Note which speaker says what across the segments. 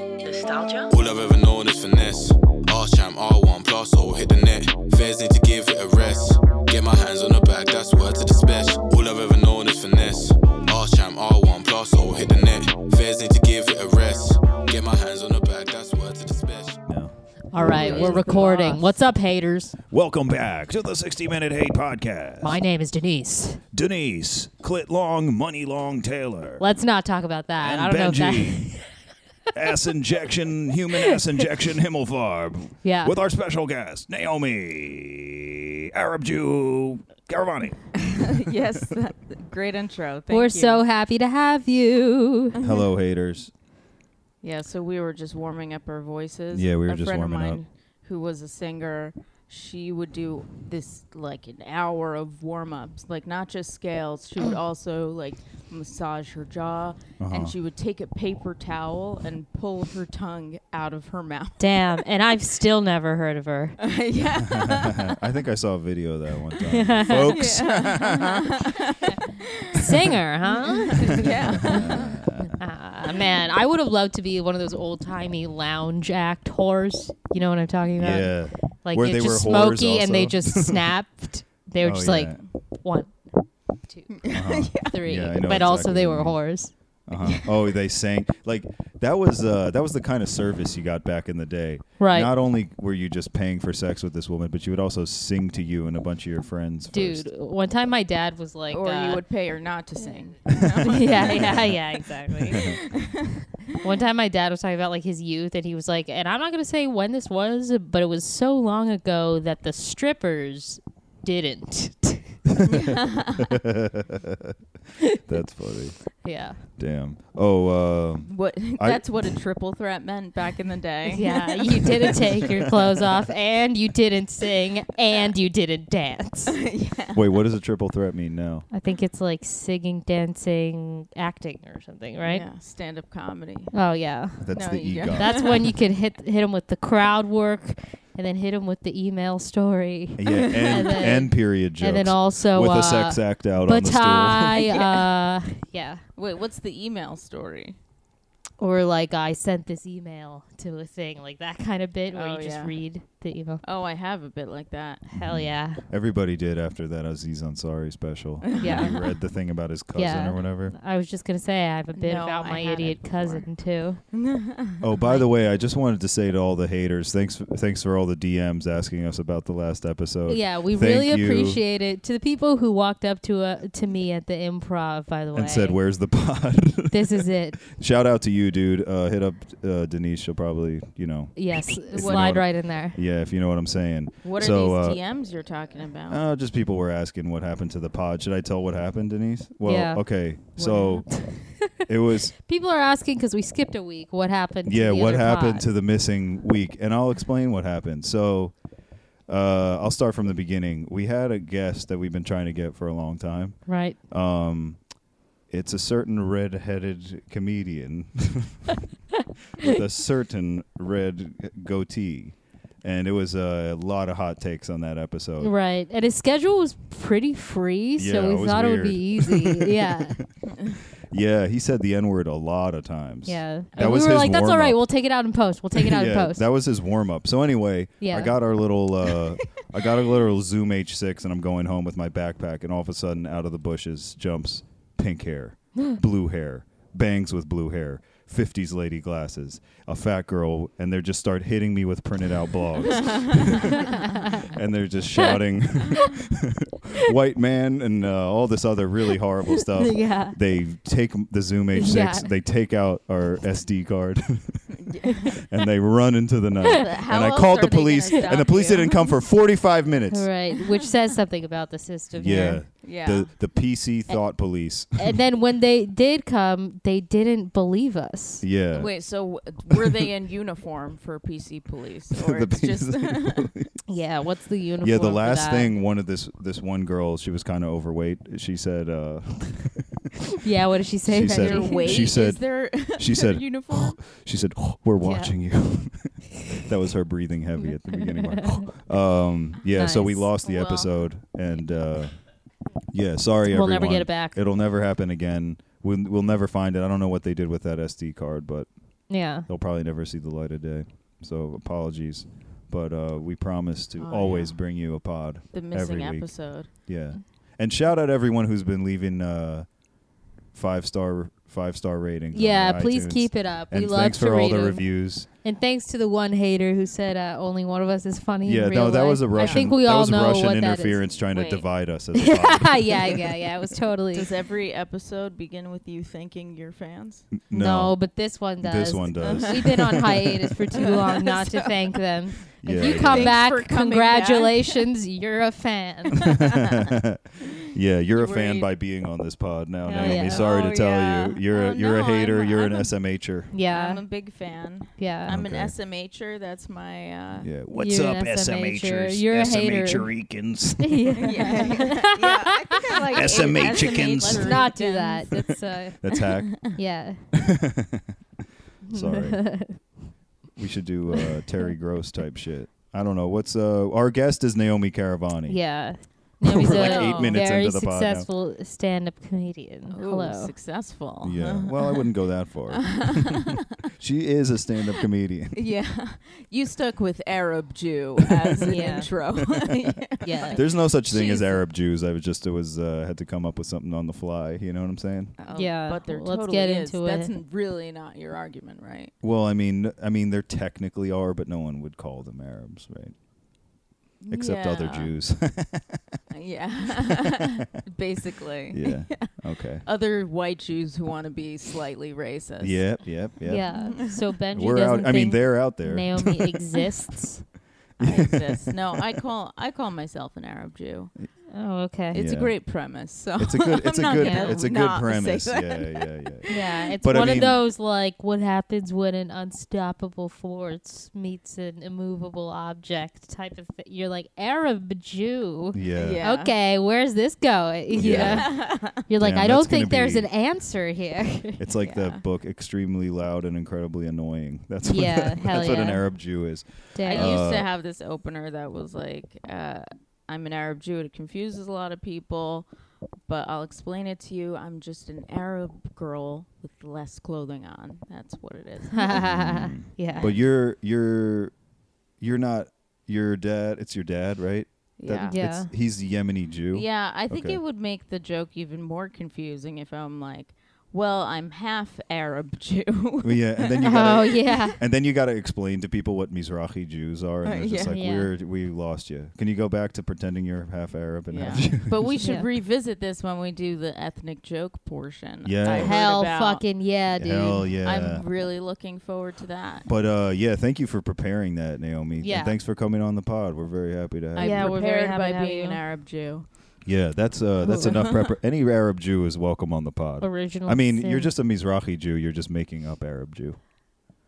Speaker 1: nostalgia.
Speaker 2: All I've ever known is finesse. R champ, R1 plus, or hit the net. Fairs need to give it a rest. Get my hands on the bag, that's word to the special. All I've ever known is finesse. R champ, R1 plus, or hit the net. Fairs need to give it a rest. Get my hands on the bag, that's word to the special.
Speaker 3: No.
Speaker 4: All right, we're recording. What's up, haters?
Speaker 3: Welcome back to the 60 Minute Hate Podcast.
Speaker 4: My name is Denise.
Speaker 3: Denise, Clit Long, Money Long Taylor,
Speaker 4: Let's not talk about that.
Speaker 3: and
Speaker 4: I don't know if that.
Speaker 3: Benji. ass injection, human ass injection, Himmelfarb.
Speaker 4: Yeah.
Speaker 3: With our special guest, Naomi, Arab Jew, Garavani.
Speaker 4: Mm-hmm.
Speaker 5: yes, that- great intro. Thank
Speaker 4: We're
Speaker 5: you.
Speaker 4: so happy to have you.
Speaker 6: Hello, haters.
Speaker 5: yeah. So we were just warming up our voices.
Speaker 6: Yeah, we were
Speaker 5: a
Speaker 6: just
Speaker 5: friend of
Speaker 6: warming up.
Speaker 5: mine Who was a singer? She would do this like an hour of warm ups, like not just scales. She would also like massage her jaw,
Speaker 6: Uh-huh.
Speaker 5: and she would take a paper towel and pull her tongue out of her mouth.
Speaker 4: Damn, and I've still never heard of her.
Speaker 5: yeah,
Speaker 6: I think I saw a video of that one time. Folks,
Speaker 4: Singer, huh?
Speaker 5: yeah.
Speaker 4: Ah, man, I would have loved to be one of those old timey lounge act whores. You know what I'm talking about?
Speaker 6: yeah.
Speaker 4: Like
Speaker 6: Where
Speaker 4: it's
Speaker 6: they
Speaker 4: just
Speaker 6: were whores
Speaker 4: smoky and they
Speaker 6: also.
Speaker 4: just snapped. They were
Speaker 6: Oh,
Speaker 4: just
Speaker 6: yeah.
Speaker 4: like one, two,
Speaker 6: Uh-huh.
Speaker 4: three.
Speaker 6: Yeah, I know
Speaker 4: but also
Speaker 6: exactly
Speaker 4: they
Speaker 6: what
Speaker 4: were
Speaker 6: you mean.
Speaker 4: whores.
Speaker 6: Uh-huh. Oh, they sang like that was uh, that was the kind of service you got back in the day.
Speaker 4: Right.
Speaker 6: Not only were you just paying for sex with this woman, but you would also sing to you and a bunch of your friends.
Speaker 4: Dude,
Speaker 6: first.
Speaker 4: one time my dad was like,
Speaker 5: Or
Speaker 4: uh,
Speaker 5: you would pay her not to sing.
Speaker 4: yeah, yeah, yeah, exactly. One time my dad was talking about like his youth and he was like, and I'm not going to say when this was, but it was so long ago that the strippers didn't.
Speaker 6: that's funny.
Speaker 4: yeah.
Speaker 6: Damn. Oh, um
Speaker 5: What?
Speaker 6: I-
Speaker 5: That's what a triple threat meant back in the day.
Speaker 4: Yeah, you didn't take your clothes off and you didn't sing and you didn't dance.
Speaker 6: wait, what does a triple threat mean now?
Speaker 4: I think it's like singing, dancing, acting or something, right?
Speaker 5: Yeah, stand up comedy.
Speaker 4: Oh yeah.
Speaker 6: That's
Speaker 5: No,
Speaker 6: the
Speaker 5: you
Speaker 6: e
Speaker 5: don't.
Speaker 4: That's when you could hit hit him with the crowd work and then hit him with the email story.
Speaker 6: Yeah, and,
Speaker 4: then-
Speaker 6: and period jokes.
Speaker 4: And then also
Speaker 6: with
Speaker 4: uh,
Speaker 6: a sex act out on
Speaker 4: but
Speaker 6: the stool.
Speaker 4: I, uh, yeah.
Speaker 5: Wait, what's the email story?
Speaker 4: Or like I sent this email to a thing, like that kind of bit where
Speaker 5: Oh,
Speaker 4: you just
Speaker 5: yeah.
Speaker 4: read the email. Mm.
Speaker 5: Oh, I have a bit like that.
Speaker 4: Hell yeah,
Speaker 6: Everybody did after that Aziz Ansari special.
Speaker 4: Yeah.
Speaker 6: He read the thing about his cousin
Speaker 4: Yeah.
Speaker 6: or whatever.
Speaker 4: I was just gonna say I have a bit
Speaker 5: No,
Speaker 4: about
Speaker 5: I
Speaker 4: my
Speaker 5: had
Speaker 4: idiot
Speaker 5: it before.
Speaker 4: cousin too.
Speaker 6: Oh, by the way, I just wanted to say to all the haters, thanks thanks for all the DMs asking us about the last episode.
Speaker 4: Yeah, we
Speaker 6: Thank
Speaker 4: really
Speaker 6: you.
Speaker 4: appreciate it to the people who walked up to uh, to me at the improv. By the way,
Speaker 6: And said, "Where's the pod?"
Speaker 4: this is it.
Speaker 6: Shout out to you, dude. Uh, hit up uh, Denise. She'll probably, you know,
Speaker 4: Yes,
Speaker 6: you
Speaker 4: slide
Speaker 6: know-
Speaker 4: right in there.
Speaker 6: yeah, if you know what I'm saying.
Speaker 5: What are
Speaker 6: So, uh,
Speaker 5: these DMs you're talking about?
Speaker 6: Uh, just people were asking what happened to the pod. Should I tell what happened, Denise? Well,
Speaker 4: Yeah.
Speaker 6: okay. So it was
Speaker 4: People are asking because we skipped a week. What happened?
Speaker 6: yeah
Speaker 4: to the
Speaker 6: what
Speaker 4: other
Speaker 6: happened
Speaker 4: pod?
Speaker 6: to the missing week and i'll explain what happened so uh, i'll start from the beginning we had a guest that we've been trying to get for a long time
Speaker 4: right?
Speaker 6: um, it's a certain red-headed comedian with a certain red goatee and it was a lot of hot takes on that episode
Speaker 4: Right. And his schedule was pretty free,
Speaker 6: Oh. Yeah,
Speaker 4: so we
Speaker 6: it was
Speaker 4: thought it would
Speaker 6: weird.
Speaker 4: be easy. yeah.
Speaker 6: yeah he said the n-word a lot of times
Speaker 4: Yeah.
Speaker 6: That
Speaker 4: And
Speaker 6: was
Speaker 4: we were
Speaker 6: his
Speaker 4: like, that's all right.
Speaker 6: warm-up.
Speaker 4: We'll take it out in post. We'll take it out in
Speaker 6: yeah,
Speaker 4: post.
Speaker 6: That was his warm up. So anyway,
Speaker 4: Yeah.
Speaker 6: I got our little uh, I got a little Zoom H6 and I'm going home with my backpack and all of a sudden out of the bushes jumps pink hair, blue hair, bangs with blue hair. 50s lady glasses, a fat girl, and they just start hitting me with printed out blogs. and they're just shouting, white man, and uh, all this other really horrible stuff.
Speaker 4: Yeah.
Speaker 6: They take the Zoom H6,
Speaker 4: Yeah.
Speaker 6: they take out our SD card and they run into the night.
Speaker 5: How
Speaker 6: and I
Speaker 5: else
Speaker 6: called
Speaker 5: are
Speaker 6: the
Speaker 5: they gonna
Speaker 6: police,
Speaker 5: stop
Speaker 6: and the police
Speaker 5: you?
Speaker 6: didn't come for 45 minutes.
Speaker 4: right. Which says something about the system.
Speaker 6: Yeah.
Speaker 4: here.
Speaker 5: yeah.
Speaker 6: The the PC thought police.
Speaker 4: And then when they did come, they didn't believe us.
Speaker 6: yeah.
Speaker 5: Wait, so w- were they in uniform for PC police, or
Speaker 6: The
Speaker 5: it's just
Speaker 6: PC
Speaker 4: Yeah. What's the uniform?
Speaker 6: yeah, the
Speaker 4: for
Speaker 6: last
Speaker 4: that?
Speaker 6: thing one of this this one girl, she was kind of overweight. She said uh
Speaker 4: Yeah. What did she say?
Speaker 6: She
Speaker 4: Benji?
Speaker 6: said-
Speaker 5: their weight?
Speaker 6: she said-
Speaker 5: is their,
Speaker 6: she
Speaker 5: their
Speaker 6: said "Oh,
Speaker 5: uniform?
Speaker 6: she said "Oh, we're watching you. that was her breathing heavy at the beginning. like, um yeah, so we
Speaker 4: Nice.
Speaker 6: lost the
Speaker 5: Well.
Speaker 6: episode and uh yeah, sorry
Speaker 4: We'll
Speaker 6: everyone.
Speaker 4: never get it back.
Speaker 6: It'll never happen again. We'll, we'll never find it. I don't know what they did with that SD card, but
Speaker 4: Yeah.
Speaker 6: They'll probably never see the light of day. So apologies, but uh, we promise to
Speaker 5: Oh,
Speaker 6: always
Speaker 5: yeah.
Speaker 6: bring you a pod.
Speaker 5: The missing
Speaker 6: every week.
Speaker 5: episode.
Speaker 6: Yeah, and shout out everyone who's been leaving uh, five star five star ratings. on
Speaker 4: Yeah,
Speaker 6: our
Speaker 4: please
Speaker 6: iTunes.
Speaker 4: keep it up.
Speaker 6: And
Speaker 4: we love
Speaker 6: thanks
Speaker 4: to
Speaker 6: for all
Speaker 4: read
Speaker 6: the
Speaker 4: 'em.
Speaker 6: reviews.
Speaker 4: And thanks to the one hater who said uh, only one of us is funny. in
Speaker 6: Yeah,
Speaker 4: real
Speaker 6: no, that was a
Speaker 4: life.
Speaker 6: Russian.
Speaker 4: I think we
Speaker 6: that
Speaker 4: all
Speaker 6: was
Speaker 4: know
Speaker 6: Russian
Speaker 4: what that is.
Speaker 6: interference trying
Speaker 5: Wait.
Speaker 6: to divide us. As a pod.
Speaker 4: yeah, yeah, yeah, yeah. It was totally
Speaker 5: Does every episode begin with you thanking your fans?
Speaker 4: no, but this one does. Uh-huh.
Speaker 6: this one does.
Speaker 4: We've been on hiatus for too long not to thank them. If
Speaker 6: Yeah,
Speaker 4: you
Speaker 6: yeah.
Speaker 4: come
Speaker 5: Thanks for
Speaker 4: back,
Speaker 5: coming
Speaker 4: congratulations, you're a fan.
Speaker 6: yeah, you're a
Speaker 5: Were
Speaker 6: fan
Speaker 5: you-
Speaker 6: by being on this pod now,
Speaker 4: Hell
Speaker 6: Naomi.
Speaker 4: yeah.
Speaker 6: Sorry
Speaker 5: Oh,
Speaker 6: to tell
Speaker 5: yeah.
Speaker 6: you, you're
Speaker 5: Oh,
Speaker 6: a, you're a
Speaker 5: no,
Speaker 6: hater.
Speaker 5: I'm-
Speaker 6: you're an
Speaker 5: I'm a-
Speaker 6: SMHer.
Speaker 5: I'm a
Speaker 4: yeah,
Speaker 5: big fan.
Speaker 4: yeah.
Speaker 5: I'm
Speaker 6: Okay.
Speaker 5: an SMHer. er. That's my. Uh,
Speaker 6: Yeah,
Speaker 7: What's
Speaker 4: You're an
Speaker 7: up,
Speaker 4: SMHer?
Speaker 7: SMHers?
Speaker 4: You're a hater.
Speaker 7: SMHericans.
Speaker 4: yeah.
Speaker 5: yeah. I think I like eight
Speaker 7: SMA chickens.
Speaker 4: Let's
Speaker 5: SMHer
Speaker 4: not do
Speaker 5: fans.
Speaker 4: that. That's uh,
Speaker 6: That's hack.
Speaker 4: yeah.
Speaker 6: Sorry. we should do uh, Terry Gross type shit. I don't know. What's uh our guest is Naomi Caravani.
Speaker 4: Yeah.
Speaker 6: We're
Speaker 4: He's
Speaker 6: like
Speaker 4: a
Speaker 6: eight minutes
Speaker 4: very
Speaker 6: into the pod now.
Speaker 4: successful stand-up comedian.
Speaker 5: Ooh,
Speaker 4: Hello.
Speaker 5: successful. Uh-huh.
Speaker 6: Yeah. Well, I wouldn't go that far. she is a stand-up comedian.
Speaker 5: yeah. You stuck with Arab Jew as an
Speaker 4: Yeah.
Speaker 5: intro.
Speaker 4: Yeah.
Speaker 6: There's no such thing as
Speaker 5: She's-
Speaker 6: Arab Jews. I was just it was uh, had to come up with something on the fly. You know what I'm saying?
Speaker 5: Oh,
Speaker 4: Yeah,
Speaker 5: But there
Speaker 4: let's
Speaker 5: totally
Speaker 4: get
Speaker 5: is.
Speaker 4: into
Speaker 5: That's
Speaker 4: it.
Speaker 5: n- really not your argument, right?
Speaker 6: Well, I mean, I mean, there technically are, but no one would call them Arabs, right? Except other
Speaker 5: Yeah. Uh,
Speaker 6: Jews.
Speaker 5: Yeah. Basically.
Speaker 6: yeah. Okay.
Speaker 5: Other white Jews who want to be slightly racist.
Speaker 6: Yep. Yep. Yep.
Speaker 4: Yeah. So Benji
Speaker 6: We're
Speaker 4: doesn't
Speaker 6: out. I mean,
Speaker 4: think
Speaker 6: they're out there.
Speaker 4: Naomi exists.
Speaker 5: I exist. No, I call I call myself an Arab Jew.
Speaker 4: Oh, okay.
Speaker 5: It's
Speaker 6: Yeah.
Speaker 5: a great premise. So
Speaker 6: It's a good. It's a
Speaker 5: not
Speaker 6: good.
Speaker 4: gonna
Speaker 6: It's a good
Speaker 5: not say
Speaker 6: premise. Yeah.
Speaker 5: that.
Speaker 6: Yeah. Yeah.
Speaker 4: yeah, it's
Speaker 6: But I
Speaker 4: one
Speaker 6: mean-
Speaker 4: of those like what happens when an unstoppable force meets an immovable object type of thing. You're like Arab Jew.
Speaker 6: Yeah.
Speaker 5: Yeah.
Speaker 4: Okay, where's this going? You
Speaker 6: Yeah.
Speaker 4: know? You're like,
Speaker 6: Damn,
Speaker 4: I don't
Speaker 6: that's gonna
Speaker 4: think there's
Speaker 6: be-
Speaker 4: an answer here.
Speaker 6: It's like
Speaker 5: Yeah.
Speaker 6: that book, extremely loud and incredibly annoying. That's what,
Speaker 4: Yeah,
Speaker 6: that's
Speaker 4: hell
Speaker 6: what an
Speaker 4: yeah.
Speaker 6: Arab Jew is.
Speaker 5: I
Speaker 4: Dang.
Speaker 6: Uh,
Speaker 5: used to have this opener that was like, uh, I'm an Arab Jew. It confuses a lot of people, but I'll explain it to you. I'm just an Arab girl with less clothing on. That's what it is.
Speaker 4: yeah.
Speaker 6: Mm. But you're you're you're not your dad. It's your dad, right?
Speaker 5: yeah.
Speaker 4: Yeah.
Speaker 6: it's- he's the Yemeni Jew.
Speaker 5: Yeah, I think
Speaker 6: Okay.
Speaker 5: it would make the joke even more confusing if I'm like, well, I'm half Arab Jew.
Speaker 6: Well, yeah, and then you gotta,
Speaker 4: oh yeah.
Speaker 6: and then you got to explain to people what Mizrahi Jews are, and
Speaker 5: Uh,
Speaker 6: they're just
Speaker 5: yeah.
Speaker 6: like,
Speaker 4: Yeah.
Speaker 6: "We're we lost you. Can you go back to pretending you're half Arab and
Speaker 5: Yeah.
Speaker 6: half Jew?"
Speaker 5: but we should
Speaker 4: Yeah.
Speaker 5: revisit this when we do the ethnic joke portion.
Speaker 6: Yeah.
Speaker 5: I heard
Speaker 4: Hell
Speaker 5: about.
Speaker 4: fucking yeah, dude.
Speaker 6: Hell yeah!
Speaker 5: I'm really looking forward to that.
Speaker 6: But uh, yeah, thank you for preparing that, Naomi. and
Speaker 4: Yeah.
Speaker 6: thanks for coming on the pod. We're very happy to have
Speaker 5: I
Speaker 6: you.
Speaker 4: Yeah, we're very
Speaker 5: prepared
Speaker 4: happy to
Speaker 5: by
Speaker 4: have
Speaker 5: being
Speaker 4: you.
Speaker 5: an Arab Jew.
Speaker 6: Yeah, that's
Speaker 5: Oh.
Speaker 6: uh, that's enough prepar. Any Arab Jew is welcome on the pod.
Speaker 4: Original.
Speaker 6: I mean,
Speaker 4: sin.
Speaker 6: you're just a Mizrahi Jew. You're just making up Arab Jew.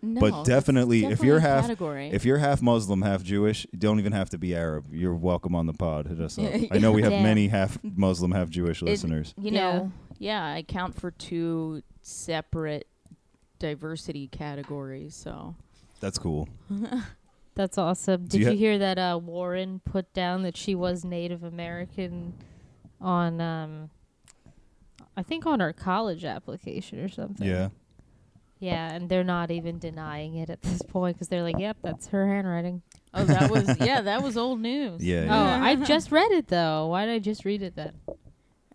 Speaker 5: No,
Speaker 6: But
Speaker 5: that's
Speaker 6: definitely, if you're
Speaker 5: definitely a
Speaker 6: half-
Speaker 5: category.
Speaker 6: If you're half Muslim, half Jewish, you don't even have to be Arab. You're welcome on the pod. Hit us up.
Speaker 5: Yeah.
Speaker 6: I know we have
Speaker 4: Damn.
Speaker 6: many half Muslim, half Jewish listeners.
Speaker 5: you know, yeah. I count for two separate diversity categories. So
Speaker 6: That's cool.
Speaker 4: That's awesome.
Speaker 6: Do
Speaker 4: Did
Speaker 6: you
Speaker 4: you,
Speaker 6: ha-
Speaker 4: hear that uh, Warren put down that she was Native American on, um, I think on her college application or something.
Speaker 6: Yeah.
Speaker 4: Yeah, and they're not even denying it at this point because they're like, "Yep, that's her handwriting."
Speaker 5: oh, that was yeah, that was old news.
Speaker 6: Yeah. yeah.
Speaker 4: Oh, I just read it though. Why did I just read it then?
Speaker 5: Oh,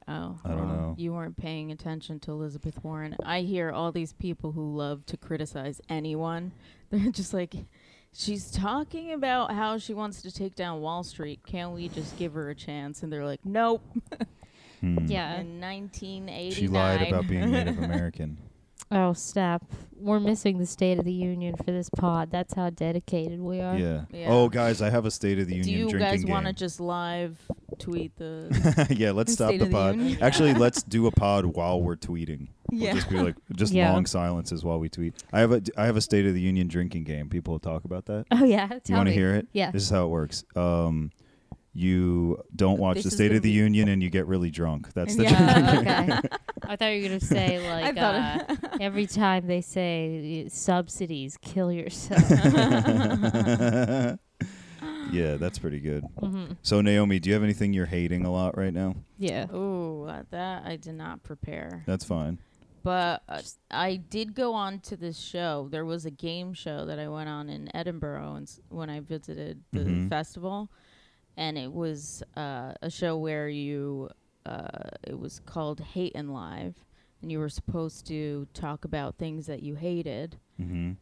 Speaker 6: I don't
Speaker 5: well,
Speaker 6: know.
Speaker 5: You weren't paying attention to Elizabeth Warren. I hear all these people who love to criticize anyone. They're just like, she's talking about how she wants to take down Wall Street. Can't we just give her a chance? And they're like, nope.
Speaker 6: Hmm.
Speaker 4: Yeah.
Speaker 5: In 1989,
Speaker 6: She lied about being Native American.
Speaker 4: Oh snap! We're missing the State of the Union for this pod. That's how dedicated we are.
Speaker 6: Yeah.
Speaker 5: Uh, Yeah.
Speaker 6: Oh, guys, I have a State of the
Speaker 5: Do
Speaker 6: Union
Speaker 5: you
Speaker 6: drinking
Speaker 5: guys want to
Speaker 6: game.
Speaker 5: just live tweet the?
Speaker 6: yeah, let's stop
Speaker 5: State
Speaker 6: the
Speaker 5: of the
Speaker 6: pod.
Speaker 5: Union?
Speaker 6: Actually, let's do a pod while we're tweeting. We'll
Speaker 5: Yeah.
Speaker 6: just be like, just
Speaker 4: Yeah.
Speaker 6: long silences while we tweet. I have a, I have a State of the Union drinking game. People talk about that.
Speaker 4: Oh yeah. Tell
Speaker 6: you want to
Speaker 4: me.
Speaker 6: hear it?
Speaker 4: Yeah.
Speaker 6: This is how it works. Um, you don't watch
Speaker 5: This
Speaker 6: the
Speaker 5: is
Speaker 6: State
Speaker 5: gonna
Speaker 6: of the
Speaker 5: be-
Speaker 6: Union and you get really drunk. That's the
Speaker 5: Yeah.
Speaker 6: drinking
Speaker 4: Oh,
Speaker 6: game.
Speaker 4: okay. I thought you were gonna say like uh,
Speaker 5: thought-
Speaker 4: every time they say uh, subsidies, kill yourself.
Speaker 6: yeah, that's pretty good. So Naomi, do you have anything you're hating a lot right now?
Speaker 4: yeah.
Speaker 5: Ooh, uh, that I did not prepare.
Speaker 6: That's fine.
Speaker 5: But uh, I did go on to this show. There was a game show that I went on in Edinburgh and s- when I visited the
Speaker 6: Mm-hmm.
Speaker 5: festival, and it was uh, a show where you uh, it was called Hate and Live, and you were supposed to talk about things that you hated.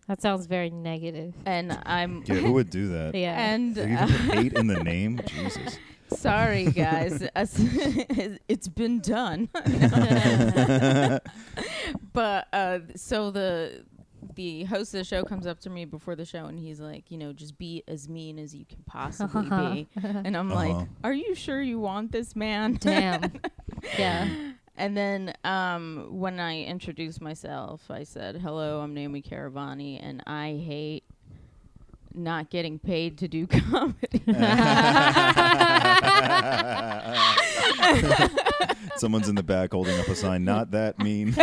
Speaker 4: That sounds very negative.
Speaker 5: And I'm
Speaker 6: Mm-hmm. Yeah, who would do that?
Speaker 4: Yeah.
Speaker 5: and
Speaker 6: They even
Speaker 5: uh,
Speaker 6: put hate in the name? Jesus.
Speaker 5: sorry guys, Us- it's been done. but uh, so the the host of the show comes up to me before the show and he's like, you know, just be as mean as you can possibly be. And I'm
Speaker 6: Uh-huh.
Speaker 5: like, are you sure you want this man?
Speaker 4: Damn. yeah.
Speaker 5: And then um, when I introduced myself, I said, "Hello, I'm Naomi Caravani, and I hate not getting paid to do comedy."
Speaker 6: Someone's in the back holding up a sign. Not that mean.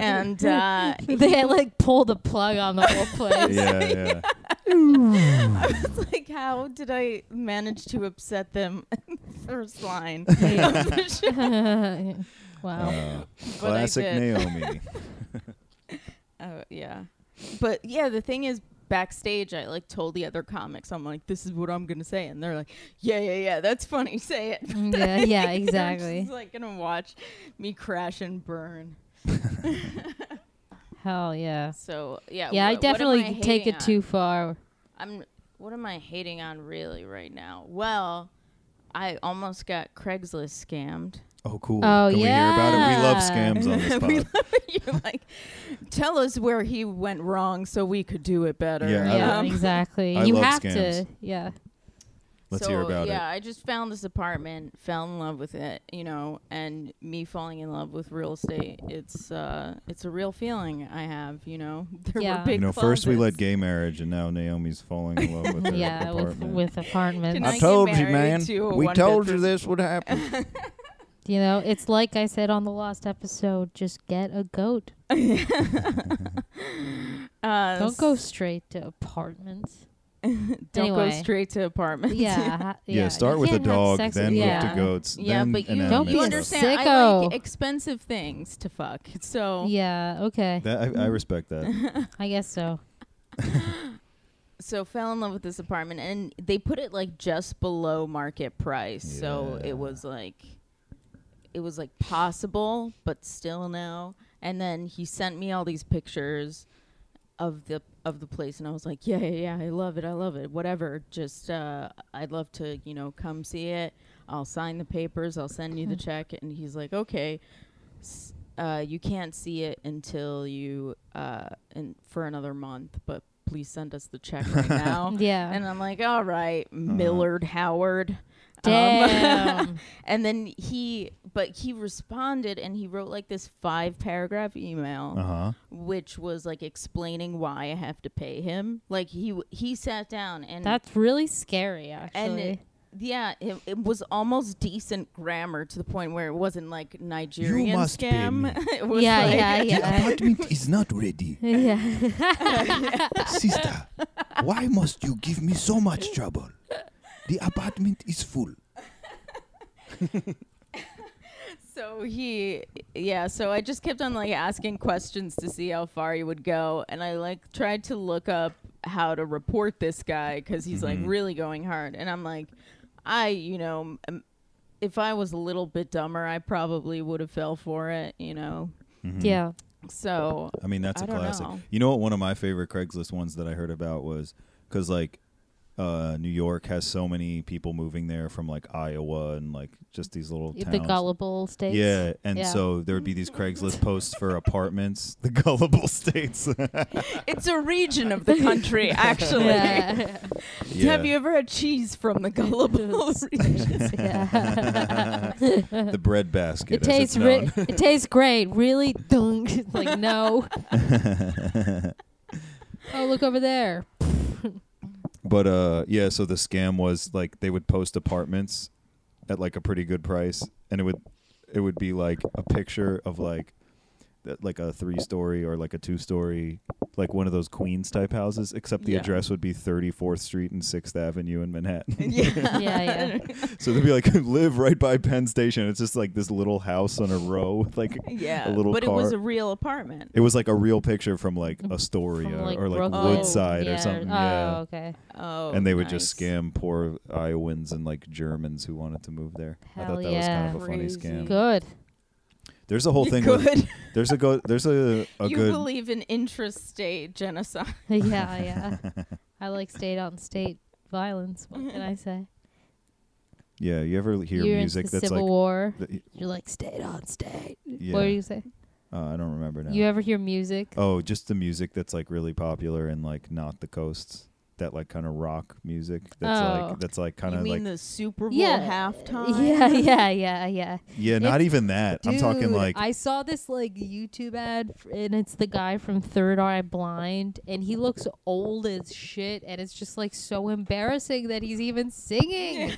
Speaker 5: and uh,
Speaker 4: They like pull the plug on the whole place.
Speaker 6: yeah, yeah.
Speaker 5: it's like, how did I manage to upset them? in the First line. of the show?
Speaker 4: wow.
Speaker 5: But I
Speaker 6: Uh, Classic
Speaker 5: did.
Speaker 6: Naomi.
Speaker 5: Oh yeah, but yeah, the thing is. Backstage, I like told the other comics, I'm like, this is what I'm gonna say, and they're like, yeah, yeah, yeah, that's funny, say it.
Speaker 4: Mm, yeah, yeah,
Speaker 5: They're
Speaker 4: exactly.
Speaker 5: just, like gonna watch me crash and burn.
Speaker 4: Hell yeah.
Speaker 5: So yeah,
Speaker 4: Yeah,
Speaker 5: wha-
Speaker 4: I
Speaker 5: what am
Speaker 4: definitely
Speaker 5: I
Speaker 4: take
Speaker 5: hating
Speaker 4: it too far.
Speaker 5: On? I'm. What am I hating on really right now? Well, I almost got Craigslist scammed.
Speaker 6: Oh, cool.
Speaker 4: Oh,
Speaker 6: Can we hear about it? We love scams on this
Speaker 5: We
Speaker 6: pod.
Speaker 5: love You're like, tell us where he went wrong so we could do it better.
Speaker 6: Yeah, I
Speaker 4: Yeah,
Speaker 5: Um,
Speaker 4: exactly.
Speaker 6: I
Speaker 4: you
Speaker 6: love
Speaker 4: have to.
Speaker 6: scams.
Speaker 4: Yeah.
Speaker 6: Let's
Speaker 5: so,
Speaker 6: hear about
Speaker 5: yeah,
Speaker 6: it.
Speaker 5: I just found this apartment, fell in love with it, you know, and me falling in love with real estate, it's uh, it's a real feeling I have, you know. There
Speaker 4: Yeah.
Speaker 5: were big
Speaker 6: You know, first we
Speaker 5: closets.
Speaker 6: led gay marriage, and now Naomi's falling in love with her
Speaker 4: Yeah, with,
Speaker 6: apartment.
Speaker 4: with apartments.
Speaker 5: Can I I told get you, married man. to a We told you one-bedroom-
Speaker 6: this would happen.
Speaker 4: You know, it's like I said on the last episode just get a goat.
Speaker 5: Uh,
Speaker 4: Don't go straight to apartments.
Speaker 5: Don't go
Speaker 4: Anyway.
Speaker 5: straight to apartments.
Speaker 4: Yeah. ha-
Speaker 6: Yeah,
Speaker 4: you
Speaker 6: start with a
Speaker 4: can't have
Speaker 6: dog,
Speaker 4: sex
Speaker 6: then
Speaker 4: with-
Speaker 6: move
Speaker 5: Yeah.
Speaker 6: to goats.
Speaker 5: Yeah,
Speaker 6: then
Speaker 5: but
Speaker 6: an
Speaker 5: you,
Speaker 6: animal
Speaker 5: you
Speaker 6: stuff.
Speaker 5: understand. I
Speaker 4: Sicko.
Speaker 5: like expensive things to fuck. So
Speaker 4: Yeah, okay.
Speaker 6: That, I, I respect that.
Speaker 4: I guess so.
Speaker 5: so fell in love with this apartment, and they put it like just below market price. So
Speaker 6: Yeah.
Speaker 5: it was like, it was like possible, but still no. And then he sent me all these pictures of the of the place, and I was like, yeah, yeah, yeah, I love it, I love it, whatever. Just uh, I'd love to, you know, come see it. I'll sign the papers. I'll send
Speaker 4: Mm-hmm.
Speaker 5: you the check. And he's like, okay. s- Uh, you can't see it until you uh, in, for another month, but please send us the check right now.
Speaker 4: Yeah.
Speaker 5: Oh,
Speaker 4: Uh-huh.
Speaker 5: And I'm like, all right, Millard Howard. Um,
Speaker 4: Damn.
Speaker 5: and then he, but he responded and he wrote like this five paragraph email,
Speaker 6: Uh-huh.
Speaker 5: which was like explaining why I have to pay him. Like he w- he sat down and
Speaker 4: That's really scary, actually.
Speaker 5: and it, yeah, it, it was almost decent grammar to the point where it wasn't like Nigerian
Speaker 6: must pay
Speaker 5: scam.
Speaker 6: me.
Speaker 5: It was
Speaker 4: yeah,
Speaker 5: like-
Speaker 4: yeah, yeah,
Speaker 6: apartment is not ready.
Speaker 4: yeah.
Speaker 6: Sister, why must you give me so much trouble? The apartment is full.
Speaker 5: So he, yeah. So I just kept on like asking questions to see how far he would go, and I like tried to look up how to report this guy because he's
Speaker 6: Mm-hmm.
Speaker 5: like really going hard, and I'm like, I, you know, m- if I was a little bit dumber, I probably would have fell for it, you know.
Speaker 6: Mm-hmm.
Speaker 4: yeah.
Speaker 5: So
Speaker 6: I mean, that's a
Speaker 5: I don't
Speaker 6: classic.
Speaker 5: know.
Speaker 6: You know what? One of my favorite Craigslist ones that I heard about was because like uh, New York has so many people moving there from like Iowa and like just these little towns.
Speaker 4: The gullible states.
Speaker 6: Yeah, and
Speaker 4: Yeah.
Speaker 6: so there would be these Craigslist posts for apartments, the gullible states.
Speaker 5: it's a region of the country, actually.
Speaker 4: Yeah.
Speaker 6: Yeah.
Speaker 5: Have you ever had cheese from the gullible region?
Speaker 4: Yeah.
Speaker 6: the bread basket.
Speaker 4: it tastes ri- it tastes great. Really? Dunk. It's like no. oh, look over there.
Speaker 6: But uh, yeah. So the scam was like they would post apartments at like a pretty good price, and it would it would be like a picture of like that- like a three story or like a two story, like one of those Queens type houses, except the
Speaker 5: Yeah.
Speaker 6: address would be 34th Street and 6th Avenue in Manhattan.
Speaker 4: Yeah,
Speaker 5: yeah.
Speaker 4: yeah.
Speaker 6: so they'd be like, live right by Penn Station. It's just like this little house on a row with like
Speaker 5: Yeah.
Speaker 6: a little
Speaker 5: but
Speaker 6: car.
Speaker 5: it was a real apartment.
Speaker 6: It was like a real picture from like Astoria
Speaker 4: Mm. From, like,
Speaker 6: or like
Speaker 4: Brooklyn.
Speaker 6: Woodside
Speaker 4: yeah,
Speaker 6: or something.
Speaker 4: Oh,
Speaker 6: yeah.
Speaker 4: okay.
Speaker 5: Oh.
Speaker 6: and they would just
Speaker 5: nice.
Speaker 6: scam poor Iowans and like Germans who wanted to move there. I
Speaker 4: Hell
Speaker 6: thought that was
Speaker 4: yeah.
Speaker 6: kind of a funny
Speaker 5: Crazy.
Speaker 6: scam.
Speaker 4: Good.
Speaker 6: There's a whole thing. With,
Speaker 5: Good.
Speaker 6: there's a go. There's a a
Speaker 5: you
Speaker 6: good.
Speaker 5: believe in intrastate genocide.
Speaker 4: Yeah, yeah. I like state on state violence. What can I say?
Speaker 6: yeah, you ever hear
Speaker 4: You're
Speaker 6: music
Speaker 4: into the
Speaker 6: that's
Speaker 4: Civil
Speaker 6: like?
Speaker 4: War.
Speaker 6: th-
Speaker 4: You're like state on state.
Speaker 6: yeah,
Speaker 4: What do you say?
Speaker 6: uh, I don't remember now.
Speaker 4: You ever hear music?
Speaker 6: oh, just the music that's like really popular and like not the coasts. That like kind of rock music. That's
Speaker 4: Oh.
Speaker 6: like that's like kind
Speaker 5: you
Speaker 6: of
Speaker 5: mean
Speaker 6: like
Speaker 5: the Super Bowl
Speaker 4: Yeah.
Speaker 5: halftime?
Speaker 4: Yeah, yeah, yeah, yeah.
Speaker 6: yeah, not
Speaker 4: it's-
Speaker 6: even that. I'm talking
Speaker 4: Dude,
Speaker 6: like
Speaker 4: I saw this like YouTube ad, f- and it's the guy from Third Eye Blind, and he looks old as shit, and it's just like so embarrassing that he's even singing.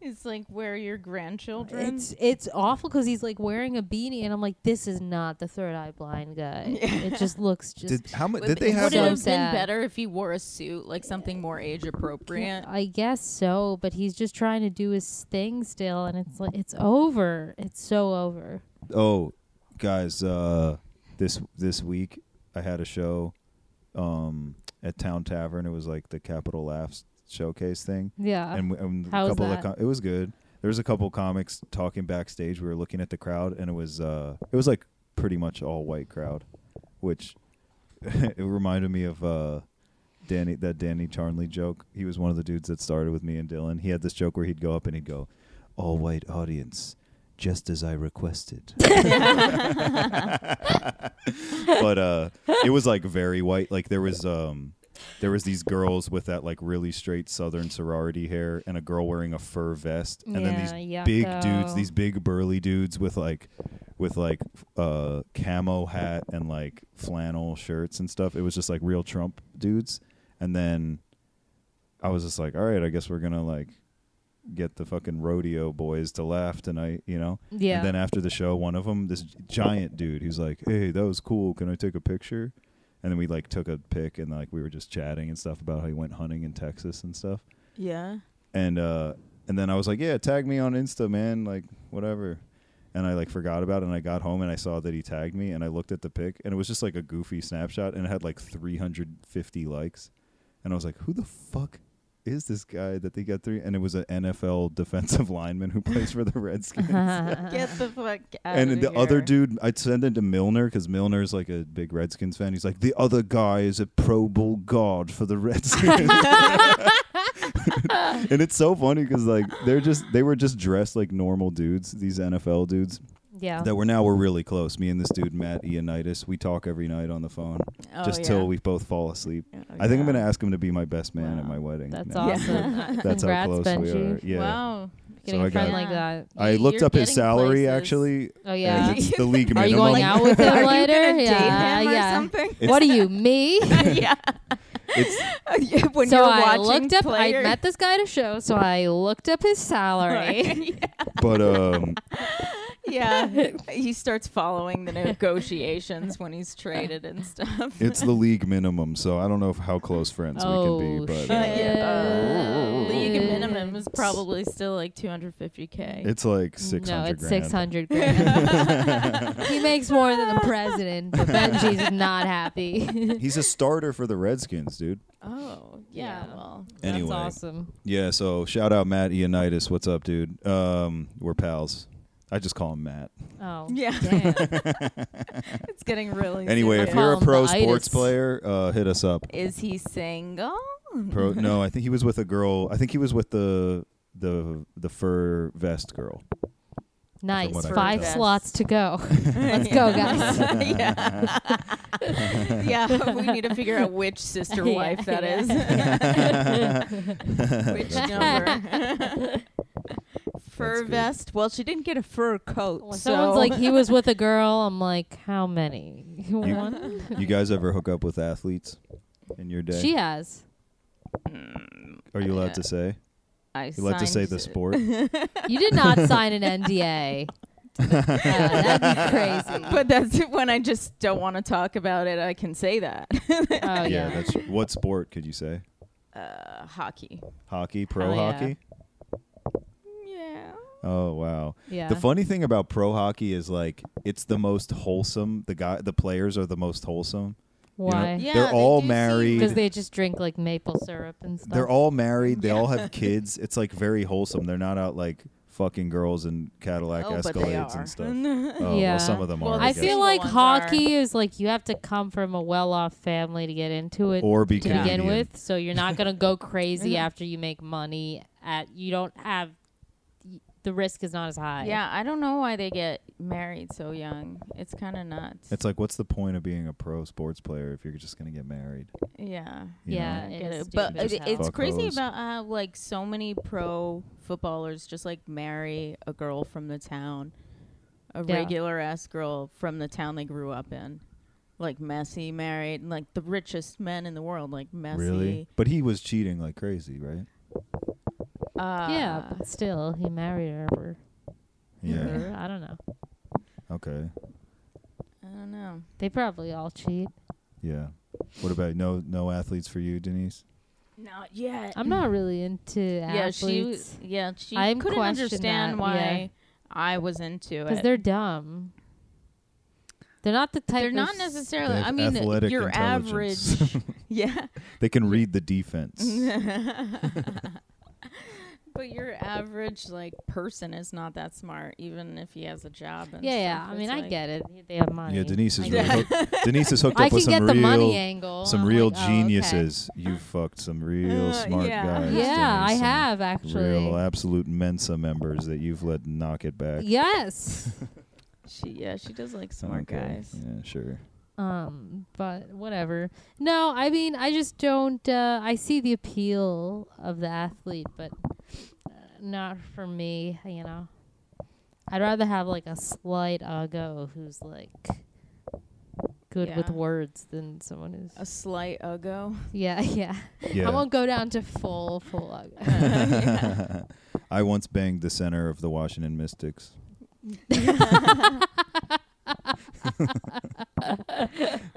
Speaker 5: It's like where your grandchildren.
Speaker 4: It's it's awful because he's like wearing a beanie, and I'm like, this is not the Third Eye Blind guy. It just looks just.
Speaker 6: did how much
Speaker 5: Would-
Speaker 6: did they have
Speaker 5: Would it
Speaker 4: So
Speaker 5: have
Speaker 6: like,
Speaker 5: been
Speaker 4: sad.
Speaker 5: better if he wore a suit, like something more age appropriate?
Speaker 4: I guess so, but he's just trying to do his thing still, and it's like it's over. It's so over.
Speaker 6: oh guys uh this this week i had a show um at town tavern it was like the capital laughs showcase thing
Speaker 4: Yeah.
Speaker 6: and, w- and
Speaker 4: How
Speaker 6: a
Speaker 4: was
Speaker 6: couple
Speaker 4: that?
Speaker 6: of com- it was good there was a couple comics talking backstage we were looking at the crowd and it was uh it was like pretty much all white crowd which it reminded me of uh Danny that Danny Charnley joke. He was one of the dudes that started with me and Dylan. He had this joke where he'd go up and he'd go, "All white audience, just as I requested." but uh it was like very white. Like there was um there was these girls with that like really straight southern sorority hair and a girl wearing a fur vest and then these
Speaker 4: Yeah,
Speaker 6: big
Speaker 4: yucko.
Speaker 6: dudes, these big burly dudes with like with like f- uh camo hat and like flannel shirts and stuff. It was just like real Trump dudes. And then I was just like, all right, I guess we're gonna like get the fucking rodeo boys to laugh tonight, you know?
Speaker 4: Yeah.
Speaker 6: And then after the show, one of them, this giant dude, he's like, hey, that was cool. Can I take a picture? And then we like took a pic and like we were just chatting and stuff about how he went hunting in Texas and stuff
Speaker 5: Yeah.
Speaker 6: and uh and then I was like, yeah, tag me on Insta, man, like whatever. And I like forgot about it and I got home and I saw that he tagged me and I looked at the pic and it was just like a goofy snapshot and it had like 350 likes. And I was like, who the fuck is this guy that they got three? And it was an NFL defensive lineman who plays for the Redskins.
Speaker 5: Get the fuck out
Speaker 6: and
Speaker 5: of
Speaker 6: the other
Speaker 5: here.
Speaker 6: dude, I'd send it to Milner because Milner's like a big Redskins fan. He's like, the other guy is a Pro Bowl god for the Redskins. and it's so funny because like they're just they were just dressed like normal dudes, these NFL dudes
Speaker 5: Oh.
Speaker 4: yeah.
Speaker 6: that were now we're really close. Me and this dude Matt Ioannidis, we talk every night on the phone
Speaker 5: Oh,
Speaker 6: just
Speaker 5: yeah.
Speaker 6: till we both fall asleep.
Speaker 5: Oh,
Speaker 6: I think
Speaker 5: yeah.
Speaker 6: I'm gonna ask him to be my best man at
Speaker 5: Wow.
Speaker 6: my wedding.
Speaker 4: That's
Speaker 6: now.
Speaker 4: awesome.
Speaker 6: That's how
Speaker 4: Congrats,
Speaker 6: close we
Speaker 4: Benji.
Speaker 6: are. Yeah.
Speaker 5: Wow.
Speaker 4: Getting
Speaker 6: So I
Speaker 4: a friend
Speaker 6: got-
Speaker 4: like that.
Speaker 6: I
Speaker 5: You-
Speaker 6: looked
Speaker 5: you're
Speaker 6: up his
Speaker 5: getting
Speaker 6: salary
Speaker 5: places.
Speaker 6: actually.
Speaker 4: Oh yeah.
Speaker 6: and it's the league
Speaker 4: Are you
Speaker 6: minimum.
Speaker 4: going out with
Speaker 5: Are
Speaker 4: him
Speaker 5: you gonna
Speaker 4: later?
Speaker 5: date
Speaker 4: yeah.
Speaker 5: him or
Speaker 4: yeah.
Speaker 5: something?
Speaker 4: What are you, me?
Speaker 5: yeah.
Speaker 6: It's-
Speaker 5: Yeah, when
Speaker 4: so
Speaker 5: you're
Speaker 4: I
Speaker 5: watching
Speaker 4: looked up.
Speaker 5: player-
Speaker 4: I met this guy at a show, so I looked up his salary.
Speaker 6: but um,
Speaker 5: yeah. He starts following the negotiations when he's traded and stuff.
Speaker 6: it's the league minimum, so I don't know if how close friends we can
Speaker 4: oh
Speaker 6: be. But
Speaker 4: shit!
Speaker 6: uh,
Speaker 5: Yeah. uh, League
Speaker 4: Shit.
Speaker 5: minimum is probably still like 250k.
Speaker 6: it's like six hundred.
Speaker 4: No, it's six hundred he makes more than the president, but Benji's not happy.
Speaker 6: He's a starter for the Redskins, dude.
Speaker 5: oh, yeah,
Speaker 4: Yeah.
Speaker 5: Well,
Speaker 6: Anyway.
Speaker 4: That's awesome.
Speaker 6: Yeah, so shout out Matt Ioannidis. What's up, dude? Um, we're pals. I just call him Matt.
Speaker 4: Oh
Speaker 5: Yeah.
Speaker 4: damn.
Speaker 5: it's getting really.
Speaker 6: Anyway, if
Speaker 5: serious.
Speaker 6: you're
Speaker 4: call
Speaker 6: a
Speaker 4: him
Speaker 6: pro
Speaker 4: the itis.
Speaker 6: sports player, uh, hit us up.
Speaker 5: is he single?
Speaker 6: Pro, no, I think he was with a girl. I think he was with the the the fur vest girl.
Speaker 4: nice.
Speaker 6: what I
Speaker 4: Five
Speaker 6: can
Speaker 5: tell.
Speaker 4: slots to go. Let's go, guys.
Speaker 5: yeah. yeah, we need to figure out which sister
Speaker 4: Yeah,
Speaker 5: wife that
Speaker 4: yeah.
Speaker 5: is. which number? fur
Speaker 6: good.
Speaker 5: vest. Well, she didn't get a fur coat.
Speaker 4: When
Speaker 5: so
Speaker 4: Someone's like, he was with a girl. I'm like, how many? One?
Speaker 6: You guys ever hook up with athletes in your day?
Speaker 4: She has.
Speaker 6: Are you allowed to say?
Speaker 5: mm, I
Speaker 6: You allowed to say the
Speaker 5: signed-
Speaker 6: sport?
Speaker 4: You did not sign an NDA. Uh, that'd be crazy.
Speaker 5: But that's when I just don't want to talk about it. I can say that.
Speaker 4: oh, yeah.
Speaker 6: yeah, that's what sport could you say?
Speaker 5: uh, hockey.
Speaker 6: Hockey, pro
Speaker 4: Oh, yeah.
Speaker 6: hockey.
Speaker 5: Yeah.
Speaker 6: Oh wow.
Speaker 4: Yeah.
Speaker 6: The funny thing about pro hockey is like it's the most wholesome. The guy, the players are the most wholesome. You know,
Speaker 4: Why?
Speaker 5: Yeah,
Speaker 6: they're
Speaker 5: they
Speaker 6: all
Speaker 5: do seem-
Speaker 6: married.
Speaker 4: Because they just drink like maple syrup and stuff.
Speaker 6: They're all married. They all have kids. It's like very wholesome. They're not out like fucking girls in Cadillac
Speaker 5: Oh, but they
Speaker 6: Escalades
Speaker 5: are.
Speaker 6: and stuff. Oh,
Speaker 4: Yeah.
Speaker 6: well, some of them
Speaker 5: Well,
Speaker 6: are.
Speaker 5: I
Speaker 4: I
Speaker 6: guess.
Speaker 4: feel
Speaker 5: Single
Speaker 4: like
Speaker 5: ones
Speaker 4: hockey is like you have to come from a well-off family to get into it
Speaker 6: Or be
Speaker 4: to
Speaker 6: Canadian.
Speaker 4: begin with. So you're not gonna go crazy after you make money. At you don't have the risk is not as high.
Speaker 5: Yeah, I don't know why they get married so young. It's kind of nuts.
Speaker 6: It's like, what's the point of being a pro sports player if you're just gonna get married?
Speaker 5: yeah.
Speaker 6: you know?
Speaker 4: Yeah,
Speaker 5: I
Speaker 4: it
Speaker 5: get
Speaker 4: is
Speaker 5: it. But
Speaker 4: stupid as
Speaker 5: it-
Speaker 4: hell.
Speaker 5: it's
Speaker 6: Fuck
Speaker 5: crazy
Speaker 6: hoes.
Speaker 5: about how like so many pro footballers just like marry a girl from the town, a
Speaker 4: Yeah.
Speaker 5: regular ass girl from the town they grew up in. Like Messi married like the richest men in the world, like Messi.
Speaker 6: Really? But he was cheating like crazy, right?
Speaker 5: Uh,
Speaker 4: yeah, but still, he married her. For,
Speaker 6: Yeah.
Speaker 4: for- I don't know.
Speaker 6: Okay.
Speaker 5: I don't know.
Speaker 4: They probably all cheat.
Speaker 6: Yeah. What about no no athletes for you, Denise?
Speaker 5: Not yet.
Speaker 4: I'm not really into
Speaker 5: yeah,
Speaker 4: athletes.
Speaker 5: she was, yeah, she
Speaker 4: I
Speaker 5: couldn't
Speaker 4: question
Speaker 5: understand
Speaker 4: that,
Speaker 5: why I was into
Speaker 4: because
Speaker 5: it.
Speaker 4: they're dumb. They're not the type.
Speaker 5: They're
Speaker 4: of
Speaker 5: not
Speaker 4: s-
Speaker 5: necessarily.
Speaker 6: They
Speaker 5: I
Speaker 6: have
Speaker 5: mean, the-
Speaker 6: athletic
Speaker 5: your
Speaker 6: intelligence.
Speaker 5: average. yeah,
Speaker 6: They can read the defense.
Speaker 5: but your average like person is not that smart, even if he has a job. And
Speaker 4: Yeah, yeah.
Speaker 5: stuff.
Speaker 4: I
Speaker 5: It's
Speaker 4: mean, I
Speaker 5: like-
Speaker 4: get it. They have money.
Speaker 6: yeah, Denise is
Speaker 4: I
Speaker 6: really
Speaker 4: get it.
Speaker 6: hooked. Denise is hooked
Speaker 4: I
Speaker 6: up with
Speaker 4: can get
Speaker 6: some
Speaker 4: the money
Speaker 6: real
Speaker 4: angle.
Speaker 6: some
Speaker 4: I'm
Speaker 6: real
Speaker 4: like, oh, okay.
Speaker 6: geniuses. You fucked some real
Speaker 5: Uh,
Speaker 6: smart
Speaker 5: yeah.
Speaker 6: guys.
Speaker 4: Yeah, I
Speaker 6: Denise, some
Speaker 4: have actually.
Speaker 6: Real absolute Mensa members that you've let knock it back.
Speaker 4: Yes.
Speaker 5: She yeah, she does like smart
Speaker 6: Okay.
Speaker 5: guys.
Speaker 6: Yeah, sure.
Speaker 4: um, but whatever. No, I mean, I just don't. Uh, I see the appeal of the athlete, but uh, not for me. You know, I'd rather have like a slight uggo who's like good with
Speaker 5: Yeah.
Speaker 4: words than someone who's.
Speaker 5: A slight uggo.
Speaker 4: yeah, yeah,
Speaker 6: Yeah.
Speaker 4: I won't go down to full, full uggo.
Speaker 6: I once banged the center of the Washington Mystics.
Speaker 5: Uh,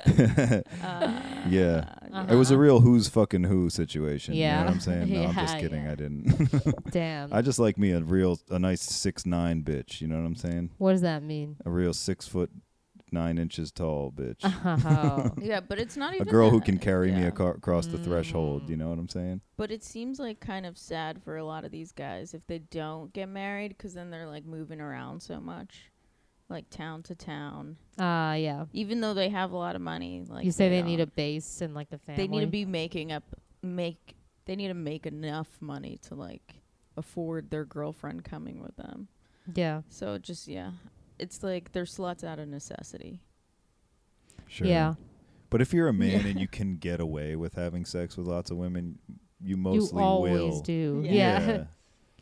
Speaker 4: Uh-huh.
Speaker 6: yeah. It was a real who's fucking who situation. You know
Speaker 4: Yeah.
Speaker 6: what I'm saying? No, I'm just
Speaker 4: Yeah,
Speaker 6: kidding.
Speaker 4: yeah.
Speaker 6: I didn't.
Speaker 4: Damn.
Speaker 6: I just like me a real, a nice six nine bitch. You know what I'm saying?
Speaker 4: what does that mean?
Speaker 6: A real six foot nine inches tall bitch.
Speaker 4: Oh.
Speaker 5: Yeah, but it's not
Speaker 6: a
Speaker 5: even
Speaker 6: girl who
Speaker 5: that-
Speaker 6: can carry me
Speaker 5: yeah.
Speaker 6: aco- across the
Speaker 4: Mm.
Speaker 6: threshold. You know what I'm saying?
Speaker 5: But it seems like kind of sad for a lot of these guys if they don't get married, because then they're like moving around so much, like town to town.
Speaker 4: Ah, yeah.
Speaker 5: Even though they have a lot of money, like
Speaker 4: you say they, need
Speaker 5: don't.
Speaker 4: a base and like a family.
Speaker 5: they need to be making up make they need to make enough money to like afford their girlfriend coming with them
Speaker 4: Yeah.
Speaker 5: so just yeah it's like they're sluts out of necessity
Speaker 6: Sure.
Speaker 4: Yeah.
Speaker 6: But if you're a man and you can get away with having sex with lots of women, you mostly
Speaker 4: you always
Speaker 6: will.
Speaker 4: do.
Speaker 5: Yeah.
Speaker 4: Yeah.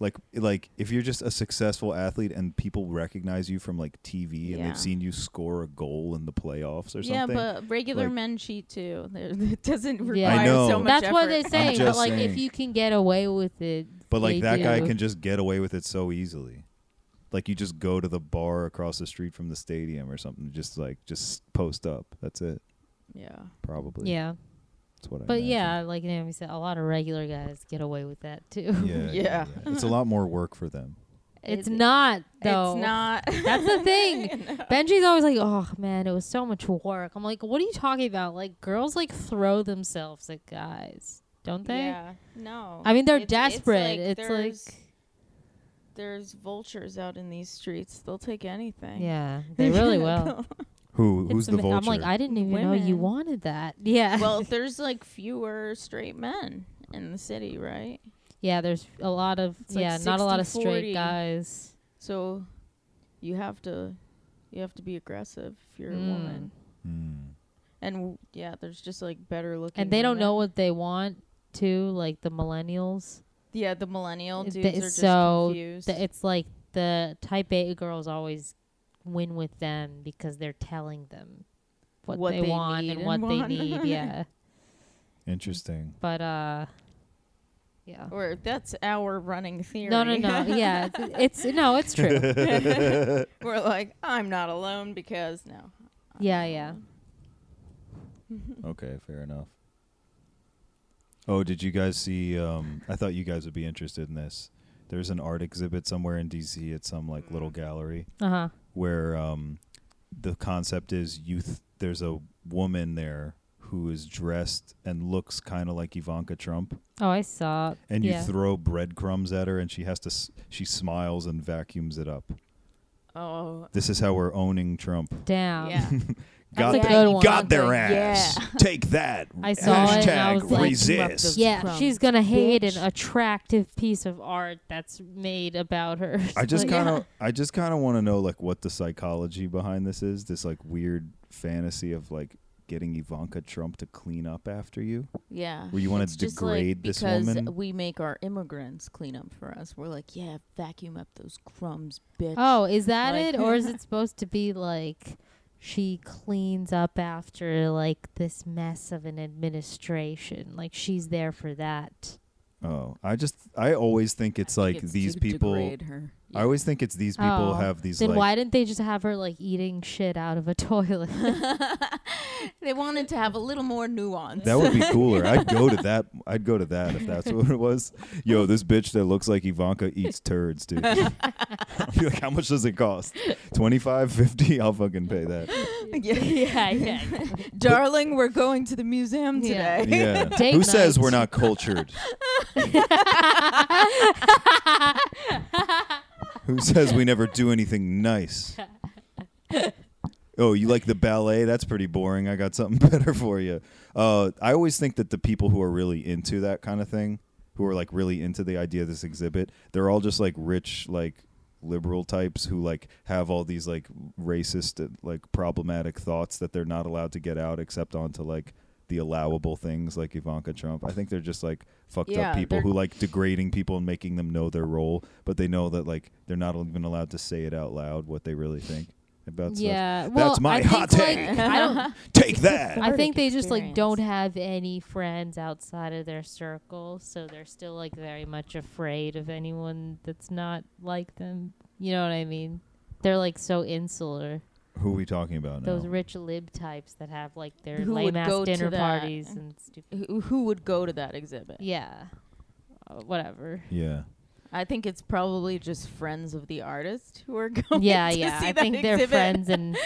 Speaker 6: Like like if you're just a successful athlete and people recognize you from like TV and
Speaker 5: Yeah.
Speaker 6: they've seen you score a goal in the playoffs or
Speaker 5: yeah
Speaker 6: something.
Speaker 5: but regular
Speaker 6: like-
Speaker 5: men cheat too They're- it doesn't require
Speaker 4: Yeah. I
Speaker 6: know.
Speaker 5: so much
Speaker 4: That's what they
Speaker 5: effort.
Speaker 4: say. But
Speaker 6: just
Speaker 4: like, if
Speaker 6: saying.
Speaker 4: you can get away with it,
Speaker 6: But like
Speaker 4: they
Speaker 6: that guy
Speaker 4: do.
Speaker 6: can just get away with it so easily. Like you just go to the bar across the street from the stadium or something, just like just post up. That's it,
Speaker 5: yeah
Speaker 6: probably.
Speaker 4: yeah.
Speaker 6: That's what I
Speaker 4: But
Speaker 6: imagine.
Speaker 4: yeah, like Naomi said, a lot of regular guys get away with that too.
Speaker 6: Yeah,
Speaker 5: Yeah.
Speaker 6: It's a lot more work for them.
Speaker 4: it's
Speaker 5: It-
Speaker 4: not though.
Speaker 5: it's not
Speaker 4: That's the thing. Benji's always like, "Oh man, it was so much work." I'm like, "What are you talking about? Like girls like throw themselves at guys, don't they?"
Speaker 5: yeah no
Speaker 4: I mean, they're
Speaker 5: It's-
Speaker 4: desperate. It's like,
Speaker 5: there's, there's vultures out in these streets they'll take anything
Speaker 4: yeah, they really will.
Speaker 6: Who who's
Speaker 4: It's
Speaker 6: the
Speaker 4: ama-
Speaker 6: vulture?
Speaker 4: I'm like, I didn't even know you
Speaker 5: Women.
Speaker 4: wanted that. Yeah.
Speaker 5: well there's like fewer straight men in the city right
Speaker 4: Yeah, there's a lot of
Speaker 5: It's like
Speaker 4: yeah, not a lot of straight
Speaker 5: 60-40.
Speaker 4: guys.
Speaker 5: So you have to you have to be aggressive if you're
Speaker 4: Mm.
Speaker 5: a woman.
Speaker 6: Hmm.
Speaker 5: And w- yeah, there's just like better looking.
Speaker 4: And they don't
Speaker 5: women.
Speaker 4: know what they want too, like the millennials.
Speaker 5: Yeah, the millennial
Speaker 4: It-
Speaker 5: dudes
Speaker 4: they-
Speaker 5: are just
Speaker 4: so
Speaker 5: confused.
Speaker 4: The- It's like the type A girls always win with them because they're telling them what,
Speaker 5: What
Speaker 4: they,
Speaker 5: they
Speaker 4: want
Speaker 5: need
Speaker 4: and
Speaker 5: and
Speaker 4: what they
Speaker 5: want.
Speaker 4: need. Yeah.
Speaker 6: Interesting.
Speaker 4: But uh Yeah.
Speaker 5: Or that's our running theory.
Speaker 4: No, no, no. yeah, th- it's no, it's true.
Speaker 5: We're like, I'm not alone because no.
Speaker 4: Yeah, yeah.
Speaker 6: Okay, fair enough. Oh, did you guys see? Um, I thought you guys would be interested in this. There's an art exhibit somewhere in DC at some like little gallery
Speaker 4: Uh huh.
Speaker 6: where um, the concept is youth. There's a woman there who is dressed and looks kind of like Ivanka Trump,
Speaker 4: Oh, I saw.
Speaker 6: and
Speaker 4: yeah.
Speaker 6: you throw breadcrumbs at her, and she has to. S- she smiles and vacuums it up.
Speaker 5: Oh,
Speaker 6: This is how we're owning Trump.
Speaker 4: Damn.
Speaker 5: yeah.
Speaker 6: Got,
Speaker 4: a good one.
Speaker 6: got their
Speaker 5: Like,
Speaker 6: ass.
Speaker 5: yeah.
Speaker 6: Take that.
Speaker 4: I saw
Speaker 6: Hashtag
Speaker 4: it and I was like,
Speaker 6: resist.
Speaker 4: Yeah,
Speaker 5: Crumbs,
Speaker 4: she's gonna hate
Speaker 5: bitch.
Speaker 4: an attractive piece of art that's made about her.
Speaker 6: I just
Speaker 4: Like,
Speaker 6: kind of I just kind of want to know like what the psychology behind this is. This like weird fantasy of like getting Ivanka Trump to clean up after you.
Speaker 5: Yeah.
Speaker 6: Where you wanna
Speaker 5: It's just
Speaker 6: degrade
Speaker 5: like
Speaker 6: this
Speaker 5: because
Speaker 6: woman?
Speaker 5: we make our immigrants clean up for us. We're like, yeah, vacuum up those crumbs, bitch.
Speaker 4: Oh, is that
Speaker 5: Like-
Speaker 4: it, or is it supposed to be like she cleans up after like this mess of an administration? Like she's there for that.
Speaker 6: Oh, I just I always think it's like these people. I always think it's these people
Speaker 4: Oh.
Speaker 6: have these
Speaker 4: Then
Speaker 6: like
Speaker 4: why didn't they just have her like eating shit out of a toilet?
Speaker 5: they wanted to have a little more nuance.
Speaker 6: that would be cooler. I'd go to that. I'd go to that if that's what it was. Yo, this bitch that looks like Ivanka eats turds, dude. Be like, how much does it cost? 25, 50? I'll fucking pay that.
Speaker 5: yeah.
Speaker 4: yeah, yeah.
Speaker 5: Darling, we're going to the museum
Speaker 4: Yeah.
Speaker 5: today.
Speaker 6: Yeah.
Speaker 4: Date
Speaker 6: Who says
Speaker 4: night.
Speaker 6: we're not cultured? Who says we never do anything nice? Oh, you like the ballet? That's pretty boring. I got something better for you. Uh, I always think that the people who are really into that kind of thing, who are like really into the idea of this exhibit, they're all just like rich, like liberal types who like have all these like racist, uh, like problematic thoughts that they're not allowed to get out except onto like the allowable things like Ivanka Trump. I think they're just like fucked
Speaker 5: Yeah,
Speaker 6: up people
Speaker 5: they're-
Speaker 6: who like degrading people and making them know their role, but they know that like they're not even allowed to say it out loud what they really think about stuff.
Speaker 4: yeah.
Speaker 6: That's
Speaker 4: Well,
Speaker 6: my
Speaker 4: I
Speaker 6: hot
Speaker 4: think,
Speaker 6: take.
Speaker 4: Like, I don't.
Speaker 6: Take that.
Speaker 4: I think
Speaker 5: Cathartic
Speaker 4: they just like
Speaker 5: experience.
Speaker 4: don't have any friends outside of their circle, so they're still like very much afraid of anyone that's not like them. You know what I mean? They're like so insular.
Speaker 6: Who are we talking about now?
Speaker 4: Those rich lib types that have like their
Speaker 5: Who would
Speaker 4: lame ass
Speaker 5: go to
Speaker 4: dinner
Speaker 5: that?
Speaker 4: parties and stupid.
Speaker 5: Who, who would go to that exhibit?
Speaker 4: Yeah. Uh, whatever.
Speaker 6: yeah.
Speaker 5: I think it's probably just friends of the artist who are going.
Speaker 4: yeah,
Speaker 5: to
Speaker 4: yeah.
Speaker 5: see
Speaker 4: I
Speaker 5: that
Speaker 4: think they're
Speaker 5: exhibit.
Speaker 4: friends and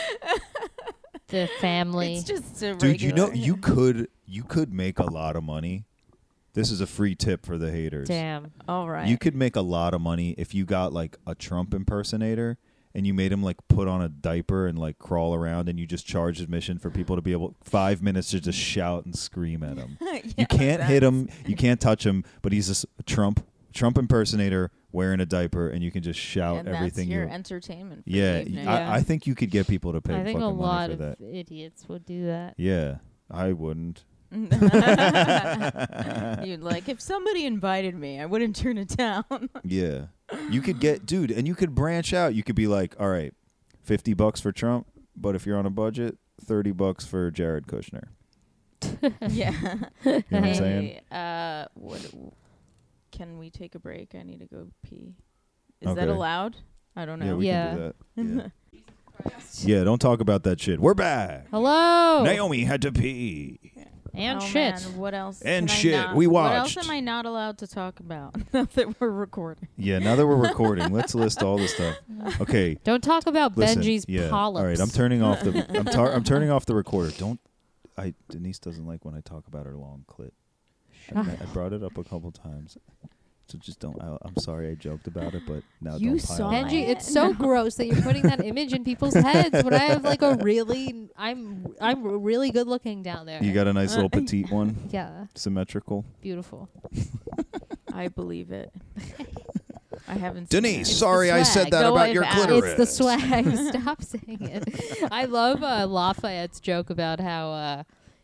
Speaker 4: the family.
Speaker 5: It's just a
Speaker 6: Dude, you know
Speaker 5: regular-
Speaker 6: you could you could make a lot of money. This is a free tip for the haters.
Speaker 4: Damn.
Speaker 5: All right.
Speaker 6: You could make a lot of money if you got like a Trump impersonator and you made him like put on a diaper and like crawl around and you just charge admission for people to be able 5 minutes to just shout and scream at him. you can't hit him, you can't touch him, but he's just a Trump Trump impersonator wearing a diaper and you can just shout
Speaker 5: and
Speaker 6: everything
Speaker 5: that's your
Speaker 6: you
Speaker 5: entertainment. for the
Speaker 6: Yeah, y-
Speaker 5: evening.
Speaker 4: Yeah.
Speaker 6: I, I think you could get people to pay
Speaker 4: I think
Speaker 6: fucking
Speaker 4: a lot
Speaker 6: money
Speaker 4: of
Speaker 6: for that.
Speaker 4: idiots would do that.
Speaker 6: Yeah, I wouldn't.
Speaker 5: You'd like if somebody invited me, I wouldn't turn it down.
Speaker 6: Yeah. You could get dude, and you could branch out. You could be like, all right, fifty bucks for Trump, but if you're on a budget, thirty bucks for Jared Kushner.
Speaker 5: yeah.
Speaker 6: You know what I'm saying?
Speaker 5: uh, what, can we take a break? I need to go pee. Is that
Speaker 6: Okay.
Speaker 5: allowed? I don't
Speaker 6: Yeah,
Speaker 5: know.
Speaker 6: we
Speaker 4: Yeah.
Speaker 6: can do that. Yeah. yeah, don't talk about that shit. We're back.
Speaker 4: Hello.
Speaker 6: Naomi had to pee.
Speaker 4: And
Speaker 5: Oh,
Speaker 4: shit.
Speaker 5: man, what else?
Speaker 6: And
Speaker 5: can I
Speaker 6: shit,
Speaker 5: not-
Speaker 6: we
Speaker 5: What else
Speaker 6: watched.
Speaker 5: am I not allowed to talk about now that we're recording?
Speaker 6: Yeah, now that we're recording, let's list all the stuff. Okay.
Speaker 4: Don't talk about
Speaker 6: Listen,
Speaker 4: Benji's
Speaker 6: yeah.
Speaker 4: polyps.
Speaker 6: All right, I'm turning off the I'm tar- I'm turning off the recorder. Don't I Denise doesn't like when I talk about her long clit. I,
Speaker 4: Shut
Speaker 6: I brought it up a couple times. So just don't I, I'm sorry I joked about it, but now
Speaker 5: You
Speaker 6: don't pile
Speaker 5: saw
Speaker 6: on.
Speaker 5: it?
Speaker 4: Benji, it's so gross that you're putting that image in people's heads when I have like a really I'm I'm really good looking down there.
Speaker 6: You got a nice
Speaker 4: Uh,
Speaker 6: little petite one,
Speaker 4: yeah,
Speaker 6: symmetrical.
Speaker 4: beautiful.
Speaker 5: I believe it. I haven't.
Speaker 6: Denise,
Speaker 5: seen
Speaker 6: sorry I said
Speaker 4: swag.
Speaker 6: that
Speaker 5: Go
Speaker 6: about
Speaker 5: away,
Speaker 6: your
Speaker 5: Val. It's
Speaker 6: clitoris.
Speaker 4: It's the swag. Stop saying it. I love uh, Lafayette's joke about how uh,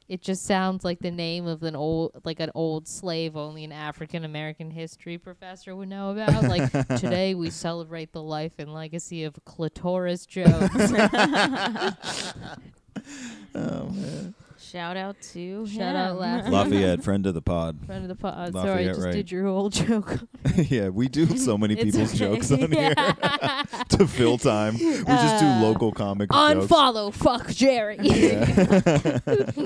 Speaker 4: it just sounds like the name of an old, like an old slave only an African American history professor would know about. Like today we celebrate the life and legacy of clitoris Jones.
Speaker 6: Oh man.
Speaker 5: it. Shout out to
Speaker 4: Shout out
Speaker 5: him.
Speaker 4: Lafayette.
Speaker 6: Lafayette, friend of the pod.
Speaker 4: Friend of the pod. Uh, sorry, I
Speaker 6: Lafayette,
Speaker 4: just
Speaker 6: right.
Speaker 4: did your whole joke.
Speaker 6: yeah, we do so many
Speaker 4: It's
Speaker 6: people's
Speaker 4: okay.
Speaker 6: jokes on here
Speaker 4: Yeah.
Speaker 6: to fill time. We just do
Speaker 4: Uh,
Speaker 6: local comic jokes.
Speaker 4: Unfollow, fuck Jerry.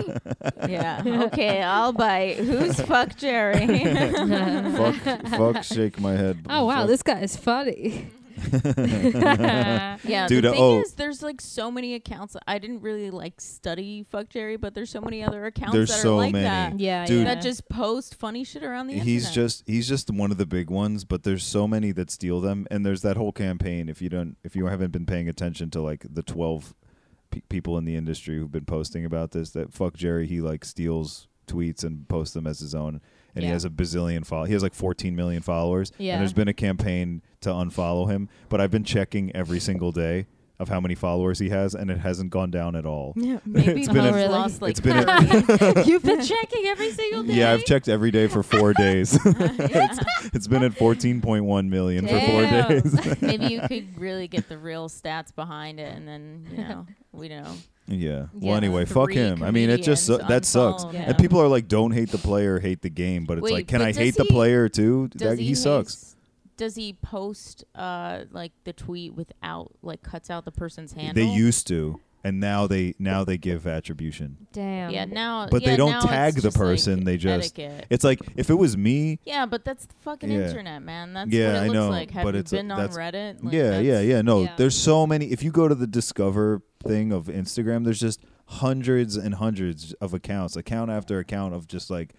Speaker 5: yeah. Okay, I'll bite. Who's fuck Jerry?
Speaker 6: fuck, fuck, shake my head.
Speaker 4: oh wow,
Speaker 6: Fuck.
Speaker 4: this guy is funny.
Speaker 5: yeah.
Speaker 6: Dude, uh,
Speaker 5: the thing
Speaker 6: oh.
Speaker 5: is, there's like so many accounts. I didn't really like study fuck Jerry, but there's so many other accounts
Speaker 6: There's
Speaker 5: that
Speaker 6: so
Speaker 5: are like
Speaker 6: many.
Speaker 5: that.
Speaker 4: yeah,
Speaker 6: Dude.
Speaker 4: yeah.
Speaker 5: That just post funny shit around the
Speaker 6: He's
Speaker 5: internet.
Speaker 6: just he's just one of the big ones, but there's so many that steal them, and there's that whole campaign. If you don't, if you haven't been paying attention to like the twelve pe- people in the industry who've been posting about this, that fuck Jerry, he like steals tweets and posts them as his own, and he
Speaker 4: Yeah.
Speaker 6: has a bazillion follow. He has like 14 million followers,
Speaker 4: Yeah.
Speaker 6: and there's been a campaign to unfollow him, but I've been checking every single day of how many followers he has, and it hasn't gone down at all.
Speaker 5: Yeah, maybe
Speaker 6: It's
Speaker 5: he's
Speaker 6: been a-
Speaker 5: lost like
Speaker 6: it's been a-
Speaker 4: You've been checking every single day.
Speaker 6: Yeah, I've checked every day for four days. it's, it's been at 14.1 million for four days.
Speaker 5: Maybe you could really get the real stats behind it, and then you know we know.
Speaker 6: yeah.
Speaker 4: Yeah.
Speaker 6: Well, anyway, fuck
Speaker 5: Three
Speaker 6: him. I mean, it just su-
Speaker 5: comedians
Speaker 6: that sucks.
Speaker 5: unfollowed
Speaker 6: And
Speaker 5: him.
Speaker 6: people are like, "Don't hate the player, hate the game." But it's
Speaker 5: Wait,
Speaker 6: like, can
Speaker 5: but
Speaker 6: I
Speaker 5: does
Speaker 6: hate the
Speaker 5: he-
Speaker 6: player too? That,
Speaker 5: hate-
Speaker 6: sucks.
Speaker 5: Does he post uh like the tweet without like cuts out the person's handle?
Speaker 6: They used to, and now they now they give attribution.
Speaker 4: Damn.
Speaker 5: yeah now,
Speaker 6: But they
Speaker 5: yeah,
Speaker 6: don't
Speaker 5: now it's
Speaker 6: tag the
Speaker 5: just, like,
Speaker 6: person, they just-
Speaker 5: etiquette.
Speaker 6: It's like if it was me,
Speaker 5: Yeah, but that's the fucking
Speaker 6: Yeah.
Speaker 5: internet, man. That's
Speaker 6: Yeah,
Speaker 5: what it
Speaker 6: I
Speaker 5: looks
Speaker 6: know,
Speaker 5: like. Have
Speaker 6: but
Speaker 5: you
Speaker 6: it's a-
Speaker 5: been on
Speaker 6: that's-
Speaker 5: Reddit? Like,
Speaker 6: yeah,
Speaker 5: that's-
Speaker 6: yeah, yeah. No,
Speaker 4: yeah.
Speaker 6: there's so many. If you go to the Discover thing of Instagram, there's just hundreds and hundreds of accounts, account after account of just like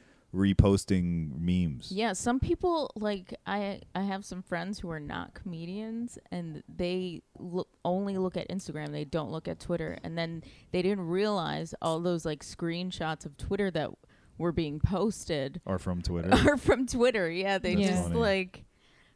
Speaker 6: reposting memes.
Speaker 5: Yeah, some people like I I have some friends who are not comedians and they look, only look at Instagram. They don't look at Twitter. And then they didn't realize all those like screenshots of Twitter that were being posted
Speaker 6: Or from Twitter.
Speaker 5: are from Twitter. Yeah, they
Speaker 4: That's
Speaker 5: just
Speaker 6: funny.
Speaker 5: like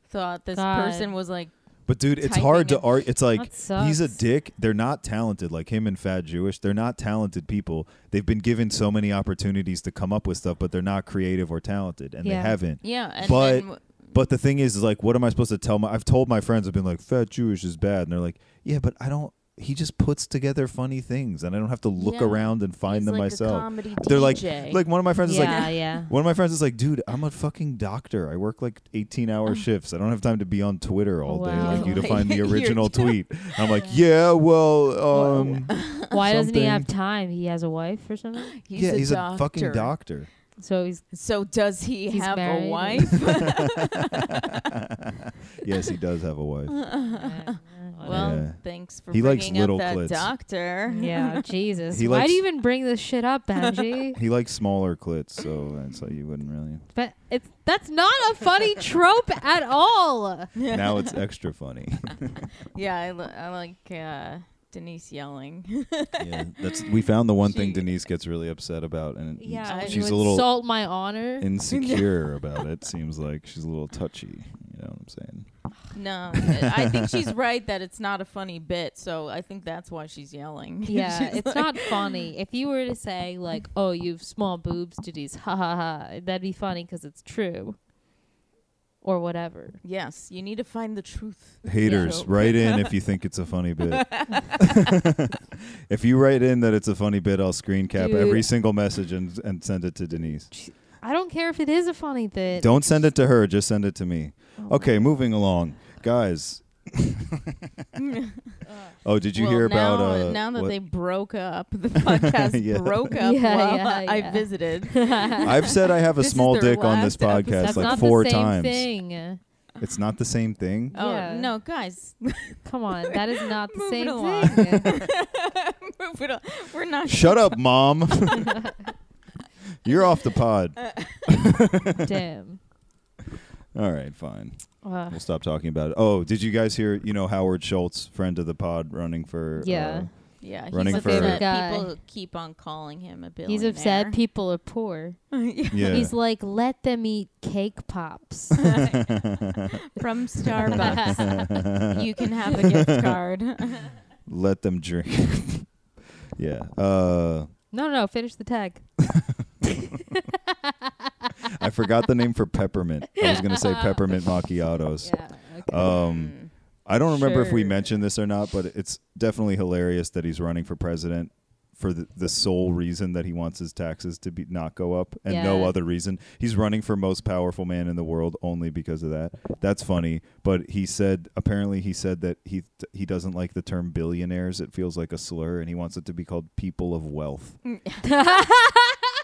Speaker 5: thought this
Speaker 4: God.
Speaker 5: person was like
Speaker 6: But dude, it's
Speaker 5: typing
Speaker 6: hard to
Speaker 5: it.
Speaker 6: argue. It's like
Speaker 4: That
Speaker 6: he's a
Speaker 4: sucks.
Speaker 6: dick. They're not talented, like him and Fat Jewish. They're not talented people. They've been given so many opportunities to come up with stuff, but they're not creative or talented, and
Speaker 4: Yeah.
Speaker 6: they haven't.
Speaker 5: yeah. And
Speaker 6: But-
Speaker 5: then w-
Speaker 6: But the thing is, is like, what am I supposed to tell my? I've told my friends, I've been like, Fat Jewish is bad, and they're like, Yeah, but I don't. He just puts together funny things, and I don't have to look
Speaker 5: Yeah.
Speaker 6: around and find
Speaker 5: he's
Speaker 6: them
Speaker 5: like a
Speaker 6: myself.
Speaker 5: comedy
Speaker 6: They're like,
Speaker 5: DJ.
Speaker 6: like one of my friends is like,
Speaker 4: yeah, yeah.
Speaker 6: one of my friends is like, dude, I'm a fucking doctor. I work like 18 hour shifts. I don't have time to be on Twitter all day
Speaker 4: Wow.
Speaker 6: like you to
Speaker 5: Like,
Speaker 6: find the
Speaker 5: Oh. you're
Speaker 6: original tweet. I'm like, yeah, well, um,
Speaker 4: Why doesn't he
Speaker 6: something.
Speaker 4: have time? He has a wife or something.
Speaker 5: he's
Speaker 6: yeah,
Speaker 5: a
Speaker 6: he's a fucking
Speaker 5: doctor.
Speaker 6: doctor.
Speaker 4: So he's
Speaker 5: So does he
Speaker 4: He's
Speaker 5: have
Speaker 4: married.
Speaker 5: a wife?
Speaker 6: Yes, he does have a wife.
Speaker 5: Well,
Speaker 6: Yeah.
Speaker 5: thanks for
Speaker 6: He likes
Speaker 5: bringing up
Speaker 6: little
Speaker 5: that
Speaker 6: clits.
Speaker 5: doctor.
Speaker 4: yeah, Jesus.
Speaker 6: He
Speaker 4: Why
Speaker 6: likes-
Speaker 4: do you even bring this shit up, Benji?
Speaker 6: He likes smaller clits, so that's why you wouldn't really.
Speaker 4: but it's that's not a funny trope at all.
Speaker 6: Now it's extra funny.
Speaker 5: Yeah, I, li- I like uh, Denise yelling.
Speaker 6: yeah, that's we found the one thing
Speaker 5: She-
Speaker 6: Denise gets really upset about, and
Speaker 4: Yeah,
Speaker 5: when
Speaker 6: she's
Speaker 4: you
Speaker 6: a little
Speaker 4: insult my honor.
Speaker 6: insecure about it. Seems like she's a little touchy. You know what I'm saying?
Speaker 5: no, I think she's right that it's not a funny bit, so I think that's why she's yelling.
Speaker 4: Yeah,
Speaker 5: She's
Speaker 4: it's
Speaker 5: like-
Speaker 4: not funny. If you were to say like, "Oh, you've small boobs, titties," ha ha ha, that'd be funny because it's true, or whatever.
Speaker 5: Yes, you need to find the truth.
Speaker 6: Haters,
Speaker 5: So-
Speaker 6: write in if you think it's a funny bit. if you write in that it's a funny bit, I'll screen cap
Speaker 4: Dude.
Speaker 6: every single message and, and send it to Denise.
Speaker 4: I don't care if it is a funny bit.
Speaker 6: Don't send it to her, just send it to me. Okay, moving along. Guys. oh, did you
Speaker 5: Well,
Speaker 6: hear
Speaker 5: now,
Speaker 6: about uh,
Speaker 5: now that
Speaker 6: what-
Speaker 5: they broke up, the podcast
Speaker 6: Yeah.
Speaker 5: broke up
Speaker 4: Yeah,
Speaker 5: while
Speaker 4: yeah, yeah.
Speaker 5: I visited.
Speaker 6: I've said I have a
Speaker 5: This is
Speaker 6: small
Speaker 5: their
Speaker 6: dick on this
Speaker 5: last episode.
Speaker 6: podcast
Speaker 4: That's
Speaker 6: like
Speaker 4: not
Speaker 6: four
Speaker 4: the same
Speaker 6: times.
Speaker 4: thing.
Speaker 6: It's not the same thing.
Speaker 5: Oh
Speaker 4: Yeah.
Speaker 5: no, guys,
Speaker 4: Come on, that is not the
Speaker 5: Move it
Speaker 4: same
Speaker 5: along.
Speaker 4: thing.
Speaker 5: Move it on. we're not.
Speaker 6: Shut up, mom. You're off the pod.
Speaker 4: Damn.
Speaker 6: All right, fine.
Speaker 4: Uh,
Speaker 6: We'll stop talking about it. Oh, did you guys hear? You know Howard Schultz, friend of the pod, running for uh,
Speaker 4: Yeah.
Speaker 5: Yeah, he's
Speaker 6: Running for-
Speaker 5: upset.
Speaker 4: Guy.
Speaker 5: People keep on calling him a billionaire.
Speaker 4: he's upset. People are poor.
Speaker 6: uh, yeah.
Speaker 4: He's like, let them eat cake pops.
Speaker 5: from Starbucks. you can have a gift card.
Speaker 6: Let them drink. yeah. Uh,
Speaker 4: no, no, finish the tag.
Speaker 6: I forgot the name for peppermint. I was gonna say peppermint macchiatos.
Speaker 4: Yeah.
Speaker 6: Um,
Speaker 5: Mm-hmm.
Speaker 6: I don't remember if we
Speaker 4: Sure.
Speaker 6: mentioned this or not, but it's definitely hilarious that he's running for president for the, the sole reason that he wants his taxes to be not go up and no
Speaker 4: Yeah.
Speaker 6: other reason. He's running for most powerful man in the world only because of that. That's funny, but he said apparently he said that he he doesn't like the term billionaires. It feels like a slur and he wants it to be called people of wealth. Oh.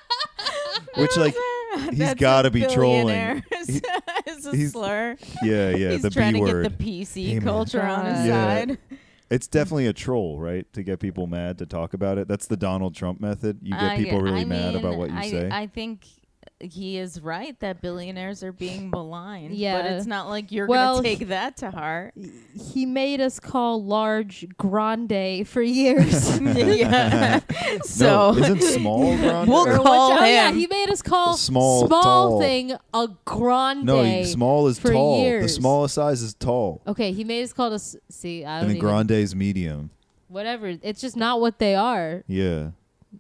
Speaker 6: Which like he's
Speaker 5: That's
Speaker 6: got to
Speaker 5: a
Speaker 6: be trolling.
Speaker 5: billionaire. it's a
Speaker 6: he's-
Speaker 5: slur.
Speaker 6: Yeah, yeah,
Speaker 5: he's
Speaker 6: the
Speaker 5: trying
Speaker 6: B
Speaker 5: to
Speaker 6: word.
Speaker 5: get the PC
Speaker 6: Amen.
Speaker 5: culture on his
Speaker 6: Yeah.
Speaker 5: side.
Speaker 6: It's definitely a troll, right? To get people mad to talk about it. That's the Donald Trump method. You get
Speaker 5: I-
Speaker 6: people really
Speaker 5: I
Speaker 6: mad about
Speaker 5: mean,
Speaker 6: what you
Speaker 5: I,
Speaker 6: say.
Speaker 5: I think he is right that billionaires are being maligned. But
Speaker 4: Yeah.
Speaker 5: it's not like you're
Speaker 4: Well,
Speaker 5: going to take that to heart.
Speaker 4: he made us call large grande for years.
Speaker 5: yeah. so
Speaker 6: no, isn't small Ron?
Speaker 5: We'll
Speaker 4: Or
Speaker 5: call-
Speaker 4: what's- oh yeah,
Speaker 5: him.
Speaker 4: he made us call
Speaker 6: Small,
Speaker 4: small,
Speaker 6: tall.
Speaker 4: thing a grande.
Speaker 6: no, small is
Speaker 4: for
Speaker 6: tall. The
Speaker 4: years.
Speaker 6: smallest size is tall,
Speaker 4: Okay, he made us call us. See, I
Speaker 6: and
Speaker 4: don't
Speaker 6: then
Speaker 4: even,
Speaker 6: grande is medium.
Speaker 4: whatever. It's just not what they are,
Speaker 6: Yeah,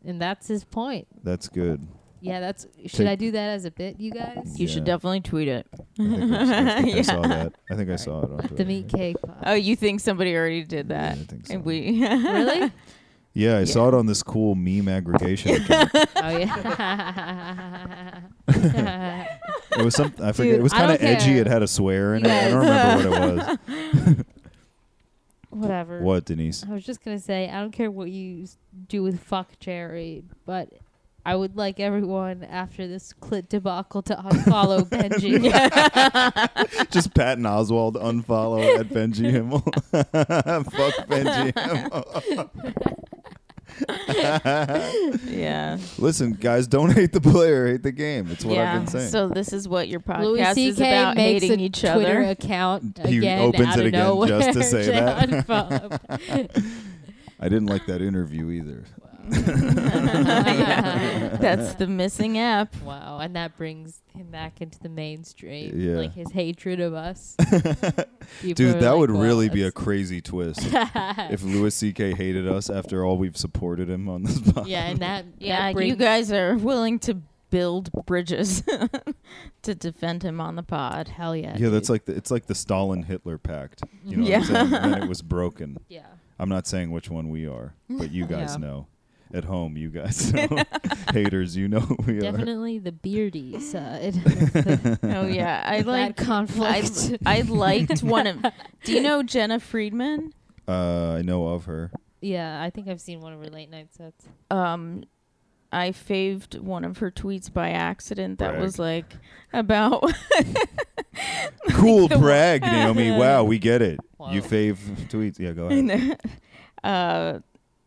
Speaker 4: and that's his point.
Speaker 6: that's good.
Speaker 4: Yeah, that's. Should
Speaker 6: Take-
Speaker 4: I do that as a bit, you guys?
Speaker 5: you should
Speaker 6: Yeah.
Speaker 5: definitely tweet it.
Speaker 6: I think, I, s- I think I
Speaker 5: Yeah.
Speaker 6: saw that. I think I saw it on Twitter.
Speaker 4: The meat cake. pod.
Speaker 5: Oh, you think somebody already did that?
Speaker 6: Yeah, I think so.
Speaker 5: And we
Speaker 4: really?
Speaker 6: yeah, I saw it on this cool meme aggregation. account.
Speaker 4: Oh yeah.
Speaker 6: it was some. I forget.
Speaker 4: Dude,
Speaker 6: it was
Speaker 4: I
Speaker 6: kind of
Speaker 4: don't
Speaker 6: edgy.
Speaker 4: care.
Speaker 6: It had a swear in
Speaker 4: You
Speaker 6: it. I don't remember what it was.
Speaker 4: Whatever.
Speaker 6: What Denise?
Speaker 4: I was just gonna say I don't care what you s- do with fuck Jerry, but I would like everyone after this clit debacle to unfollow Benji.
Speaker 6: Just Patton Oswald unfollow at Benji Himmel. Fuck Benji Himmel.
Speaker 5: yeah.
Speaker 6: Listen, guys, don't hate the player, hate the game. It's what
Speaker 5: yeah.
Speaker 6: I've been saying.
Speaker 5: So this is what your
Speaker 4: Louis
Speaker 5: podcast is
Speaker 4: C.K.
Speaker 5: about
Speaker 4: makes a
Speaker 5: hating each
Speaker 4: Twitter
Speaker 5: other.
Speaker 4: account
Speaker 6: He
Speaker 4: again.
Speaker 6: opens
Speaker 4: out
Speaker 6: it
Speaker 4: of
Speaker 6: again
Speaker 4: nowhere
Speaker 6: just to say that.
Speaker 4: unfollow.
Speaker 6: I didn't like that interview either.
Speaker 5: Yeah. That's the missing app.
Speaker 4: wow, and that brings him back into the mainstream.
Speaker 6: Yeah.
Speaker 4: Like his hatred of us.
Speaker 6: Dude, that would really be a crazy twist if Louis C.K. hated us after all we've supported him on this podcast.
Speaker 4: yeah, and that
Speaker 5: Yeah,
Speaker 4: that brings,
Speaker 5: you guys are willing to build bridges to defend him on the pod.
Speaker 4: Hell yeah.
Speaker 6: Yeah, that's
Speaker 4: dude.
Speaker 6: like the, it's like the Stalin Hitler pact. You know
Speaker 5: Yeah.
Speaker 6: what I'm saying? And then it was broken.
Speaker 4: yeah.
Speaker 6: I'm not saying which one we are, but you guys
Speaker 4: Yeah.
Speaker 6: know. At home, you guys know. Haters, you know who we are.
Speaker 4: Definitely the beardy side. of the-
Speaker 5: Oh yeah, I
Speaker 4: that
Speaker 5: like. I,
Speaker 4: conflict.
Speaker 5: I liked one of. Do you know Jenna Friedman?
Speaker 6: Uh, I know of her.
Speaker 4: yeah, I think I've seen one of her late night sets.
Speaker 5: Um, I faved one of her tweets by accident. That
Speaker 6: Brag.
Speaker 5: was like about.
Speaker 6: Cool brag, Naomi. Wow, we get it. You
Speaker 4: Wow.
Speaker 6: fave tweets. Yeah, go ahead.
Speaker 5: uh,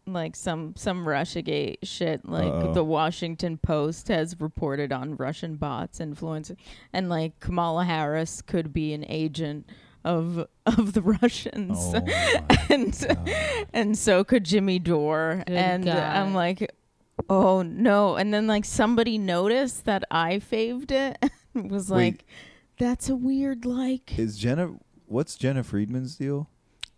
Speaker 5: like some some Russiagate shit. Like
Speaker 6: Uh-oh.
Speaker 5: the Washington Post has reported on Russian bots influencing, and like Kamala Harris could be an agent of of the Russians.
Speaker 6: Oh, my
Speaker 5: and and so could Jimmy Dore.
Speaker 4: Good
Speaker 5: and
Speaker 4: God.
Speaker 5: I'm like, oh no! And then like somebody noticed that I faved it, and was
Speaker 6: Wait.
Speaker 5: like, that's a weird like.
Speaker 6: Is Jenna? What's Jenna Friedman's deal?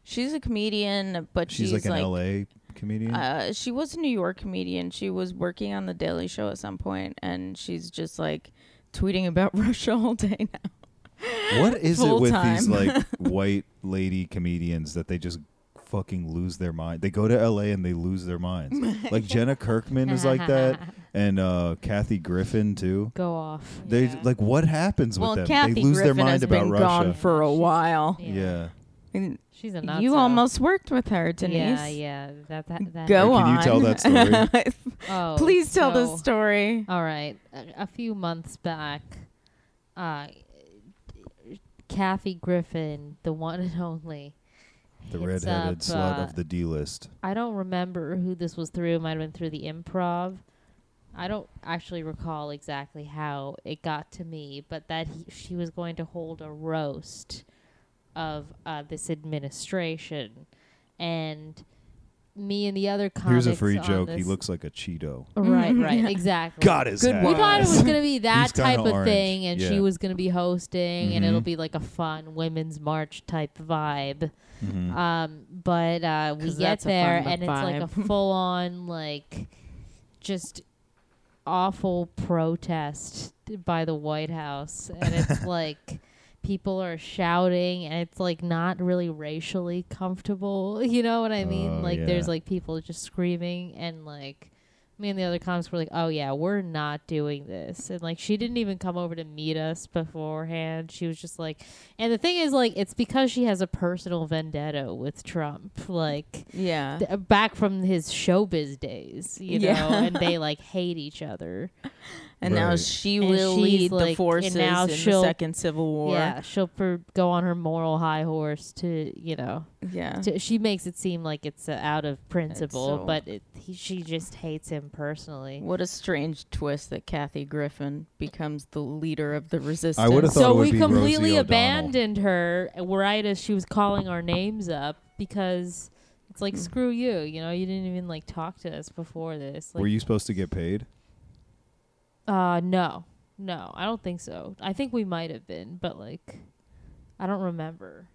Speaker 5: She's a comedian, but
Speaker 6: She's, like
Speaker 5: she's,
Speaker 6: an LA comedian.
Speaker 5: Uh, she was a New York comedian. She was working on the Daily Show at some point, and she's just like tweeting about Russia all day now.
Speaker 6: what is it
Speaker 5: full
Speaker 6: with
Speaker 5: time.
Speaker 6: these like white lady comedians that they just fucking lose their mind? They go to LA and they lose their minds. Like Jenna Kirkman is like that, and uh, Kathy Griffin too.
Speaker 4: Go off.
Speaker 6: They like what happens
Speaker 5: well,
Speaker 6: with them?
Speaker 5: Kathy
Speaker 6: they lose
Speaker 5: Griffin
Speaker 6: their mind
Speaker 5: has
Speaker 6: about
Speaker 5: been
Speaker 6: Russia.
Speaker 5: gone for a while.
Speaker 6: yeah.
Speaker 5: And
Speaker 4: She's a nut.
Speaker 5: you almost worked with her, Denise.
Speaker 4: Yeah, yeah. That, that, that
Speaker 5: Go
Speaker 6: Can
Speaker 5: on.
Speaker 6: you tell that story?
Speaker 4: Oh,
Speaker 5: Please tell
Speaker 4: so-
Speaker 5: the story.
Speaker 4: All right. A, a few months back, uh, Kathy Griffin, the one and only.
Speaker 6: the
Speaker 4: hits
Speaker 6: redheaded
Speaker 4: up,
Speaker 6: slut
Speaker 4: uh,
Speaker 6: of the D list.
Speaker 4: I don't remember who this was through. It might have been through the improv. I don't actually recall exactly how it got to me, but that he, she was going to hold a roast of uh, this administration, and me and the other comics.
Speaker 6: Here's a free
Speaker 4: on
Speaker 6: joke. He
Speaker 4: this-
Speaker 6: looks like a Cheeto.
Speaker 4: right, right, exactly.
Speaker 8: Got his
Speaker 5: Good
Speaker 8: hat.
Speaker 4: We thought it was going to be
Speaker 6: He's
Speaker 4: that
Speaker 6: kinda
Speaker 4: type of
Speaker 6: orange,
Speaker 4: thing, and
Speaker 6: yeah.
Speaker 4: she was going to be hosting, and it'll
Speaker 6: Mhm.
Speaker 4: be like a fun women's march type vibe.
Speaker 6: Mhm.
Speaker 4: Um, but uh, we
Speaker 5: Mm-hmm. 'Cause
Speaker 4: get
Speaker 5: that's a fun
Speaker 4: there,
Speaker 5: vi-
Speaker 4: and it's like a
Speaker 5: vibe.
Speaker 4: full on, like, just awful protest by the White House, and it's like people are shouting and it's like not really racially comfortable. You know what I mean?
Speaker 6: Oh,
Speaker 4: like there's
Speaker 6: yeah.
Speaker 4: like people just screaming and like me and the other comics were like, "Oh yeah, we're not doing this." And like she didn't even come over to meet us beforehand. She was just like and the thing is like it's because she has a personal vendetta with Trump. Like
Speaker 5: Yeah.
Speaker 4: th- back from his showbiz days, you
Speaker 5: Yeah.
Speaker 4: know, and they like hate each other.
Speaker 5: And now
Speaker 6: Right.
Speaker 5: she
Speaker 4: And
Speaker 5: will
Speaker 4: she's
Speaker 5: lead
Speaker 4: like-
Speaker 5: the
Speaker 4: and
Speaker 5: forces
Speaker 4: now
Speaker 5: in the
Speaker 4: she'll-
Speaker 5: Second Civil War.
Speaker 4: Yeah, she'll per- go on her moral high horse to, you know,
Speaker 5: Yeah.
Speaker 4: to, she makes it seem like it's uh, out of principle,
Speaker 5: Uh. so-
Speaker 4: but it, he, she just hates him personally.
Speaker 5: What a strange twist that Kathy Griffin becomes the leader of the resistance.
Speaker 6: I would've thought
Speaker 4: so
Speaker 6: it would
Speaker 4: we
Speaker 6: be
Speaker 4: completely
Speaker 6: Rosie O'Donnell.
Speaker 4: abandoned her right as she was calling our names up because it's
Speaker 5: Mm.
Speaker 4: like screw you, you know, you didn't even like talk to us before this. Like,
Speaker 6: Were you supposed to get paid?
Speaker 4: Uh, no, no, I don't think so. I think we might have been, but like, I don't remember.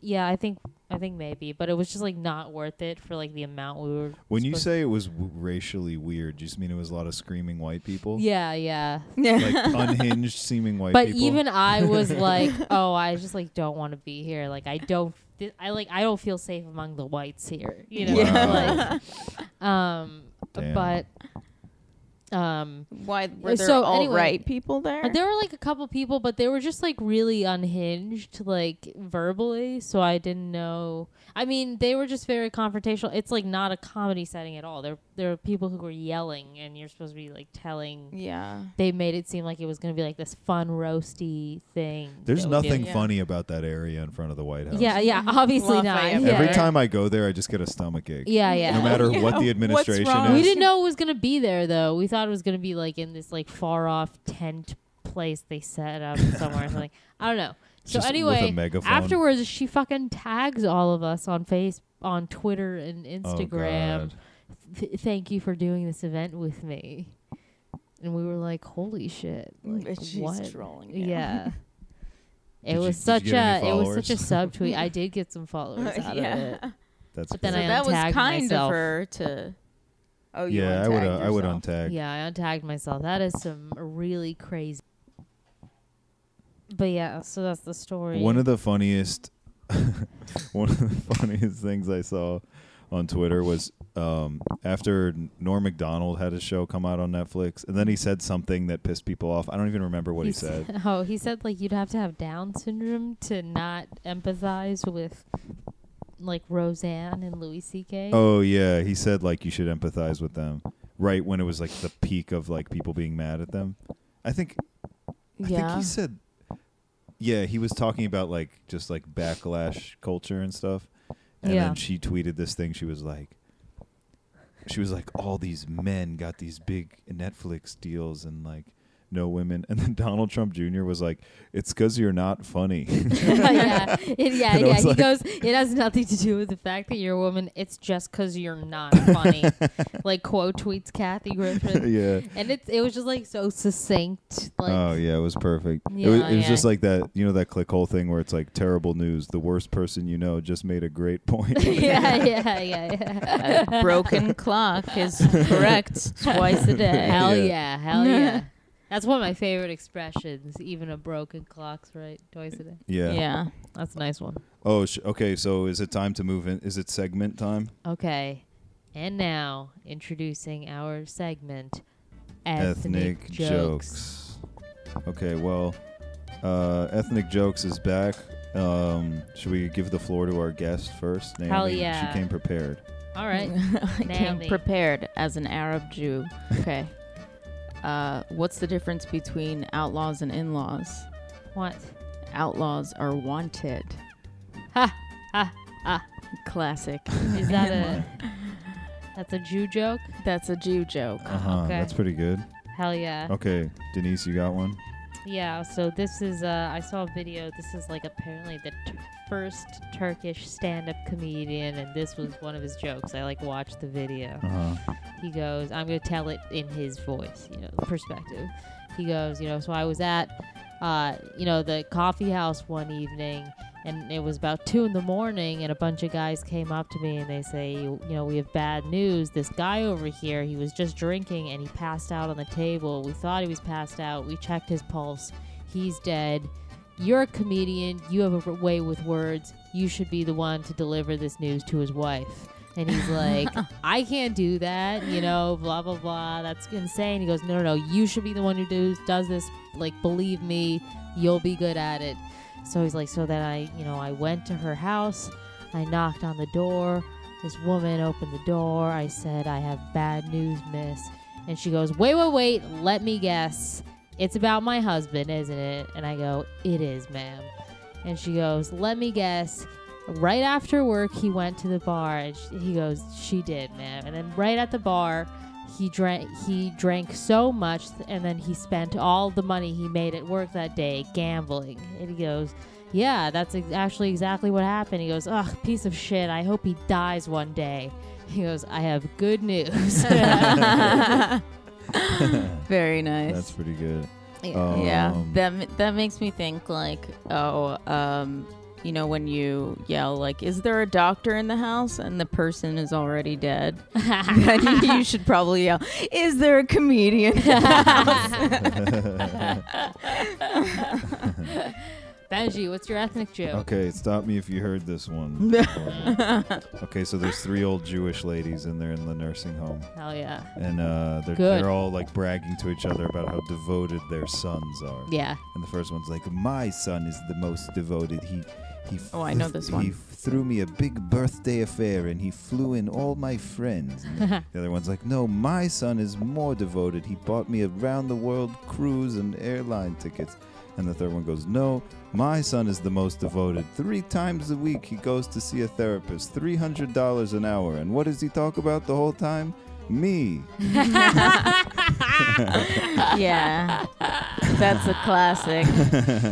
Speaker 4: Yeah, I think I think maybe, but it was just like not worth it for like the amount we were.
Speaker 6: When you
Speaker 4: supposed-
Speaker 6: say it was w- racially weird, you just mean it was a lot of screaming white people?
Speaker 4: yeah, yeah,
Speaker 6: Like unhinged seeming white
Speaker 4: but
Speaker 6: people.
Speaker 4: even I was like, oh, I just like don't want to be here. Like I don't, th- I like I don't feel safe among the whites here. You know,
Speaker 6: Wow.
Speaker 4: like, um,
Speaker 6: Damn.
Speaker 4: but, um,
Speaker 5: Why were there
Speaker 4: So,
Speaker 5: all right
Speaker 4: anyway,
Speaker 5: people Uh, there?
Speaker 4: Uh, There were like a couple people, but they were just like really unhinged, like verbally. So I didn't know. I mean, they were just very confrontational. It's like not a comedy setting at all. There, there are people who were yelling, and you're supposed to be like telling.
Speaker 5: yeah.
Speaker 4: They made it seem like it was going to be like this fun roasty thing.
Speaker 6: There's
Speaker 4: that we do.
Speaker 6: nothing
Speaker 5: Yeah. Mm-hmm.
Speaker 6: funny about that area in front of the White House.
Speaker 4: Yeah, yeah, obviously not.
Speaker 5: Lafayette
Speaker 4: Yeah.
Speaker 6: Every
Speaker 5: Park.
Speaker 6: time I go there, I just get a stomach ache.
Speaker 4: Yeah, yeah.
Speaker 6: No matter
Speaker 5: Yeah.
Speaker 6: what the
Speaker 5: What's
Speaker 6: administration
Speaker 5: wrong?
Speaker 6: is.
Speaker 4: We didn't know it was gonna be there though. We thought it was gonna be like in this like far off tent place they set up somewhere. or something. I don't know. So
Speaker 6: Just with a
Speaker 4: anyway,
Speaker 6: megaphone.
Speaker 4: afterwards she fucking tags all of us on face on Twitter and
Speaker 6: Oh,
Speaker 4: Instagram.
Speaker 6: God.
Speaker 4: Th- thank you for doing this event with me. And we were like, holy shit! Like,
Speaker 5: She's
Speaker 4: what?
Speaker 5: trolling you.
Speaker 4: Yeah. It
Speaker 6: Did you-
Speaker 4: was
Speaker 6: did
Speaker 4: such
Speaker 6: you get
Speaker 4: a
Speaker 6: any
Speaker 4: it was such a subtweet. I did get some followers out
Speaker 5: yeah.
Speaker 4: of it.
Speaker 6: That's
Speaker 4: But then
Speaker 5: so
Speaker 6: great.
Speaker 4: I
Speaker 5: that was
Speaker 4: untagged
Speaker 5: kind
Speaker 4: myself.
Speaker 5: of her to. Oh, you
Speaker 6: yeah, I would uh,
Speaker 5: untagged
Speaker 6: I would
Speaker 5: yourself.
Speaker 6: untag.
Speaker 4: Yeah, I untagged myself. That is some really crazy. But yeah, so that's the story.
Speaker 6: One of the funniest, one of the funniest things I saw on Twitter was um, after Norm Macdonald had his show come out on Netflix, and then he said something that pissed people off. I don't even remember what he said.
Speaker 4: Oh, he said like you'd have to have Down syndrome to not empathize with like Roseanne and Louis C.K.
Speaker 6: Oh yeah, he said like you should empathize with them. Right when it was like the peak of like people being mad at them. I think I think
Speaker 5: Yeah.
Speaker 6: he said Yeah, he was talking about like just like backlash culture and stuff. And
Speaker 4: Yeah.
Speaker 6: then she tweeted this thing she was like she was like all these men got these big Netflix deals and like no women and then Donald Trump Jr was like it's cuz you're not funny.
Speaker 4: yeah, it, yeah,
Speaker 6: And I
Speaker 4: yeah.
Speaker 6: was
Speaker 4: He
Speaker 6: like-
Speaker 4: goes, it has nothing to do with the fact that you're a woman. It's just because you're not funny. like quote tweets Kathy Griffin,
Speaker 6: yeah.
Speaker 4: and it's it was just like so succinct. Like
Speaker 6: oh yeah, it was perfect. it
Speaker 4: Yeah,
Speaker 6: was, it was
Speaker 4: yeah.
Speaker 6: just like that, you know, that click hole thing where it's like terrible news. The worst person you know just made a great point.
Speaker 4: yeah, yeah, yeah, yeah.
Speaker 5: A broken clock is correct twice a day.
Speaker 4: Hell
Speaker 6: Yeah.
Speaker 4: yeah, hell yeah. That's one of my favorite expressions. Even a broken clock's right twice a day.
Speaker 6: yeah.
Speaker 5: yeah.
Speaker 4: That's a nice one.
Speaker 6: Oh, sh- okay. So is it time to move in? Is it segment time?
Speaker 4: Okay, and now introducing our segment,
Speaker 6: Ethnic, jokes. Okay. Well, uh, ethnic jokes is back. Um, should we give the floor to our guest first? Naomi,
Speaker 4: Hell yeah.
Speaker 6: She came prepared.
Speaker 4: All right,
Speaker 5: I came
Speaker 4: Naomi.
Speaker 5: prepared as an Arab Jew. Okay. Uh, what's the difference between outlaws and in-laws?
Speaker 4: what?
Speaker 5: Outlaws are wanted.
Speaker 4: Ha ha ha!
Speaker 5: Classic.
Speaker 4: Is that a? That's a Jew joke.
Speaker 5: That's a Jew joke.
Speaker 6: Uh-huh,
Speaker 4: Okay.
Speaker 6: That's pretty good.
Speaker 4: Hell yeah.
Speaker 6: Okay, Denise, you got one.
Speaker 4: Yeah, so this is uh, I saw a video. This is like apparently the t- first Turkish stand-up comedian, and this was one of his jokes. I like watched the video.
Speaker 6: Uh-huh.
Speaker 4: He goes, "I'm gonna tell it in his voice, you know, perspective." He goes, "You know, so I was at, uh, you know, the coffee house one evening, and it was about two in the morning, and a bunch of guys came up to me and they say, you know, we have bad news. This guy over here, he was just drinking and he passed out on the table. We thought he was passed out. We checked his pulse. He's dead." You're a comedian. You have a r- way with words. You should be the one to deliver this news to his wife. And he's like, I can't do that, you know, blah, blah, blah. That's insane. He goes, No, no, no. You should be the one who does, does this. Like, believe me, you'll be good at it. So he's like, So then I, you know, I went to her house. I knocked on the door. This woman opened the door. I said, I have bad news, miss. And she goes, Wait, wait, wait. Let me guess. It's about my husband, isn't it? And I go, It is, ma'am. And she goes, Let me guess. Right after work, he went to the bar. And sh he goes, She did, ma'am. And then right at the bar, he drank he drank so much and then he spent all the money he made at work that day gambling and he goes yeah that's ex- actually exactly what happened he goes ugh piece of shit i hope he dies one day he goes i have good news
Speaker 5: Very nice.
Speaker 6: That's pretty good.
Speaker 5: yeah,
Speaker 6: Um,
Speaker 5: that m- that makes me think like, oh, um, you know, when you yell like, "Is there a doctor in the house?" and the person is already dead, then you should probably yell, "Is there a comedian?"
Speaker 4: benji what's your ethnic joke
Speaker 6: Okay, stop me if you heard this one. Um, okay, so there's three old Jewish ladies and they're in the nursing home,
Speaker 4: hell yeah
Speaker 6: and uh, they're,
Speaker 4: Good.
Speaker 6: they're all like bragging to each other about how devoted their sons are.
Speaker 4: yeah
Speaker 6: And the first one's like, "My son is the most devoted. He, he. f-
Speaker 5: Oh, I know this one.
Speaker 6: He f- threw me a big birthday affair, and he flew in all my friends." And the the other one's like, "No, my son is more devoted. He bought me a round-the-world cruise and airline tickets." And the third one goes, "No, my son is the most devoted. Three times a week he goes to see a therapist. Three hundred dollars an hour. And what does he talk about the whole time? Me."
Speaker 5: yeah, that's a classic.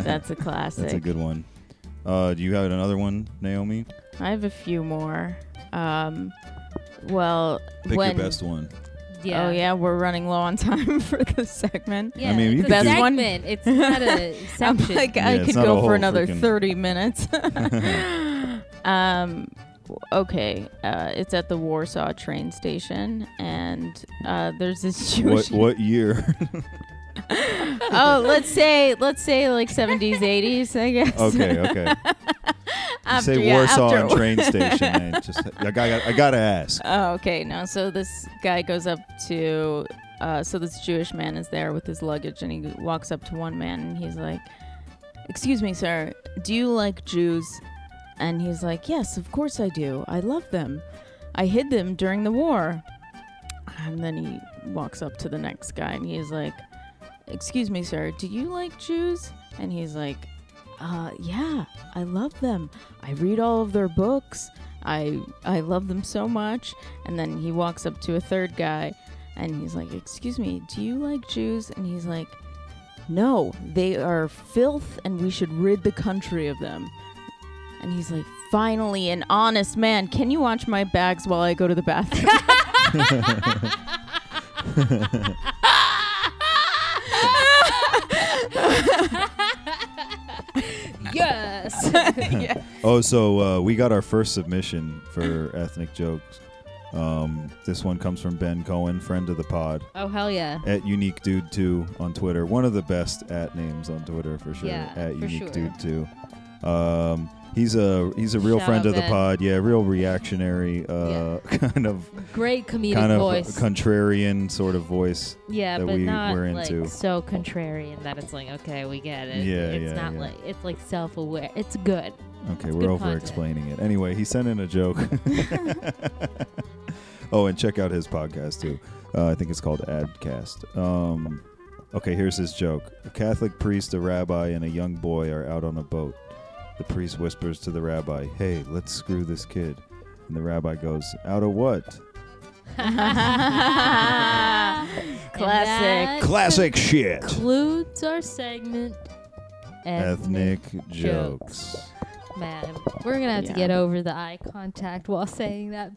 Speaker 5: That's a classic.
Speaker 6: That's a good one. Uh, do you have another one, Naomi?
Speaker 5: I have a few more. Um, well,
Speaker 6: Pick
Speaker 5: when
Speaker 6: your best one.
Speaker 4: yeah
Speaker 5: oh yeah, we're running low on time for this segment.
Speaker 4: yeah,
Speaker 6: I mean, you
Speaker 4: it's a
Speaker 6: could
Speaker 5: do- Best one-
Speaker 4: segment. It's not a
Speaker 5: I'm
Speaker 4: section.
Speaker 5: like,
Speaker 6: Yeah,
Speaker 5: I
Speaker 6: it's
Speaker 5: could
Speaker 6: not a
Speaker 5: go
Speaker 6: whole
Speaker 5: for another
Speaker 6: freaking-
Speaker 5: 30 minutes. um, okay, uh, it's at the Warsaw train station, and uh, there's this
Speaker 6: What
Speaker 5: Jewish.
Speaker 6: what year?
Speaker 5: oh, let's say, let's say like 70s, 80s, I guess.
Speaker 6: okay, okay. You
Speaker 5: After-
Speaker 6: say
Speaker 5: yeah,
Speaker 6: Warsaw
Speaker 5: after-
Speaker 6: and train station. Man. Just I got I gotta ask.
Speaker 5: Oh, okay. No, so this guy goes up to, uh, so this Jewish man is there with his luggage, and he walks up to one man, and he's like, "Excuse me, sir, do you like Jews?" And he's like, "Yes, of course I do. I love them. I hid them during the war." And then he walks up to the next guy, and he's like, "Excuse me, sir, do you like Jews?" And he's like, uh, yeah, I love them. I read all of their books. I I love them so much. And then he walks up to a third guy and he's like, "Excuse me, do you like Jews?" And he's like, "No, they are filth and we should rid the country of them." And he's like, "Finally, an honest man. Can you watch my bags while I go to the bathroom?"
Speaker 4: yes.
Speaker 6: Oh, so uh, we got our first submission for ethnic jokes. Um, this one comes from Ben Cohen, friend of the pod,
Speaker 4: oh hell yeah.
Speaker 6: at Unique Dude Two on Twitter. One of the best at names on Twitter for sure.
Speaker 4: Yeah,
Speaker 6: at
Speaker 4: for
Speaker 6: Unique
Speaker 4: sure.
Speaker 6: Dude Two. Um, he's a he's a real
Speaker 4: Shout
Speaker 6: friend
Speaker 4: out
Speaker 6: of the
Speaker 4: Ben.
Speaker 6: pod. Yeah, real reactionary, uh, kind of
Speaker 4: Great comedic
Speaker 6: kind of
Speaker 4: voice.
Speaker 6: contrarian sort of voice.
Speaker 4: yeah,
Speaker 6: that
Speaker 4: but
Speaker 6: we
Speaker 4: not
Speaker 6: were
Speaker 4: like
Speaker 6: into.
Speaker 4: so contrarian that it's like, okay, we get it.
Speaker 6: Yeah,
Speaker 4: it's
Speaker 6: yeah,
Speaker 4: not
Speaker 6: yeah.
Speaker 4: like it's like self-aware. It's good.
Speaker 6: Okay,
Speaker 4: It's
Speaker 6: we're
Speaker 4: good
Speaker 6: over
Speaker 4: content.
Speaker 6: explaining it. Anyway, he sent in a joke. oh, and check out his podcast too. Uh, I think it's called Adcast. Um, okay, here's his joke A Catholic priest, a rabbi, and a young boy are out on a boat. The priest whispers to the rabbi, Hey, let's screw this kid. And the rabbi goes, Out of what?
Speaker 5: Classic.
Speaker 8: Classic shit.
Speaker 4: Includes our segment.
Speaker 6: Ethnic jokes.
Speaker 4: Man, we're gonna have to
Speaker 5: Yeah.
Speaker 4: get over the eye contact while saying that.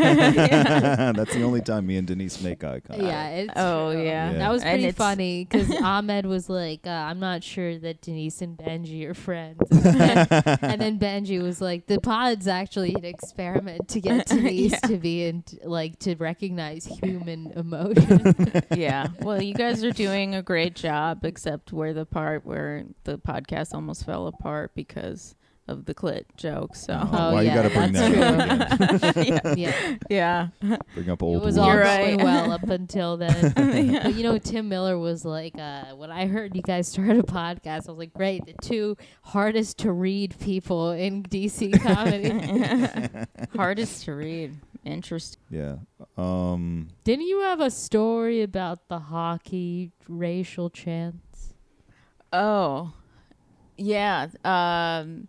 Speaker 6: That's the only time me and Denise make eye contact.
Speaker 4: yeah, it's
Speaker 5: Oh,
Speaker 4: true.
Speaker 5: yeah.
Speaker 6: Yeah.
Speaker 4: that was
Speaker 5: And
Speaker 4: pretty
Speaker 5: it's-
Speaker 4: funny because Ahmed was like, uh, "I'm not sure that Denise and Benji are friends," and then Benji was like, "The pod's actually an experiment to get Denise to be in, like to recognize human emotion."
Speaker 5: yeah. Well, you guys are doing a great job, except where the part where the podcast almost fell apart because of the clit joke. So,
Speaker 4: Oh,
Speaker 6: Why
Speaker 4: yeah,
Speaker 6: you gotta bring
Speaker 4: that's
Speaker 6: that up again?
Speaker 4: yeah.
Speaker 5: yeah.
Speaker 6: Bring up old.
Speaker 4: It was
Speaker 6: wounds.
Speaker 4: all
Speaker 5: You're
Speaker 4: going
Speaker 5: right.
Speaker 4: well up until then. But you know, Tim Miller was like, uh, when I heard you guys started a podcast, I was like, great, the two hardest to read people in DC comedy.
Speaker 5: Hardest to read. Interesting.
Speaker 6: Yeah. Um.
Speaker 4: Didn't you have a story about the hockey racial chants?
Speaker 5: Oh, yeah. Um,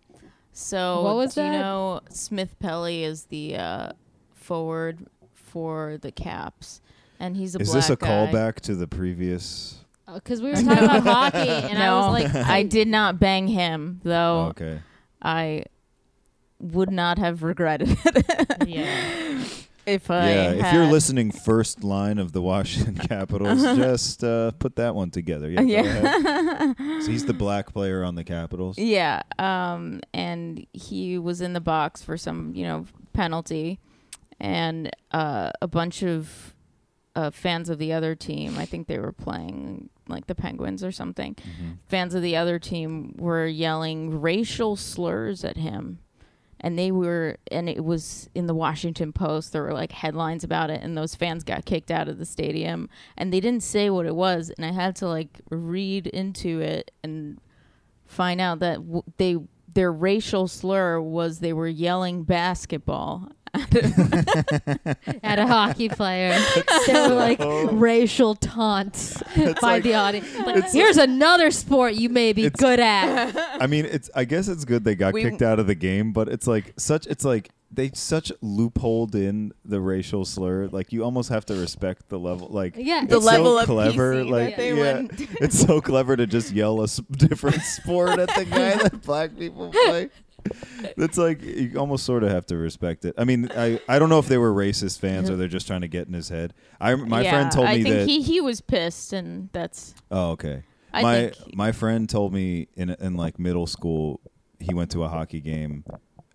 Speaker 5: so,
Speaker 4: What was
Speaker 5: do you
Speaker 4: that?
Speaker 5: know Smith Pelly is the uh, forward for the Caps, and he's a
Speaker 6: Is
Speaker 5: black
Speaker 6: this a
Speaker 5: guy.
Speaker 6: callback to the previous?
Speaker 4: Because Uh, we were talking about hockey, and I
Speaker 5: no,
Speaker 4: was like,
Speaker 5: I did not bang him, though.
Speaker 6: Oh, okay.
Speaker 5: I would not have regretted it
Speaker 4: yeah.
Speaker 5: if I
Speaker 6: Yeah.
Speaker 5: had.
Speaker 6: If you're listening, first line of the Washington Capitals, just uh, put that one together. Yeah. go ahead. so he's the black player on the Capitals.
Speaker 5: Yeah, um, and he was in the box for some, you know, penalty, and uh, a bunch of uh, fans of the other team. I think they were playing like the Penguins or something.
Speaker 6: Mm-hmm.
Speaker 5: Fans of the other team were yelling racial slurs at him. And they were, and it was in the Washington Post. There were like headlines about it, and those fans got kicked out of the stadium. And they didn't say what it was. And I had to like read into it and find out that w- they their racial slur was they were yelling basketball.
Speaker 4: At a hockey player. they were like racial taunts by the audience. Like, here's another sport you may be
Speaker 6: It's-
Speaker 4: good at.
Speaker 6: I mean, it's. I guess it's good they got
Speaker 5: We-
Speaker 6: kicked out of the game, but it's like such. It's like they such loopholed in the racial slur. Like you almost have to respect the level. Like
Speaker 4: Yeah.
Speaker 6: it's
Speaker 4: The
Speaker 5: level
Speaker 6: so
Speaker 5: of
Speaker 6: clever.
Speaker 5: PC that
Speaker 6: like
Speaker 5: they
Speaker 6: yeah,
Speaker 5: went.
Speaker 6: it's so clever to just yell a s- different sport at the guy that black people play. It's like you almost sort of have to respect it. I mean, I, I don't know if they were racist fans or they're just trying to get in his head. I my
Speaker 5: Yeah,
Speaker 6: friend told
Speaker 5: I
Speaker 6: me
Speaker 5: think
Speaker 6: that
Speaker 5: he he was pissed, and that's
Speaker 6: Oh, okay.
Speaker 5: I
Speaker 6: my
Speaker 5: think he-
Speaker 6: my friend told me in in like middle school, he went to a hockey game.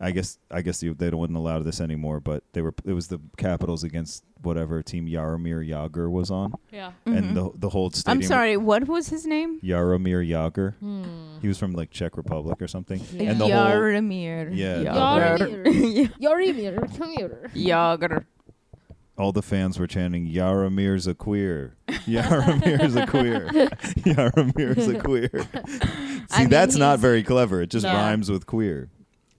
Speaker 6: I guess I guess they they wouldn't allow this anymore, but they were it was the Capitals against whatever team Yaromir Yager was on,
Speaker 4: Yeah.
Speaker 6: and the the whole stadium.
Speaker 5: Mm-hmm. I'm sorry. Hmm. What was his name?
Speaker 6: Yaromir Yager. He was from like Czech Republic or something,
Speaker 4: Yeah.
Speaker 6: and the whole
Speaker 5: Yaromir.
Speaker 6: Yeah,
Speaker 4: Oh,
Speaker 6: the
Speaker 5: Yager.
Speaker 4: Your email, computer.
Speaker 5: Yager.
Speaker 6: all the fans were chanting Yaromir's a queer, Yaromir's a queer, Yaromir's a queer. See,
Speaker 5: I mean,
Speaker 6: that's not
Speaker 5: he's-
Speaker 6: very clever. It just
Speaker 5: No.
Speaker 6: rhymes with queer.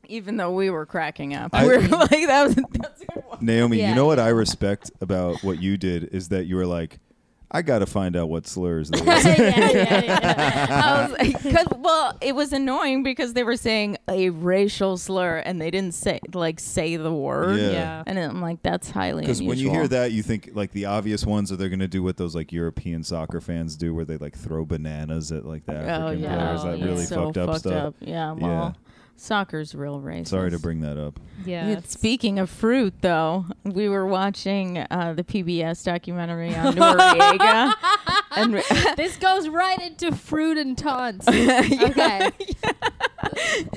Speaker 5: Even though we were cracking up,
Speaker 6: I-
Speaker 5: we were like, "That was that's a good one."
Speaker 6: Naomi,
Speaker 4: Yeah.
Speaker 6: you know what I respect about what you did is that you were like, I got to find out what slurs they were.
Speaker 4: yeah, yeah, yeah.
Speaker 5: I was like, cause, well, it was annoying because they were saying a racial slur and they didn't say like say the word.
Speaker 6: Yeah.
Speaker 4: Yeah.
Speaker 5: And I'm like, that's highly
Speaker 6: Because
Speaker 5: unusual.
Speaker 6: when you hear that, you think like the obvious ones are they're going to do what those like European soccer fans do, where they like throw bananas at like the African
Speaker 4: yeah.
Speaker 6: players.
Speaker 4: Oh,
Speaker 6: That
Speaker 4: yeah.
Speaker 6: really
Speaker 5: so
Speaker 6: fucked up stuff.
Speaker 5: Yeah,
Speaker 6: Yeah.
Speaker 5: well, soccer's real racist.
Speaker 6: Sorry to bring that up.
Speaker 4: Yeah.
Speaker 5: Yeah, Speaking of fruit, though, we were watching uh, the PBS documentary on Noriega, and
Speaker 4: this goes right into fruit and taunts. Okay.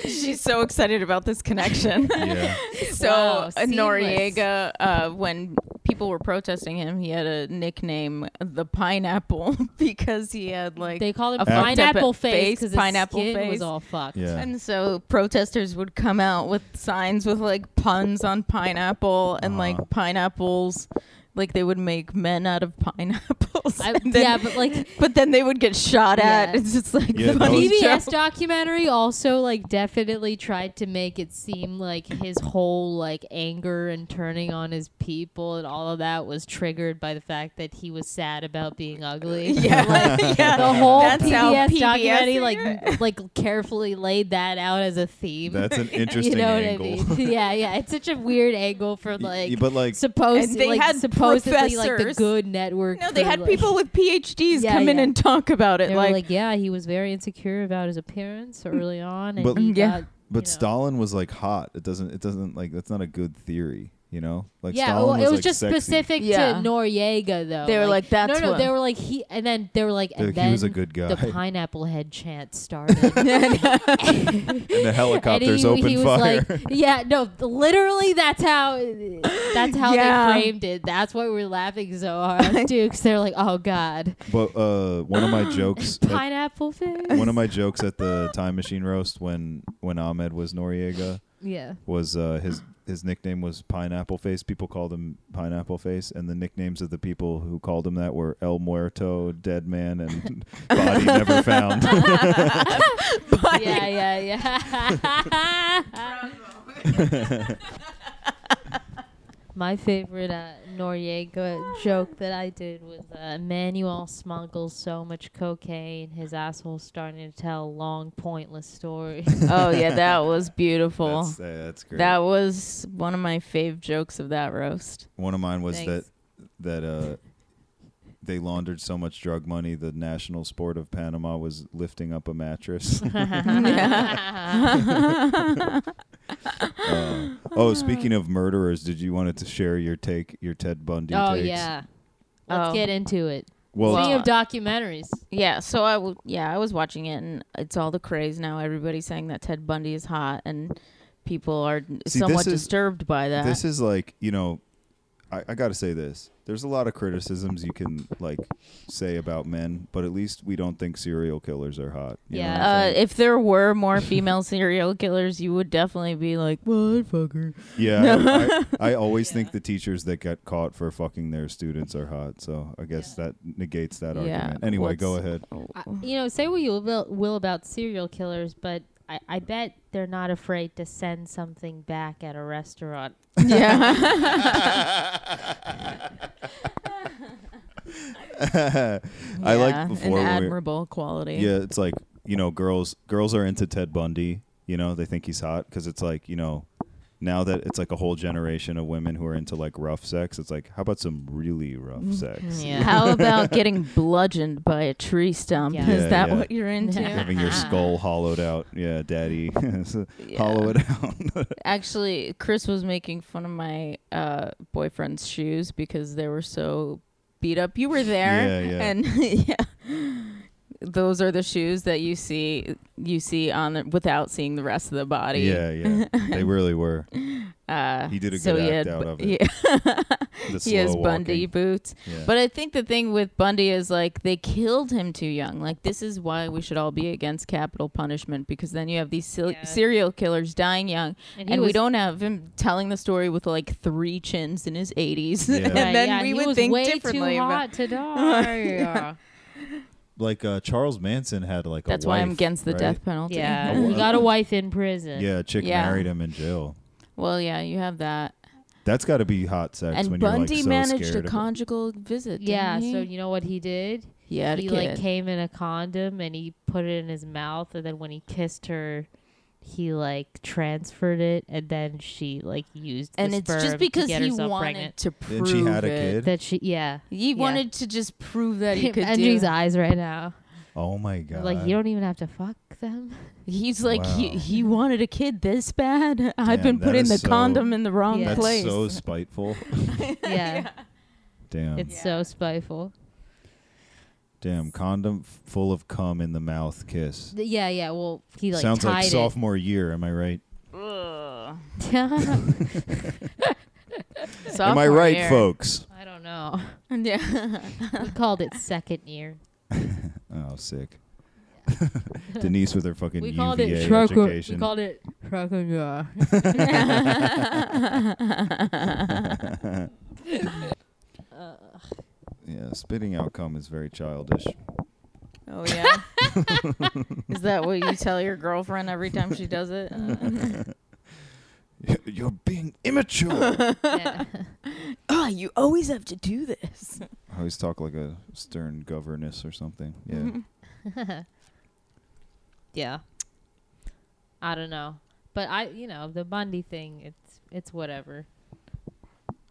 Speaker 5: she's so excited about this connection.
Speaker 6: Yeah.
Speaker 5: So
Speaker 4: Wow,
Speaker 5: uh,
Speaker 4: seamless.
Speaker 5: Noriega, uh, when people were protesting him, he had a nickname, the Pineapple, because he had like.
Speaker 4: They call it
Speaker 5: A fucked up
Speaker 4: pineapple face
Speaker 5: face,
Speaker 4: because
Speaker 5: pineapple
Speaker 4: his skin was
Speaker 5: face.
Speaker 4: all fucked.
Speaker 6: Yeah.
Speaker 5: and so protesters would come out with signs with like puns on pineapple and
Speaker 6: Uh-huh.
Speaker 5: like pineapples, like they would make men out of pineapples.
Speaker 4: I-
Speaker 5: and then-
Speaker 4: yeah, but like
Speaker 5: but then they would get shot at.
Speaker 4: Yeah.
Speaker 5: It's just like
Speaker 6: Yeah, that
Speaker 5: funny
Speaker 6: was-
Speaker 4: PBS
Speaker 5: joke.
Speaker 4: documentary also like definitely tried to make it seem like his whole like anger and turning on his people and all of that was triggered by the fact that he was sad about being ugly.
Speaker 5: Yeah, yeah.
Speaker 4: The whole
Speaker 5: That's how
Speaker 4: PBS,
Speaker 5: PBS
Speaker 4: documentary like like carefully laid that out as a theme.
Speaker 6: That's an interesting
Speaker 4: you know
Speaker 6: angle.
Speaker 4: what I mean? yeah, yeah. It's such a weird angle for
Speaker 6: Y-
Speaker 4: like,
Speaker 6: but like,
Speaker 4: supposed
Speaker 5: And they
Speaker 4: like
Speaker 5: had
Speaker 4: supposedly like the
Speaker 5: professors.
Speaker 4: good network.
Speaker 5: No, they
Speaker 4: for,
Speaker 5: had
Speaker 4: like-
Speaker 5: people with PhDs
Speaker 4: Yeah,
Speaker 5: come in
Speaker 4: yeah.
Speaker 5: and talk about it.
Speaker 4: They were like, yeah, he was very insecure about his appearance early on, and
Speaker 6: But-
Speaker 4: he
Speaker 5: Yeah.
Speaker 4: got
Speaker 6: But
Speaker 4: you know.
Speaker 6: Stalin was like hot. It doesn't. It doesn't like that's not a good theory. You know, like
Speaker 4: yeah,
Speaker 6: Stalin
Speaker 4: well, it was
Speaker 6: like,
Speaker 4: just
Speaker 6: sexy.
Speaker 4: specific to
Speaker 5: Yeah.
Speaker 4: Noriega though.
Speaker 5: They were like, "That's
Speaker 4: no, no."
Speaker 5: what-"
Speaker 4: They were like he, and then they were like,
Speaker 6: They're like,
Speaker 4: and then
Speaker 6: "He was a good guy."
Speaker 4: The pineapple head chant started.
Speaker 6: And the helicopters
Speaker 4: and he,
Speaker 6: open
Speaker 4: he was
Speaker 6: fire.
Speaker 4: like, yeah, no, literally that's how that's how
Speaker 5: Yeah.
Speaker 4: they framed it. That's why we're laughing so hard too, because they're like, oh god,
Speaker 6: but uh, one of my jokes. at-
Speaker 4: pineapple fish.
Speaker 6: one of my jokes at the time machine roast when when Ahmed was Noriega
Speaker 4: yeah,
Speaker 6: was uh, his his nickname was Pineapple Face. People called him Pineapple Face, and the nicknames of the people who called him that were El Muerto, Dead Man, and Body Never Found.
Speaker 4: yeah, yeah, yeah. My favorite uh, Noriega joke that I did was uh, Manuel smuggles so much cocaine, his asshole's starting to tell long, pointless stories.
Speaker 5: oh yeah, that was beautiful.
Speaker 6: that's, uh, that's great.
Speaker 5: that was one of my fave jokes of that roast.
Speaker 6: One of mine was
Speaker 4: Thanks.
Speaker 6: that that uh, they laundered so much drug money. The national sport of Panama was lifting up a mattress. Uh, oh, speaking of murderers, did you wanted to share your take, your Ted Bundy?
Speaker 4: oh
Speaker 6: takes?
Speaker 4: yeah, let's
Speaker 5: Oh.
Speaker 4: get into it.
Speaker 6: Well, uh,
Speaker 5: Well,
Speaker 4: Speaking of documentaries,
Speaker 5: Yeah, so I w- yeah, I was watching it and it's all the craze now. Everybody's saying that Ted Bundy is hot and people are
Speaker 6: See,
Speaker 5: somewhat
Speaker 6: this is-
Speaker 5: disturbed by that.
Speaker 6: this is like you know, I, I got to say this. There's a lot of criticisms you can like say about men, but at least we don't think serial killers are hot. you know
Speaker 4: Yeah.
Speaker 6: what I'm
Speaker 5: uh,
Speaker 6: saying?
Speaker 5: if there were more female serial killers, you would definitely be like, "Well, fucker."
Speaker 6: Yeah, I, I always think the teachers that get caught for fucking their students are hot. So I guess that negates that
Speaker 5: Yeah, Oh.
Speaker 6: argument. Anyway, go
Speaker 5: what's-
Speaker 6: ahead.
Speaker 4: I, uh, you know, say what you will, will about serial killers, but I, I bet they're not afraid to send something back at a restaurant.
Speaker 5: Yeah,
Speaker 6: I
Speaker 5: Yeah,
Speaker 6: like before when
Speaker 5: an
Speaker 6: we,
Speaker 5: admirable quality.
Speaker 6: yeah, it's like you know, girls girls are into Ted Bundy. You know, they think he's hot because it's like you know, now that it's like a whole generation of women who are into like rough sex. It's like how about some really rough sex?
Speaker 5: Mm-hmm. Yeah. How about getting bludgeoned by a tree stump?
Speaker 4: Yeah.
Speaker 5: Is
Speaker 6: Yeah,
Speaker 5: that
Speaker 6: yeah.
Speaker 5: what you're into?
Speaker 6: Having your skull hollowed out, yeah, daddy, hollow it out.
Speaker 5: Actually, Chris was making fun of my uh, boyfriend's shoes because they were so beat up. You were there,
Speaker 6: Yeah, yeah.
Speaker 5: and yeah, those are the shoes that you see you see on the, without seeing the rest of the body.
Speaker 6: yeah, yeah, they really were.
Speaker 5: uh,
Speaker 6: He did a
Speaker 5: so
Speaker 6: good
Speaker 5: he
Speaker 6: act
Speaker 5: had
Speaker 6: out
Speaker 5: bu-
Speaker 6: of
Speaker 5: he-
Speaker 6: it. The
Speaker 5: he has
Speaker 6: slow
Speaker 5: Bundy
Speaker 6: walking.
Speaker 5: boots.
Speaker 6: Yeah.
Speaker 5: But I think the thing with Bundy is like they killed him too young. Like this is why we should all be against capital punishment because then you have these sil-
Speaker 4: Yeah.
Speaker 5: serial killers dying young,
Speaker 4: And
Speaker 5: and,
Speaker 4: he
Speaker 5: we
Speaker 4: was-
Speaker 5: don't have him telling the story with like three chins in his eighties,
Speaker 6: Yeah.
Speaker 5: and
Speaker 6: Right,
Speaker 5: then
Speaker 4: yeah,
Speaker 5: we
Speaker 4: he
Speaker 5: would
Speaker 4: was
Speaker 5: think
Speaker 4: way
Speaker 5: differently.
Speaker 4: Too
Speaker 5: about-
Speaker 4: hot to die. yeah,
Speaker 6: like uh, Charles Manson had like
Speaker 5: That's
Speaker 6: a
Speaker 5: why
Speaker 6: wife,
Speaker 5: I'm against the
Speaker 6: right?
Speaker 5: death penalty.
Speaker 4: he got a wife in prison.
Speaker 6: Yeah, a chick
Speaker 5: Yeah.
Speaker 6: married him in jail.
Speaker 5: Well, yeah, you have that.
Speaker 6: That's got to be hot sex
Speaker 5: and
Speaker 6: when
Speaker 5: Bundy
Speaker 6: you're like so
Speaker 5: managed a
Speaker 6: scared of it.
Speaker 5: conjugal visit. didn't
Speaker 4: yeah.
Speaker 5: he?
Speaker 4: So you know what he did?
Speaker 5: he had a
Speaker 4: he
Speaker 5: kid.
Speaker 4: like came in a condom and he put it in his mouth, and then when he kissed her. He like transferred it, and then she like used the
Speaker 5: and it's
Speaker 4: sperm
Speaker 5: just because
Speaker 4: to get
Speaker 5: he
Speaker 4: herself
Speaker 5: wanted
Speaker 4: pregnant.
Speaker 5: to prove
Speaker 6: Then she had a
Speaker 5: it.
Speaker 6: kid.
Speaker 4: that she yeah
Speaker 5: He
Speaker 4: Yeah.
Speaker 5: wanted to just prove that he could
Speaker 4: Andrew's
Speaker 5: do.
Speaker 4: eyes right now.
Speaker 6: Oh my god!
Speaker 4: Like you don't even have to fuck them.
Speaker 5: He's like he,
Speaker 6: Wow.
Speaker 5: he wanted a kid this bad.
Speaker 6: Damn,
Speaker 5: I've been
Speaker 6: that
Speaker 5: putting
Speaker 6: is
Speaker 5: the
Speaker 6: so-
Speaker 5: condom in the wrong
Speaker 4: Yeah.
Speaker 6: That's
Speaker 5: place.
Speaker 6: so spiteful.
Speaker 4: yeah.
Speaker 6: Damn,
Speaker 4: It's so spiteful.
Speaker 6: damn condom f- full of cum in the mouth kiss.
Speaker 4: Th- Yeah, yeah. Well, he like
Speaker 6: Sounds
Speaker 4: tied
Speaker 6: like
Speaker 4: it.
Speaker 6: sophomore year. Am I right?
Speaker 4: I
Speaker 6: Am I
Speaker 5: Sophomore
Speaker 6: right,
Speaker 5: year.
Speaker 6: folks?
Speaker 4: don't know.
Speaker 5: Yeah.
Speaker 4: We called it second year.
Speaker 6: Oh, sick. Denise with her fucking
Speaker 4: We
Speaker 6: UVA
Speaker 4: called it
Speaker 6: education.
Speaker 4: We called it second year.
Speaker 6: yeah, spitting out cum is very childish.
Speaker 5: Oh yeah. Is that what you tell your girlfriend every time she does it? Uh,
Speaker 6: You're being immature.
Speaker 4: Yeah.
Speaker 5: oh, you always have to do this.
Speaker 6: I always talk like a stern governess or something. Yeah.
Speaker 4: yeah. I don't know, but I, you know, the Bundy thing. It's it's whatever.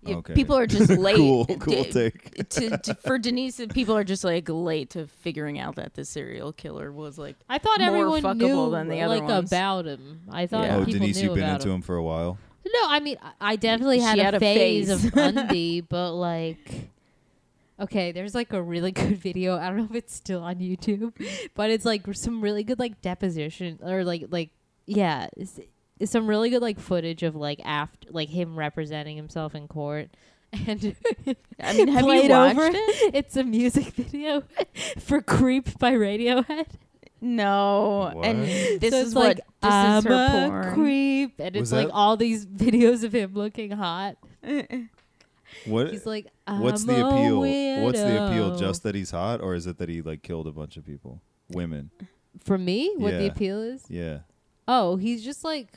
Speaker 5: if
Speaker 6: Okay.
Speaker 5: people are just late.
Speaker 6: Cool,
Speaker 5: d-
Speaker 6: cool take.
Speaker 5: To, to- for Denise, people are just like late to figuring out that the serial killer was like.
Speaker 4: I thought
Speaker 5: more
Speaker 4: everyone
Speaker 5: fuckable
Speaker 4: knew
Speaker 5: than the other
Speaker 4: like
Speaker 5: ones.
Speaker 4: about him. I thought
Speaker 5: Yeah.
Speaker 6: Oh,
Speaker 4: people
Speaker 6: Denise,
Speaker 4: knew
Speaker 6: you've been
Speaker 4: about
Speaker 6: into him for a while.
Speaker 4: No, I mean, I- I definitely
Speaker 5: She
Speaker 4: had,
Speaker 5: had
Speaker 4: a,
Speaker 5: a
Speaker 4: phase
Speaker 5: phase.
Speaker 4: of Undy, but like, okay, there's like a really good video. I don't know if it's still on YouTube, but it's like some really good like deposition or like like yeah, it's, it's some really good like footage of like after like him representing himself in court. And
Speaker 5: I mean, have you
Speaker 4: played
Speaker 5: watched
Speaker 4: over.
Speaker 5: it?
Speaker 4: it's a music video for "Creep" by Radiohead.
Speaker 5: No. And this
Speaker 4: So
Speaker 5: is
Speaker 4: it's
Speaker 5: what
Speaker 4: like,
Speaker 5: this is
Speaker 4: I'm
Speaker 5: her
Speaker 4: a
Speaker 5: porn.
Speaker 4: creep, and
Speaker 6: Was
Speaker 4: it's like
Speaker 6: that-
Speaker 4: all these videos of him looking hot.
Speaker 6: What?
Speaker 4: He's like,
Speaker 6: what's
Speaker 4: "I'm
Speaker 6: the
Speaker 4: a
Speaker 6: appeal? What's the appeal?
Speaker 4: weirdo."
Speaker 6: Just that he's hot, or is it that he like killed a bunch of people, women?
Speaker 4: for me, what the
Speaker 6: Yeah.
Speaker 4: appeal is?
Speaker 6: Yeah.
Speaker 4: Oh, he's just like.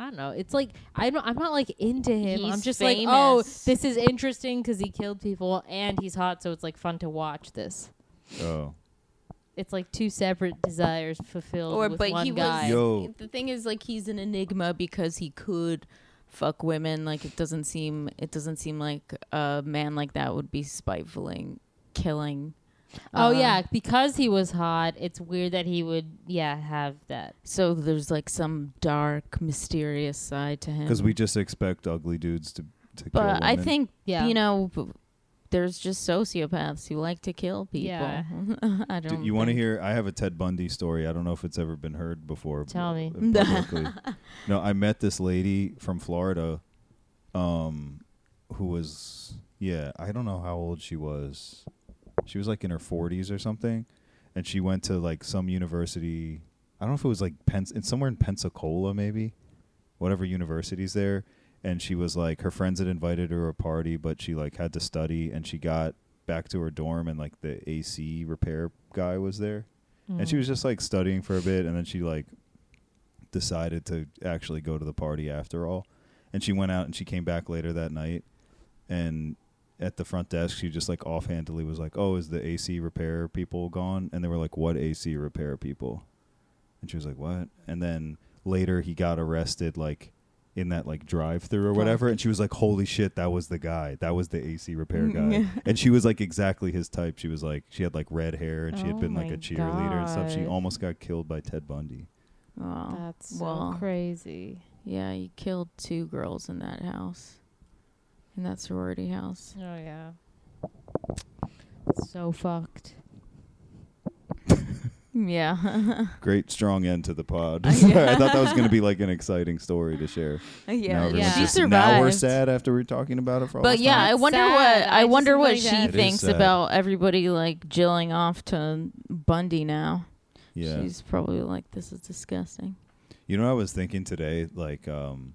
Speaker 4: I don't know. It's like I don't, I'm not like into him. I'm
Speaker 5: He's
Speaker 4: just like, oh,
Speaker 5: famous.
Speaker 4: this is interesting because he killed people and he's hot, so it's like fun to watch this.
Speaker 6: Oh.
Speaker 4: It's like two separate desires fulfilled
Speaker 5: Or
Speaker 4: with
Speaker 5: but
Speaker 4: one
Speaker 5: he
Speaker 4: guy.
Speaker 5: was
Speaker 6: Yo.
Speaker 5: the thing is like he's an enigma because he could fuck women like it doesn't seem it doesn't seem like a man like that would be spitefulling killing
Speaker 4: oh
Speaker 5: uh,
Speaker 4: yeah, because he was hot, it's weird that he would yeah have that.
Speaker 5: so there's like some dark mysterious side to him
Speaker 6: Because we just expect ugly dudes to to kill
Speaker 5: but
Speaker 6: women.
Speaker 5: i think
Speaker 4: Yeah.
Speaker 5: you know b- there's just sociopaths who like to kill people
Speaker 4: Yeah.
Speaker 5: i
Speaker 6: Do
Speaker 5: don't
Speaker 6: you want to
Speaker 5: think-
Speaker 6: hear? I have a Ted Bundy story. I don't know if it's ever been heard before.
Speaker 4: Tell me.
Speaker 6: uh, publicly. no, I met this lady from Florida, um, who was yeah. I don't know how old she was. She was like in her forties or something, and she went to like some university. I don't know if it was like Pens- it's somewhere in Pensacola maybe, whatever university's there. And she was like, her friends had invited her to a party, but she like had to study, and she got back to her dorm, and like the AC repair guy was there and she was just like studying for a bit and then she like decided to actually go to the party after all and she went out and she came back later that night and at the front desk she just like offhandedly was like oh is the ac repair people gone and they were like what ac repair people and she was like what and then later he got arrested like in that like drive through or whatever and she was like holy shit that was the guy that was the ac repair guy and she was like exactly his type she was like she had like red hair and she
Speaker 4: Oh
Speaker 6: had been like
Speaker 4: my
Speaker 6: a cheerleader and stuff she
Speaker 4: God.
Speaker 6: almost got killed by ted bundy
Speaker 5: Oh,
Speaker 4: That's so
Speaker 5: well.
Speaker 4: crazy.
Speaker 5: yeah you killed two girls in that house in that sorority house
Speaker 4: Oh yeah, so fucked.
Speaker 5: yeah
Speaker 6: great strong end to the pod
Speaker 5: Oh,
Speaker 6: i thought that was going to be like an exciting story to share now,
Speaker 5: yeah
Speaker 6: everyone's
Speaker 4: Yeah.
Speaker 6: just-
Speaker 5: she survived
Speaker 6: now we're sad after we are talking about it for all
Speaker 5: But
Speaker 6: this
Speaker 5: yeah,
Speaker 6: time.
Speaker 5: I
Speaker 4: That's
Speaker 5: wonder
Speaker 4: sad.
Speaker 5: what I,
Speaker 4: I just
Speaker 5: wonder
Speaker 4: am
Speaker 5: what
Speaker 4: like
Speaker 5: she
Speaker 4: that.
Speaker 6: It is
Speaker 5: thinks
Speaker 6: sad.
Speaker 5: about everybody like jilling off to Bundy now.
Speaker 6: yeah
Speaker 5: She's probably like, this is disgusting.
Speaker 6: You know, what I was thinking today, like, um,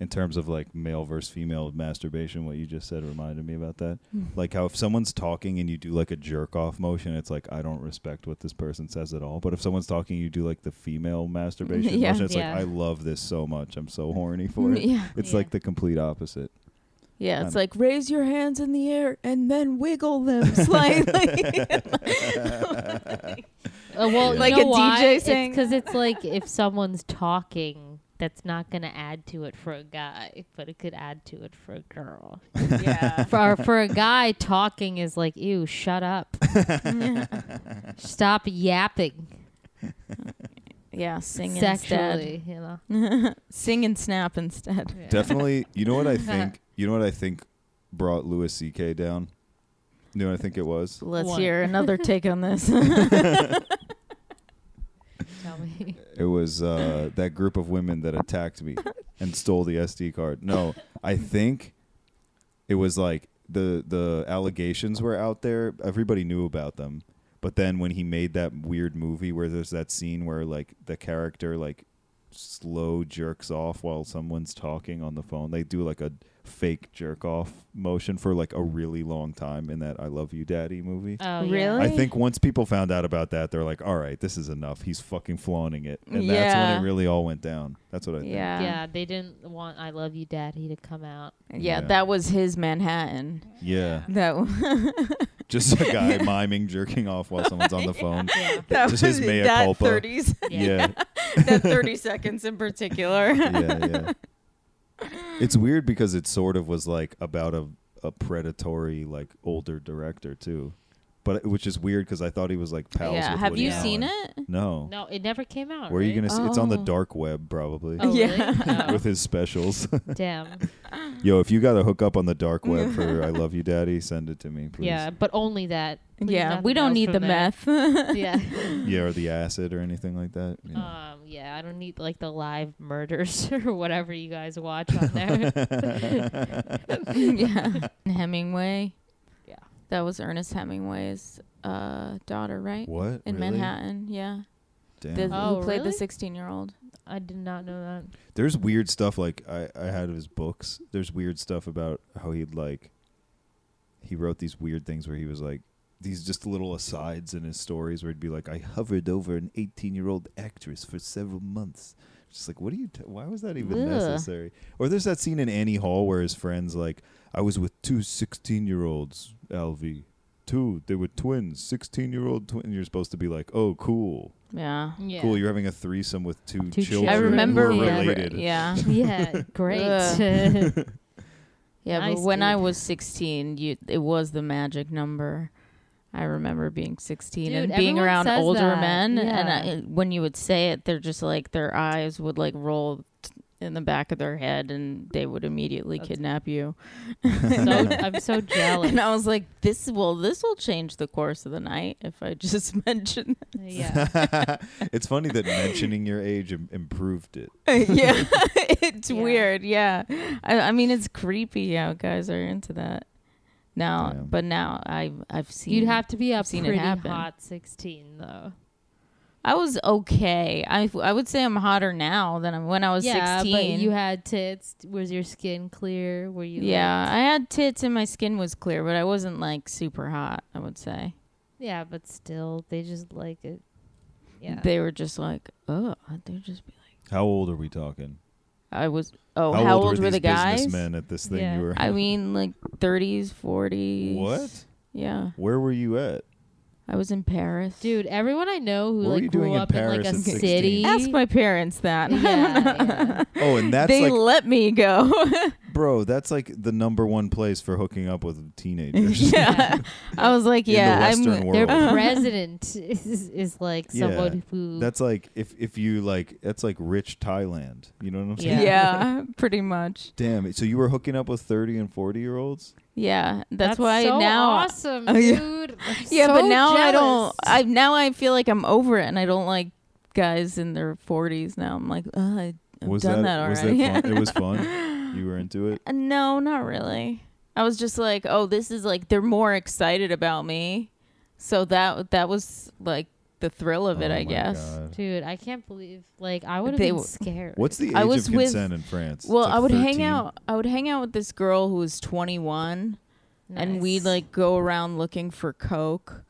Speaker 6: in terms of like male versus female masturbation, what you just said reminded me about that.
Speaker 5: Hmm.
Speaker 6: like how if someone's talking and you do like a jerk off motion, it's like I don't respect what this person says at all. But if someone's talking, you do like the female masturbation
Speaker 5: Yeah.
Speaker 6: motion. It's
Speaker 4: Yeah.
Speaker 6: like I love this so much. I'm so horny for it.
Speaker 5: Yeah,
Speaker 6: It's
Speaker 4: Yeah.
Speaker 6: like the complete opposite.
Speaker 5: yeah. It's
Speaker 6: Um,
Speaker 5: like raise your hands in the air and then wiggle them slightly.
Speaker 4: Uh, well, you
Speaker 5: Like
Speaker 4: know
Speaker 5: a
Speaker 4: why?
Speaker 5: DJ saying-
Speaker 4: because it's like if someone's talking, that's not gonna add to it for a guy, but it could add to it for a girl.
Speaker 5: yeah,
Speaker 4: For for a guy, talking is like, ew, shut up, stop yapping
Speaker 5: yeah. Sing
Speaker 4: sexually, you know.
Speaker 5: instead. Sing and snap instead.
Speaker 6: Definitely. You know what I think? You know what I think brought Louis C.K. down. You know what I think it was?
Speaker 5: Let's
Speaker 4: One.
Speaker 5: hear another take on this.
Speaker 4: Tell me.
Speaker 6: It was uh, that group of women that attacked me and stole the SD card. No, I think it was like the the allegations were out there. Everybody knew about them, but then when he made that weird movie where there's that scene where like the character like slow jerks off while someone's talking on the phone. They do like a fake jerk off motion for like a really long time in that "I Love You, Daddy" movie.
Speaker 4: Oh,
Speaker 5: Really?
Speaker 4: Yeah.
Speaker 6: I think once people found out about that, they're like, "All right, this is enough. He's fucking flaunting it," and that's when
Speaker 5: Yeah.
Speaker 6: it really all went down. That's what I think.
Speaker 5: yeah. yeah,
Speaker 4: yeah, they didn't want "I Love You, Daddy" to come out.
Speaker 6: Yeah.
Speaker 5: That was his Manhattan.
Speaker 6: Yeah,
Speaker 5: That
Speaker 6: just a guy miming jerking off while someone's on the phone.
Speaker 4: Yeah.
Speaker 5: that
Speaker 6: Just his
Speaker 5: was
Speaker 6: mea
Speaker 5: that
Speaker 6: culpa.
Speaker 5: 30s.
Speaker 6: Yeah,
Speaker 5: that 30 seconds in particular.
Speaker 6: yeah, yeah. It's weird because it sort of was like about a a predatory like older director too, but which is weird because I thought he was like pals.
Speaker 5: yeah.
Speaker 6: with
Speaker 5: Have
Speaker 6: Woody
Speaker 5: you
Speaker 6: Allen.
Speaker 5: seen it?
Speaker 6: No.
Speaker 4: No, it never came out.
Speaker 6: Where are you
Speaker 4: right?
Speaker 6: gonna see? It's on the
Speaker 5: Oh.
Speaker 6: dark web probably
Speaker 4: Oh,
Speaker 5: Yeah.
Speaker 4: Really?
Speaker 6: with his specials.
Speaker 4: Oh, damn.
Speaker 6: Yo, if you got a hookup on the dark web for "I Love You, Daddy," send it to me, please.
Speaker 4: Yeah, but only that. Please,
Speaker 5: yeah.
Speaker 4: nothing
Speaker 5: We don't
Speaker 4: else
Speaker 5: need
Speaker 4: from
Speaker 5: the
Speaker 4: that.
Speaker 5: meth.
Speaker 4: Yeah.
Speaker 6: Yeah, or the acid or anything like that. Yeah.
Speaker 5: Uh,
Speaker 4: Um, yeah, I don't need like the live murders or whatever you guys watch on there.
Speaker 5: yeah. Hemingway.
Speaker 4: Yeah.
Speaker 5: That was Ernest Hemingway's uh, daughter, right?
Speaker 6: what
Speaker 5: In
Speaker 6: Really?
Speaker 5: Manhattan, yeah.
Speaker 6: Damn.
Speaker 5: The,
Speaker 4: Oh,
Speaker 5: who played
Speaker 4: really?
Speaker 5: the 16 year old.
Speaker 4: I did not know that.
Speaker 6: There's weird stuff like I, I had of his books. There's weird stuff about how he'd like he wrote these weird things where he was like these just little asides in his stories where he'd be like, I hovered over an 18 year old actress for several months. Just like, what are you? T- why was that even
Speaker 4: Ugh.
Speaker 6: necessary? Or there's that scene in Annie Hall where his friends like, I was with two 16 year olds, Alvy. Two, they were twins, 16 year old twin. You're supposed to be like, oh, cool.
Speaker 5: Yeah.
Speaker 4: Yeah.
Speaker 6: Cool, you're having a threesome with two,
Speaker 4: Two
Speaker 6: children.
Speaker 5: I
Speaker 4: Children
Speaker 5: remember.
Speaker 6: who are
Speaker 5: Yeah.
Speaker 6: related.
Speaker 5: Yeah.
Speaker 4: Yeah, great.
Speaker 5: Ugh. Yeah,
Speaker 4: Nice,
Speaker 5: but when I
Speaker 4: dude.
Speaker 5: was 16, you, it was the magic number. I remember being 16
Speaker 4: Dude,
Speaker 5: and being
Speaker 4: everyone
Speaker 5: around
Speaker 4: says
Speaker 5: older
Speaker 4: that.
Speaker 5: men, and
Speaker 4: Yeah.
Speaker 5: I, it- when you would say it, they're just like their eyes would like roll t- in the back of their head, and they would immediately kidnap you.
Speaker 4: so, I'm so jealous.
Speaker 5: And I was like, "This will this will change the course of the night if I just mention."
Speaker 4: Yeah.
Speaker 6: it's funny that mentioning your age Im- improved it.
Speaker 5: That. yeah, it's
Speaker 4: Yeah.
Speaker 5: weird. Yeah, I, I mean, it's creepy how guys are into that now.
Speaker 6: Yeah.
Speaker 5: But now I've I've seen
Speaker 4: You'd have to be a
Speaker 5: I've seen it
Speaker 4: pretty
Speaker 5: happen.
Speaker 4: hot 16 though.
Speaker 5: I was okay. I I would say I'm hotter now than I'm when I was
Speaker 4: yeah,
Speaker 5: 16.
Speaker 4: but you had tits. Was your skin clear? Were you?
Speaker 5: yeah,
Speaker 4: like-
Speaker 5: I had tits and my skin was clear, but I wasn't like super hot. I would say
Speaker 4: yeah, but still, they just like it. Yeah.
Speaker 5: they were just like, oh, they just. Be
Speaker 6: How old are we talking?
Speaker 5: like, I was. Oh, how, old, were,
Speaker 6: these
Speaker 5: the guys?
Speaker 6: businessmen at this thing
Speaker 4: Yeah.
Speaker 6: you were?
Speaker 5: I mean, like 30s, 40s.
Speaker 6: what?
Speaker 5: Yeah,
Speaker 6: Where were you at?
Speaker 5: I was in Paris.
Speaker 4: Dude, everyone I know who
Speaker 6: What were
Speaker 4: like
Speaker 6: you
Speaker 4: grew
Speaker 6: doing in
Speaker 4: up in, like
Speaker 6: Paris
Speaker 4: a
Speaker 6: at 16?
Speaker 4: city.
Speaker 5: ask my parents that.
Speaker 4: yeah, yeah.
Speaker 6: Oh, and that's
Speaker 5: they
Speaker 6: like,
Speaker 5: let me go.
Speaker 6: bro, that's like the number one place for hooking up with teenagers.
Speaker 5: yeah, I was like, yeah,
Speaker 6: in the Western
Speaker 5: I'm.
Speaker 6: world.
Speaker 4: Their president is, is like
Speaker 6: Yeah.
Speaker 4: someone who
Speaker 6: that's like if if you like that's like rich Thailand. You know what I'm saying?
Speaker 4: Yeah.
Speaker 5: yeah, pretty much.
Speaker 6: Damn. So you were hooking up with thirty and forty year olds?
Speaker 5: Yeah, that's,
Speaker 4: That's
Speaker 5: why
Speaker 4: so
Speaker 5: now.
Speaker 4: awesome,
Speaker 5: Oh, yeah.
Speaker 4: dude. I'm
Speaker 5: Yeah, but
Speaker 4: so
Speaker 5: now I don't.
Speaker 4: jealous.
Speaker 5: I now I feel like I'm over it, and I don't like guys in their 40s now. I'm like, Ugh, I- I've
Speaker 6: Was
Speaker 5: done that,
Speaker 6: that, was
Speaker 5: already.
Speaker 6: that fun? it was fun. You were into it.
Speaker 5: Uh, no, not really. I was just like, oh, this is like they're more excited about me, so that that was like the thrill of it,
Speaker 6: Oh
Speaker 5: I
Speaker 6: my
Speaker 5: guess.
Speaker 6: God.
Speaker 4: dude, I can't believe like I would have
Speaker 5: They
Speaker 4: been
Speaker 5: w-
Speaker 4: scared.
Speaker 6: What's the age
Speaker 5: I was
Speaker 6: of
Speaker 5: with-
Speaker 6: consent in France? It's
Speaker 5: Well,
Speaker 6: like
Speaker 5: I would
Speaker 6: 13?
Speaker 5: hang out. I would hang out with this girl who was 21, and
Speaker 4: Nice.
Speaker 5: we'd like go around looking for coke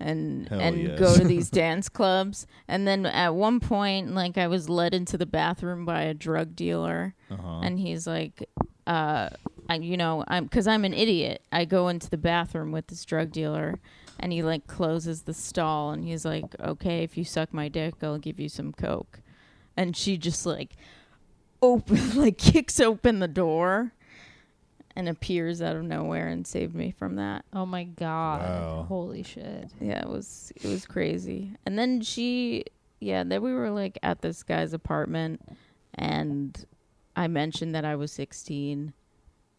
Speaker 5: and
Speaker 6: Hell
Speaker 5: and
Speaker 6: yes.
Speaker 5: go to these dance clubs and then at one point like i was led into the bathroom by a drug dealer
Speaker 6: Uh-huh.
Speaker 5: and he's like uh I, you know i'm because i'm an idiot i go into the bathroom with this drug dealer and he like closes the stall and he's like okay if you suck my dick i'll give you some coke and she just like open like kicks open the door and appears out of nowhere and saved me from that
Speaker 4: Oh my god.
Speaker 6: Wow.
Speaker 4: Holy shit.
Speaker 5: yeah it was it was crazy and then she yeah then we were like at this guy's apartment and i mentioned that i was 16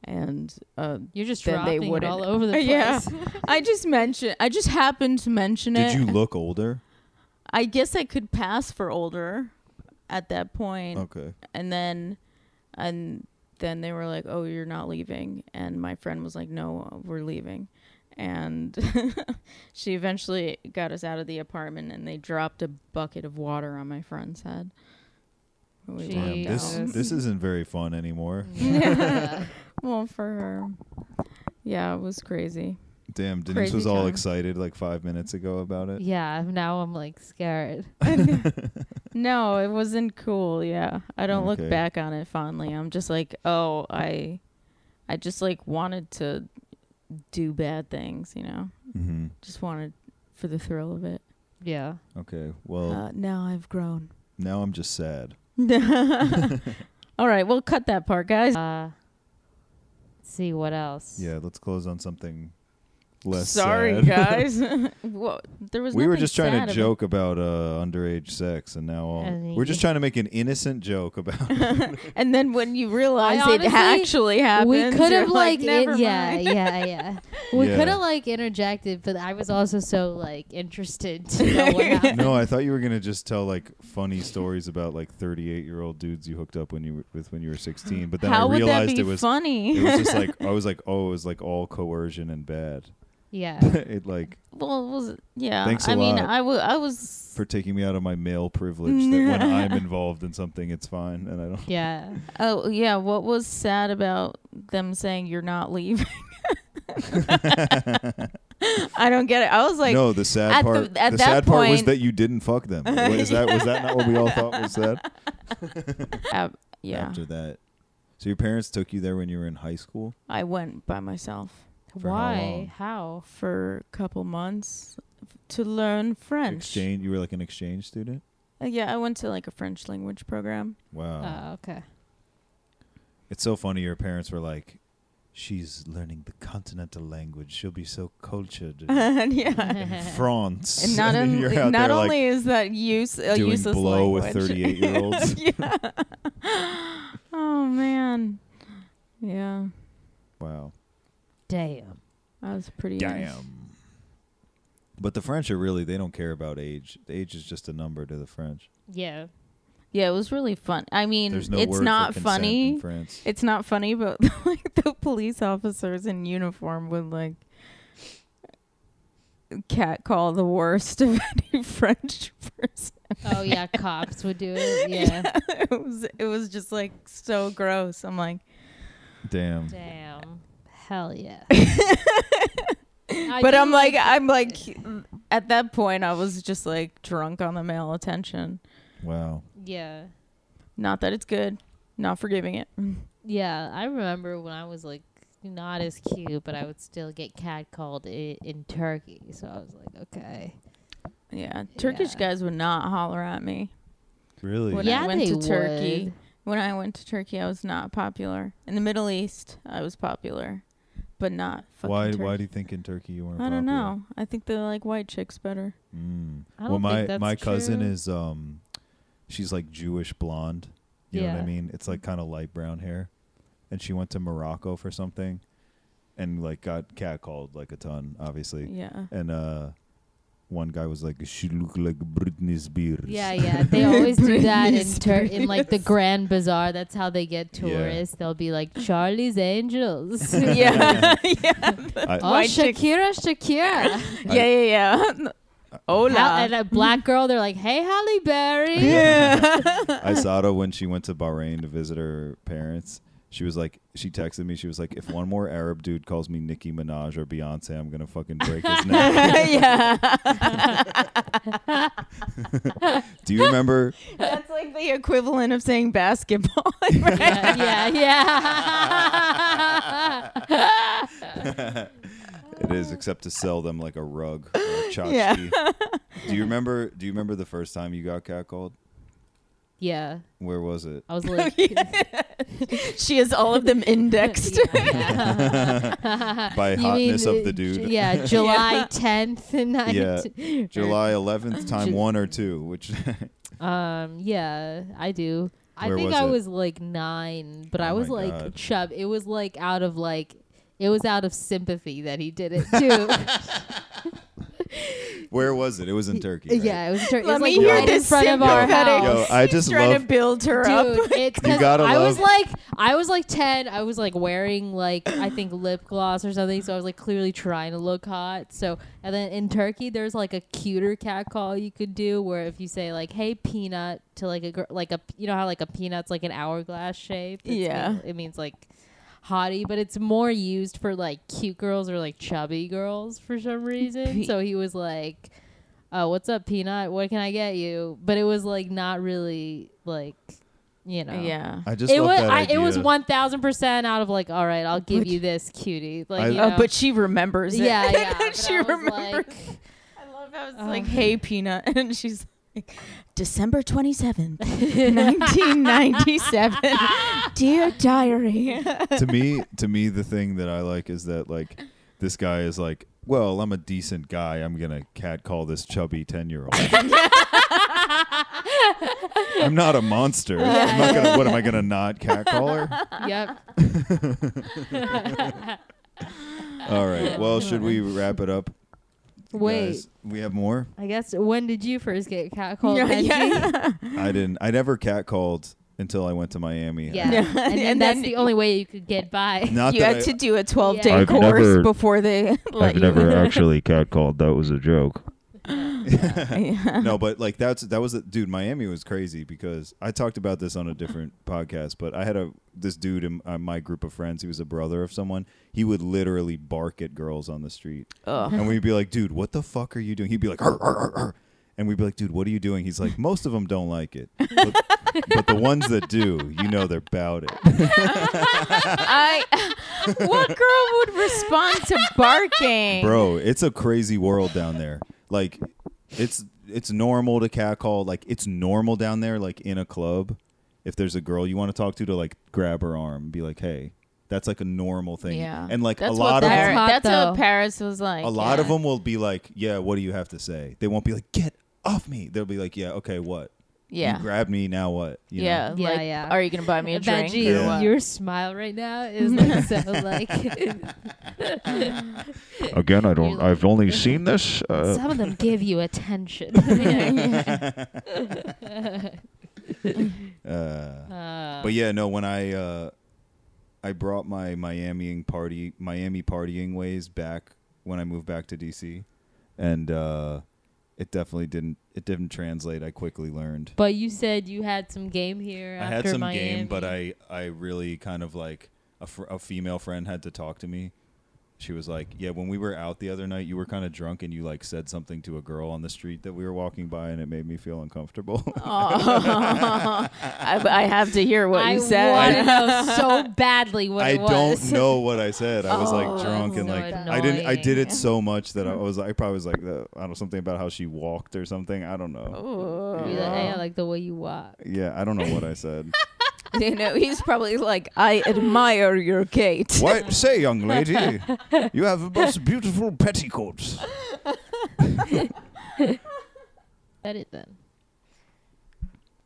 Speaker 5: and uh,
Speaker 4: You're just
Speaker 5: Then they
Speaker 4: dropping it
Speaker 5: wouldn't-
Speaker 4: all over the place.
Speaker 5: Yeah. i just mentioned i just happened to mention
Speaker 6: Did
Speaker 5: it
Speaker 6: you look older?
Speaker 5: i guess i could pass for older at that point
Speaker 6: Okay.
Speaker 5: and then and then they were like oh you're not leaving and my friend was like no we're leaving and she eventually got us out of the apartment and they dropped a bucket of water on my friend's head we
Speaker 4: Jeez.
Speaker 5: walked
Speaker 6: Damn, this
Speaker 5: out.
Speaker 6: this isn't very fun anymore.
Speaker 5: Mm.
Speaker 4: Yeah.
Speaker 5: well for her yeah it was crazy
Speaker 6: Damn, Denise
Speaker 5: Crazy
Speaker 6: was all
Speaker 5: time.
Speaker 6: excited like five minutes ago about it.
Speaker 4: yeah, now I'm like scared.
Speaker 5: no it wasn't cool yeah i don't
Speaker 6: Okay.
Speaker 5: look back on it fondly i'm just like oh i i just like wanted to do bad things you know
Speaker 6: hmm
Speaker 5: just wanted for the thrill of it.
Speaker 4: Yeah.
Speaker 6: Okay, well
Speaker 5: Uh, now I've grown.
Speaker 6: now I'm just sad.
Speaker 5: All right, we'll cut that part, guys.
Speaker 4: Uh Let's see what else.
Speaker 6: Yeah, let's close on something less.
Speaker 5: Sorry,
Speaker 6: sad.
Speaker 5: guys. Whoa, there was.
Speaker 6: We were
Speaker 5: nothing
Speaker 6: just trying
Speaker 5: sad
Speaker 6: to
Speaker 5: about-
Speaker 6: joke about uh, underage sex, and now all,
Speaker 4: And
Speaker 6: we're just
Speaker 4: y-
Speaker 6: trying to make an innocent joke about.
Speaker 5: And then when you realize
Speaker 4: I
Speaker 5: it
Speaker 4: honestly-
Speaker 5: actually happened,
Speaker 4: we could have like, it-
Speaker 5: never
Speaker 4: yeah,
Speaker 5: mind.
Speaker 4: yeah, yeah. We
Speaker 6: Yeah.
Speaker 4: could have like interjected, but I was also so like interested to know what happened.
Speaker 6: no, I thought you were gonna just tell like funny stories about like 38 year old dudes you hooked up when you were, with when you were 16, but then
Speaker 5: How
Speaker 6: I
Speaker 5: would that
Speaker 6: realized
Speaker 5: be
Speaker 6: it was
Speaker 5: funny?
Speaker 6: it was just like I was like oh it was like all coercion and bad.
Speaker 4: Yeah.
Speaker 6: it like
Speaker 5: well, it was yeah.
Speaker 6: Thanks a
Speaker 5: I mean,
Speaker 6: lot.
Speaker 5: I wa- I was
Speaker 6: for taking me out of my male privilege that when I'm involved in something it's fine and I don't.
Speaker 4: Yeah.
Speaker 5: Oh yeah, what was sad about them saying you're not leaving? I don't get it. I was like,
Speaker 6: no, the sad
Speaker 5: at the-
Speaker 6: part.
Speaker 5: at that
Speaker 6: sad part was
Speaker 5: point-
Speaker 6: that you didn't fuck them. What Is that was that not what we all thought was sad?
Speaker 5: uh, yeah,
Speaker 6: After that, so your parents took you there when you were in high school.
Speaker 5: I went by myself
Speaker 6: For how long?
Speaker 4: Why? How?
Speaker 5: for a couple months to learn French.
Speaker 6: Exchange. You were like an exchange student.
Speaker 5: Uh, yeah, I went to like a French language program.
Speaker 6: Wow.
Speaker 5: Uh.
Speaker 4: Oh, okay.
Speaker 6: It's so funny. Your parents were like, "She's learning the continental language. She'll be so cultured in,
Speaker 5: And yeah.
Speaker 6: in France."
Speaker 5: And not,
Speaker 6: then
Speaker 5: on-
Speaker 6: you're out
Speaker 5: not
Speaker 6: there,
Speaker 5: only is that use a
Speaker 6: doing
Speaker 5: useless
Speaker 6: blow with
Speaker 5: language.
Speaker 6: 38-year-olds.
Speaker 5: yeah. Oh man. Yeah.
Speaker 6: like, "Wow,
Speaker 4: Damn.
Speaker 5: That was pretty
Speaker 6: damn." But the French are really—they don't care about age. Age is just a number to the French.
Speaker 4: Yeah.
Speaker 5: Yeah, it was really fun. I mean,
Speaker 6: There's no word
Speaker 5: it's
Speaker 6: for
Speaker 5: not
Speaker 6: consent
Speaker 5: funny.
Speaker 6: in France.
Speaker 5: It's not funny, but like the police officers in uniform would like cat call the worst of any French person.
Speaker 4: Oh yeah, cops would do it. Yeah.
Speaker 5: it was it was just like so gross. I'm like,
Speaker 6: Damn.
Speaker 4: Damn. Hell yeah.
Speaker 5: but I'm like I'm like at that point I was just like drunk on the male attention.
Speaker 6: Wow.
Speaker 4: Yeah.
Speaker 5: Not that it's good. Not forgiving it. Mm.
Speaker 4: Yeah. I remember when I was like not as cute, but I would still get catcalled i- in Turkey. So I was like, okay.
Speaker 5: Yeah, Turkish
Speaker 4: Yeah.
Speaker 5: guys would not holler at me.
Speaker 6: Really?
Speaker 5: When
Speaker 4: Yeah,
Speaker 5: I went
Speaker 4: they
Speaker 5: to Turkey,
Speaker 4: would.
Speaker 5: when I went to Turkey, I was not popular. In the Middle East, I was popular, but not fucking
Speaker 6: Why?
Speaker 5: Turkey.
Speaker 6: Why do you think in Turkey you weren't?
Speaker 5: I don't
Speaker 6: popular?
Speaker 5: know. I think they like white chicks better.
Speaker 6: Mm.
Speaker 4: I don't
Speaker 6: well, my
Speaker 4: think that's
Speaker 6: my cousin
Speaker 4: true.
Speaker 6: is um, she's like Jewish blonde. You know what I
Speaker 4: Yeah.
Speaker 6: mean? It's like kind of light brown hair, and she went to Morocco for something, and like got catcalled like a ton, obviously.
Speaker 5: Yeah.
Speaker 6: And uh, one guy was like, "She look like Britney Spears."
Speaker 4: Yeah, yeah. They always do that in
Speaker 5: Britney
Speaker 4: Tur- in like the
Speaker 5: Spears.
Speaker 4: Grand Bazaar. That's how they get tourists. They'll be like Charlie's Angels.
Speaker 5: yeah. yeah.
Speaker 6: I-
Speaker 4: Oh,
Speaker 5: White chicks.
Speaker 4: Shakira, Shakira.
Speaker 5: Yeah. Yeah. Yeah.
Speaker 6: uh,
Speaker 4: How,
Speaker 5: Hola.
Speaker 4: and a black girl, they're like, "Hey, Halle Berry." uh,
Speaker 6: I saw her when she went to Bahrain to visit her parents. She was like, she texted me. She was like, if one more Arab dude calls me Nicki Minaj or Beyonce, I'm gonna fucking break his neck.
Speaker 5: yeah.
Speaker 6: Do you remember?
Speaker 5: That's like the equivalent of saying basketball.
Speaker 4: yeah, yeah.
Speaker 6: It is, except to sell them like a rug, or a tchotchke.
Speaker 5: Yeah.
Speaker 6: Do you remember? Do you remember the first time you got catcalled?
Speaker 4: yeah.
Speaker 6: Where was it?
Speaker 4: I was like,
Speaker 5: she has all of them indexed.
Speaker 6: By
Speaker 4: Uh, You
Speaker 6: hotness
Speaker 4: mean,
Speaker 6: of the
Speaker 4: uh, Ju-
Speaker 6: dude.
Speaker 4: Yeah, July 10th and 9th.
Speaker 6: July 11th, time
Speaker 4: Ju-
Speaker 6: one or two, which
Speaker 4: Um, yeah, I do. I
Speaker 6: Where
Speaker 4: think
Speaker 6: was
Speaker 4: I
Speaker 6: it?
Speaker 4: was like nine, but I
Speaker 6: Oh
Speaker 4: was
Speaker 6: my
Speaker 4: like
Speaker 6: God.
Speaker 4: chub. It was like out of like, it was out of sympathy that he did it too.
Speaker 6: where was it? It was in Turkey. right?
Speaker 4: Yeah, it was, tur- it was
Speaker 5: Let
Speaker 4: like
Speaker 5: me hear
Speaker 4: right in
Speaker 5: this
Speaker 4: front of our
Speaker 5: sympathetic-
Speaker 4: house.
Speaker 6: Yo, I just
Speaker 5: trying
Speaker 6: love
Speaker 5: to build her up.
Speaker 4: Dude, it's
Speaker 6: You
Speaker 4: because
Speaker 6: gotta
Speaker 4: I was
Speaker 6: love-
Speaker 4: like, I was like ten. I was like wearing like I think lip gloss or something, so I was like clearly trying to look hot. So and then in Turkey, there's like a cuter cat call you could do, where if you say like "Hey peanut" to like a girl, like a you know how like a peanut's like an hourglass shape. It's
Speaker 5: Yeah.
Speaker 4: mean- it means like hottie, but it's more used for like cute girls or like chubby girls for some reason.
Speaker 5: Pe-
Speaker 4: So he was like, "Oh, what's up, peanut? What can I get you?" But it was like not really like you know.
Speaker 5: Yeah.
Speaker 6: I just
Speaker 4: It
Speaker 6: love
Speaker 4: was
Speaker 6: that
Speaker 4: I, it was
Speaker 6: idea.
Speaker 4: one thousand percent out of like all right I'll give you this cutie like
Speaker 6: I-
Speaker 4: you
Speaker 5: Uh,
Speaker 4: know.
Speaker 5: but she remembers it.
Speaker 4: yeah yeah but
Speaker 5: she
Speaker 4: I was
Speaker 5: remembers.
Speaker 4: like, oh.
Speaker 5: I love how it's like, hey, peanut, and she's December 27th, 1997. Dear diary.
Speaker 6: to me to me the thing that i like is that like this guy is like well i'm a decent guy i'm gonna catcall this chubby 10 year old i'm not a monster I'm not gonna, what am i gonna not catcall her
Speaker 4: Yep.
Speaker 6: all right well should we wrap it up
Speaker 4: Wait.
Speaker 6: guys? we have more
Speaker 4: I guess when did you first get catcalled?
Speaker 5: Yeah,
Speaker 4: Benji?
Speaker 5: yeah.
Speaker 6: i didn't i never catcalled until i went to miami
Speaker 4: Yeah.
Speaker 5: Yeah.
Speaker 4: And then
Speaker 5: And
Speaker 4: that's
Speaker 5: then-
Speaker 4: the only way you could get by.
Speaker 6: not
Speaker 5: You
Speaker 6: that
Speaker 5: had
Speaker 6: I-
Speaker 5: to do a 12 day
Speaker 4: Yeah.
Speaker 6: I've
Speaker 5: course
Speaker 6: never-
Speaker 5: before they let you
Speaker 6: actually catcalled. That was a joke. no, but like that's that was a, dude. Miami was crazy because I talked about this on a different podcast. But I had a this dude in uh, my group of friends. He was a brother of someone. He would literally bark at girls on the street,
Speaker 5: Ugh.
Speaker 6: and we'd be like, "Dude, what the fuck are you doing?" He'd be like, "Arr, arr, arr, arr." and we'd be like, "Dude, what are you doing?" He's like, "Most of them don't like it, but, but the ones that do, you know, they're about it."
Speaker 5: I, what girl would respond to barking?
Speaker 6: bro it's a crazy world down there like it's it's normal to catcall like it's normal down there like in a club if there's a girl you want to talk to to like grab her arm and be like hey that's like a normal thing
Speaker 5: Yeah.
Speaker 6: and like
Speaker 5: that's
Speaker 6: a lot
Speaker 5: what
Speaker 6: of
Speaker 5: Paris,
Speaker 6: them,
Speaker 4: That's hot,
Speaker 5: That's what
Speaker 4: though.
Speaker 5: Paris was like.
Speaker 6: a lot
Speaker 5: yeah.
Speaker 6: of them will be like yeah what do you have to say they won't be like get off me they'll be like yeah okay what
Speaker 5: Yeah.
Speaker 6: you grab me now what you know?
Speaker 5: yeah.
Speaker 4: Yeah,
Speaker 5: like,
Speaker 4: yeah.
Speaker 5: Are you going to buy me a drink?
Speaker 4: Benji,
Speaker 5: or
Speaker 6: Yeah.
Speaker 5: what?
Speaker 4: your smile right now is like so like
Speaker 8: Again, I
Speaker 4: don't-
Speaker 8: don't.
Speaker 4: I've
Speaker 8: I've only seen this.
Speaker 4: some of them give you attention.
Speaker 6: uh
Speaker 4: Uh,
Speaker 6: But yeah, no, when I uh I brought my Miamiing party Miami partying ways back when I moved back to DC and uh it definitely didn't it didn't translate. I quickly learned.
Speaker 4: but you said you had some game here.
Speaker 6: I
Speaker 4: after
Speaker 6: had some
Speaker 4: Miami.
Speaker 6: game, but I I really kind of like a, fr- a female friend had to talk to me. She was like, "Yeah, when we were out the other night, you were kind of drunk and you like said something to a girl on the street that we were walking by and it made me feel uncomfortable."
Speaker 5: Aw. I, I have to hear what
Speaker 4: I
Speaker 5: you said.
Speaker 4: want to know so badly what
Speaker 6: I
Speaker 4: it was.
Speaker 6: don't know what I said. I was
Speaker 5: Oh,
Speaker 6: like drunk
Speaker 4: that's
Speaker 6: and
Speaker 4: so
Speaker 6: like I didn't. I did
Speaker 4: annoying.
Speaker 6: it so much that I was. I probably was like uh, I don't know something about how she walked or something. I don't know.
Speaker 4: You're like, "Hey, I like the way you walk.
Speaker 6: Yeah, I don't know what I said.
Speaker 5: you know, he's probably like, I admire your gait.
Speaker 6: what say, young lady? You have the most beautiful petticoats.
Speaker 4: Edit then.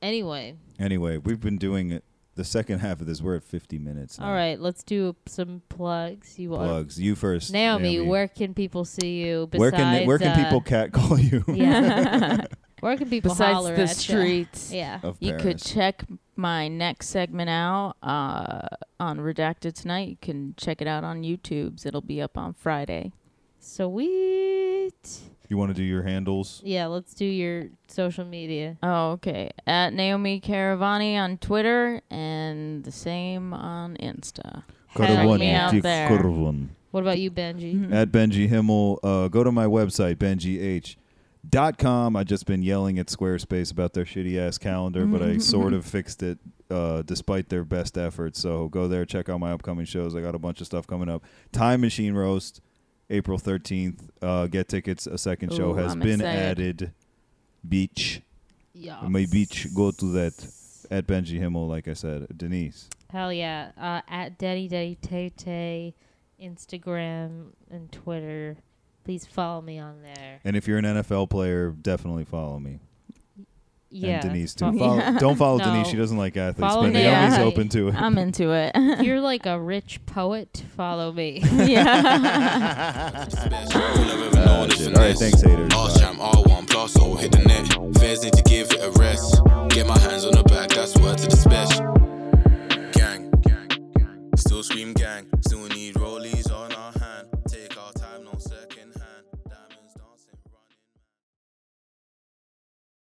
Speaker 4: Anyway,
Speaker 6: Anyway, we've been doing it. The second half of this, we're at 50 minutes. Now.
Speaker 4: all right, let's do some plugs. You want
Speaker 6: Plugs. You first.
Speaker 4: Naomi, where can people see you? Besides,
Speaker 6: where can where can
Speaker 4: uh,
Speaker 6: people cat call you?
Speaker 4: Yeah. where can people
Speaker 5: Besides
Speaker 4: holler
Speaker 5: the
Speaker 4: at ya?
Speaker 5: streets.
Speaker 4: Yeah.
Speaker 6: Of
Speaker 5: You
Speaker 6: Paris.
Speaker 5: could check my next segment out uh, on Redacted tonight. You can check it out on YouTube's. It'll be up on Friday.
Speaker 4: Sweet.
Speaker 6: you want to do your handles?
Speaker 4: Yeah, let's do your social media.
Speaker 5: Oh, okay. At Naomi Caravani on Twitter and the same on Insta.
Speaker 4: Check
Speaker 6: Curvon,
Speaker 4: me out
Speaker 6: Dick
Speaker 5: there.
Speaker 6: Curvon.
Speaker 4: What about you, Benji?
Speaker 5: Mm-hmm.
Speaker 6: at Benji Himmel. Uh, go to my website, benjih.com. I've just been yelling at Squarespace about their shitty ass calendar, but I sort of fixed it uh, despite their best efforts. So go there, check out my upcoming shows. I got a bunch of stuff coming up. Time Machine Roast, April 13th. Uh, get tickets. A second show
Speaker 5: Ooh,
Speaker 6: has
Speaker 5: I'm
Speaker 6: been
Speaker 5: excited.
Speaker 6: added. Beach.
Speaker 4: Yeah.
Speaker 6: My beach. Go to that. At Benji Himmel, like I said. Denise.
Speaker 4: Hell yeah. Uh, at Daddy Daddy Tay Tay, Instagram and Twitter. Please follow me on there.
Speaker 6: And if you're an NFL player, definitely follow me.
Speaker 4: Yeah.
Speaker 6: and Denise too.
Speaker 4: fo-
Speaker 6: Follow, Don't follow
Speaker 4: No.
Speaker 6: Denise; she doesn't like athletes.
Speaker 4: Follow
Speaker 6: but
Speaker 5: me.
Speaker 6: Naomi's
Speaker 4: Yeah.
Speaker 6: open to it.
Speaker 5: I'm into it.
Speaker 4: If you're like a rich poet, follow me.
Speaker 5: yeah.
Speaker 6: Ah, shit. All right, thanks, haters.
Speaker 2: All
Speaker 6: Bye.
Speaker 2: champ, all one plus, so hit the net. Fairs need to give it a rest. Get my hands on the back, that's word to the special. Gang, gang, gang. Still scream gang.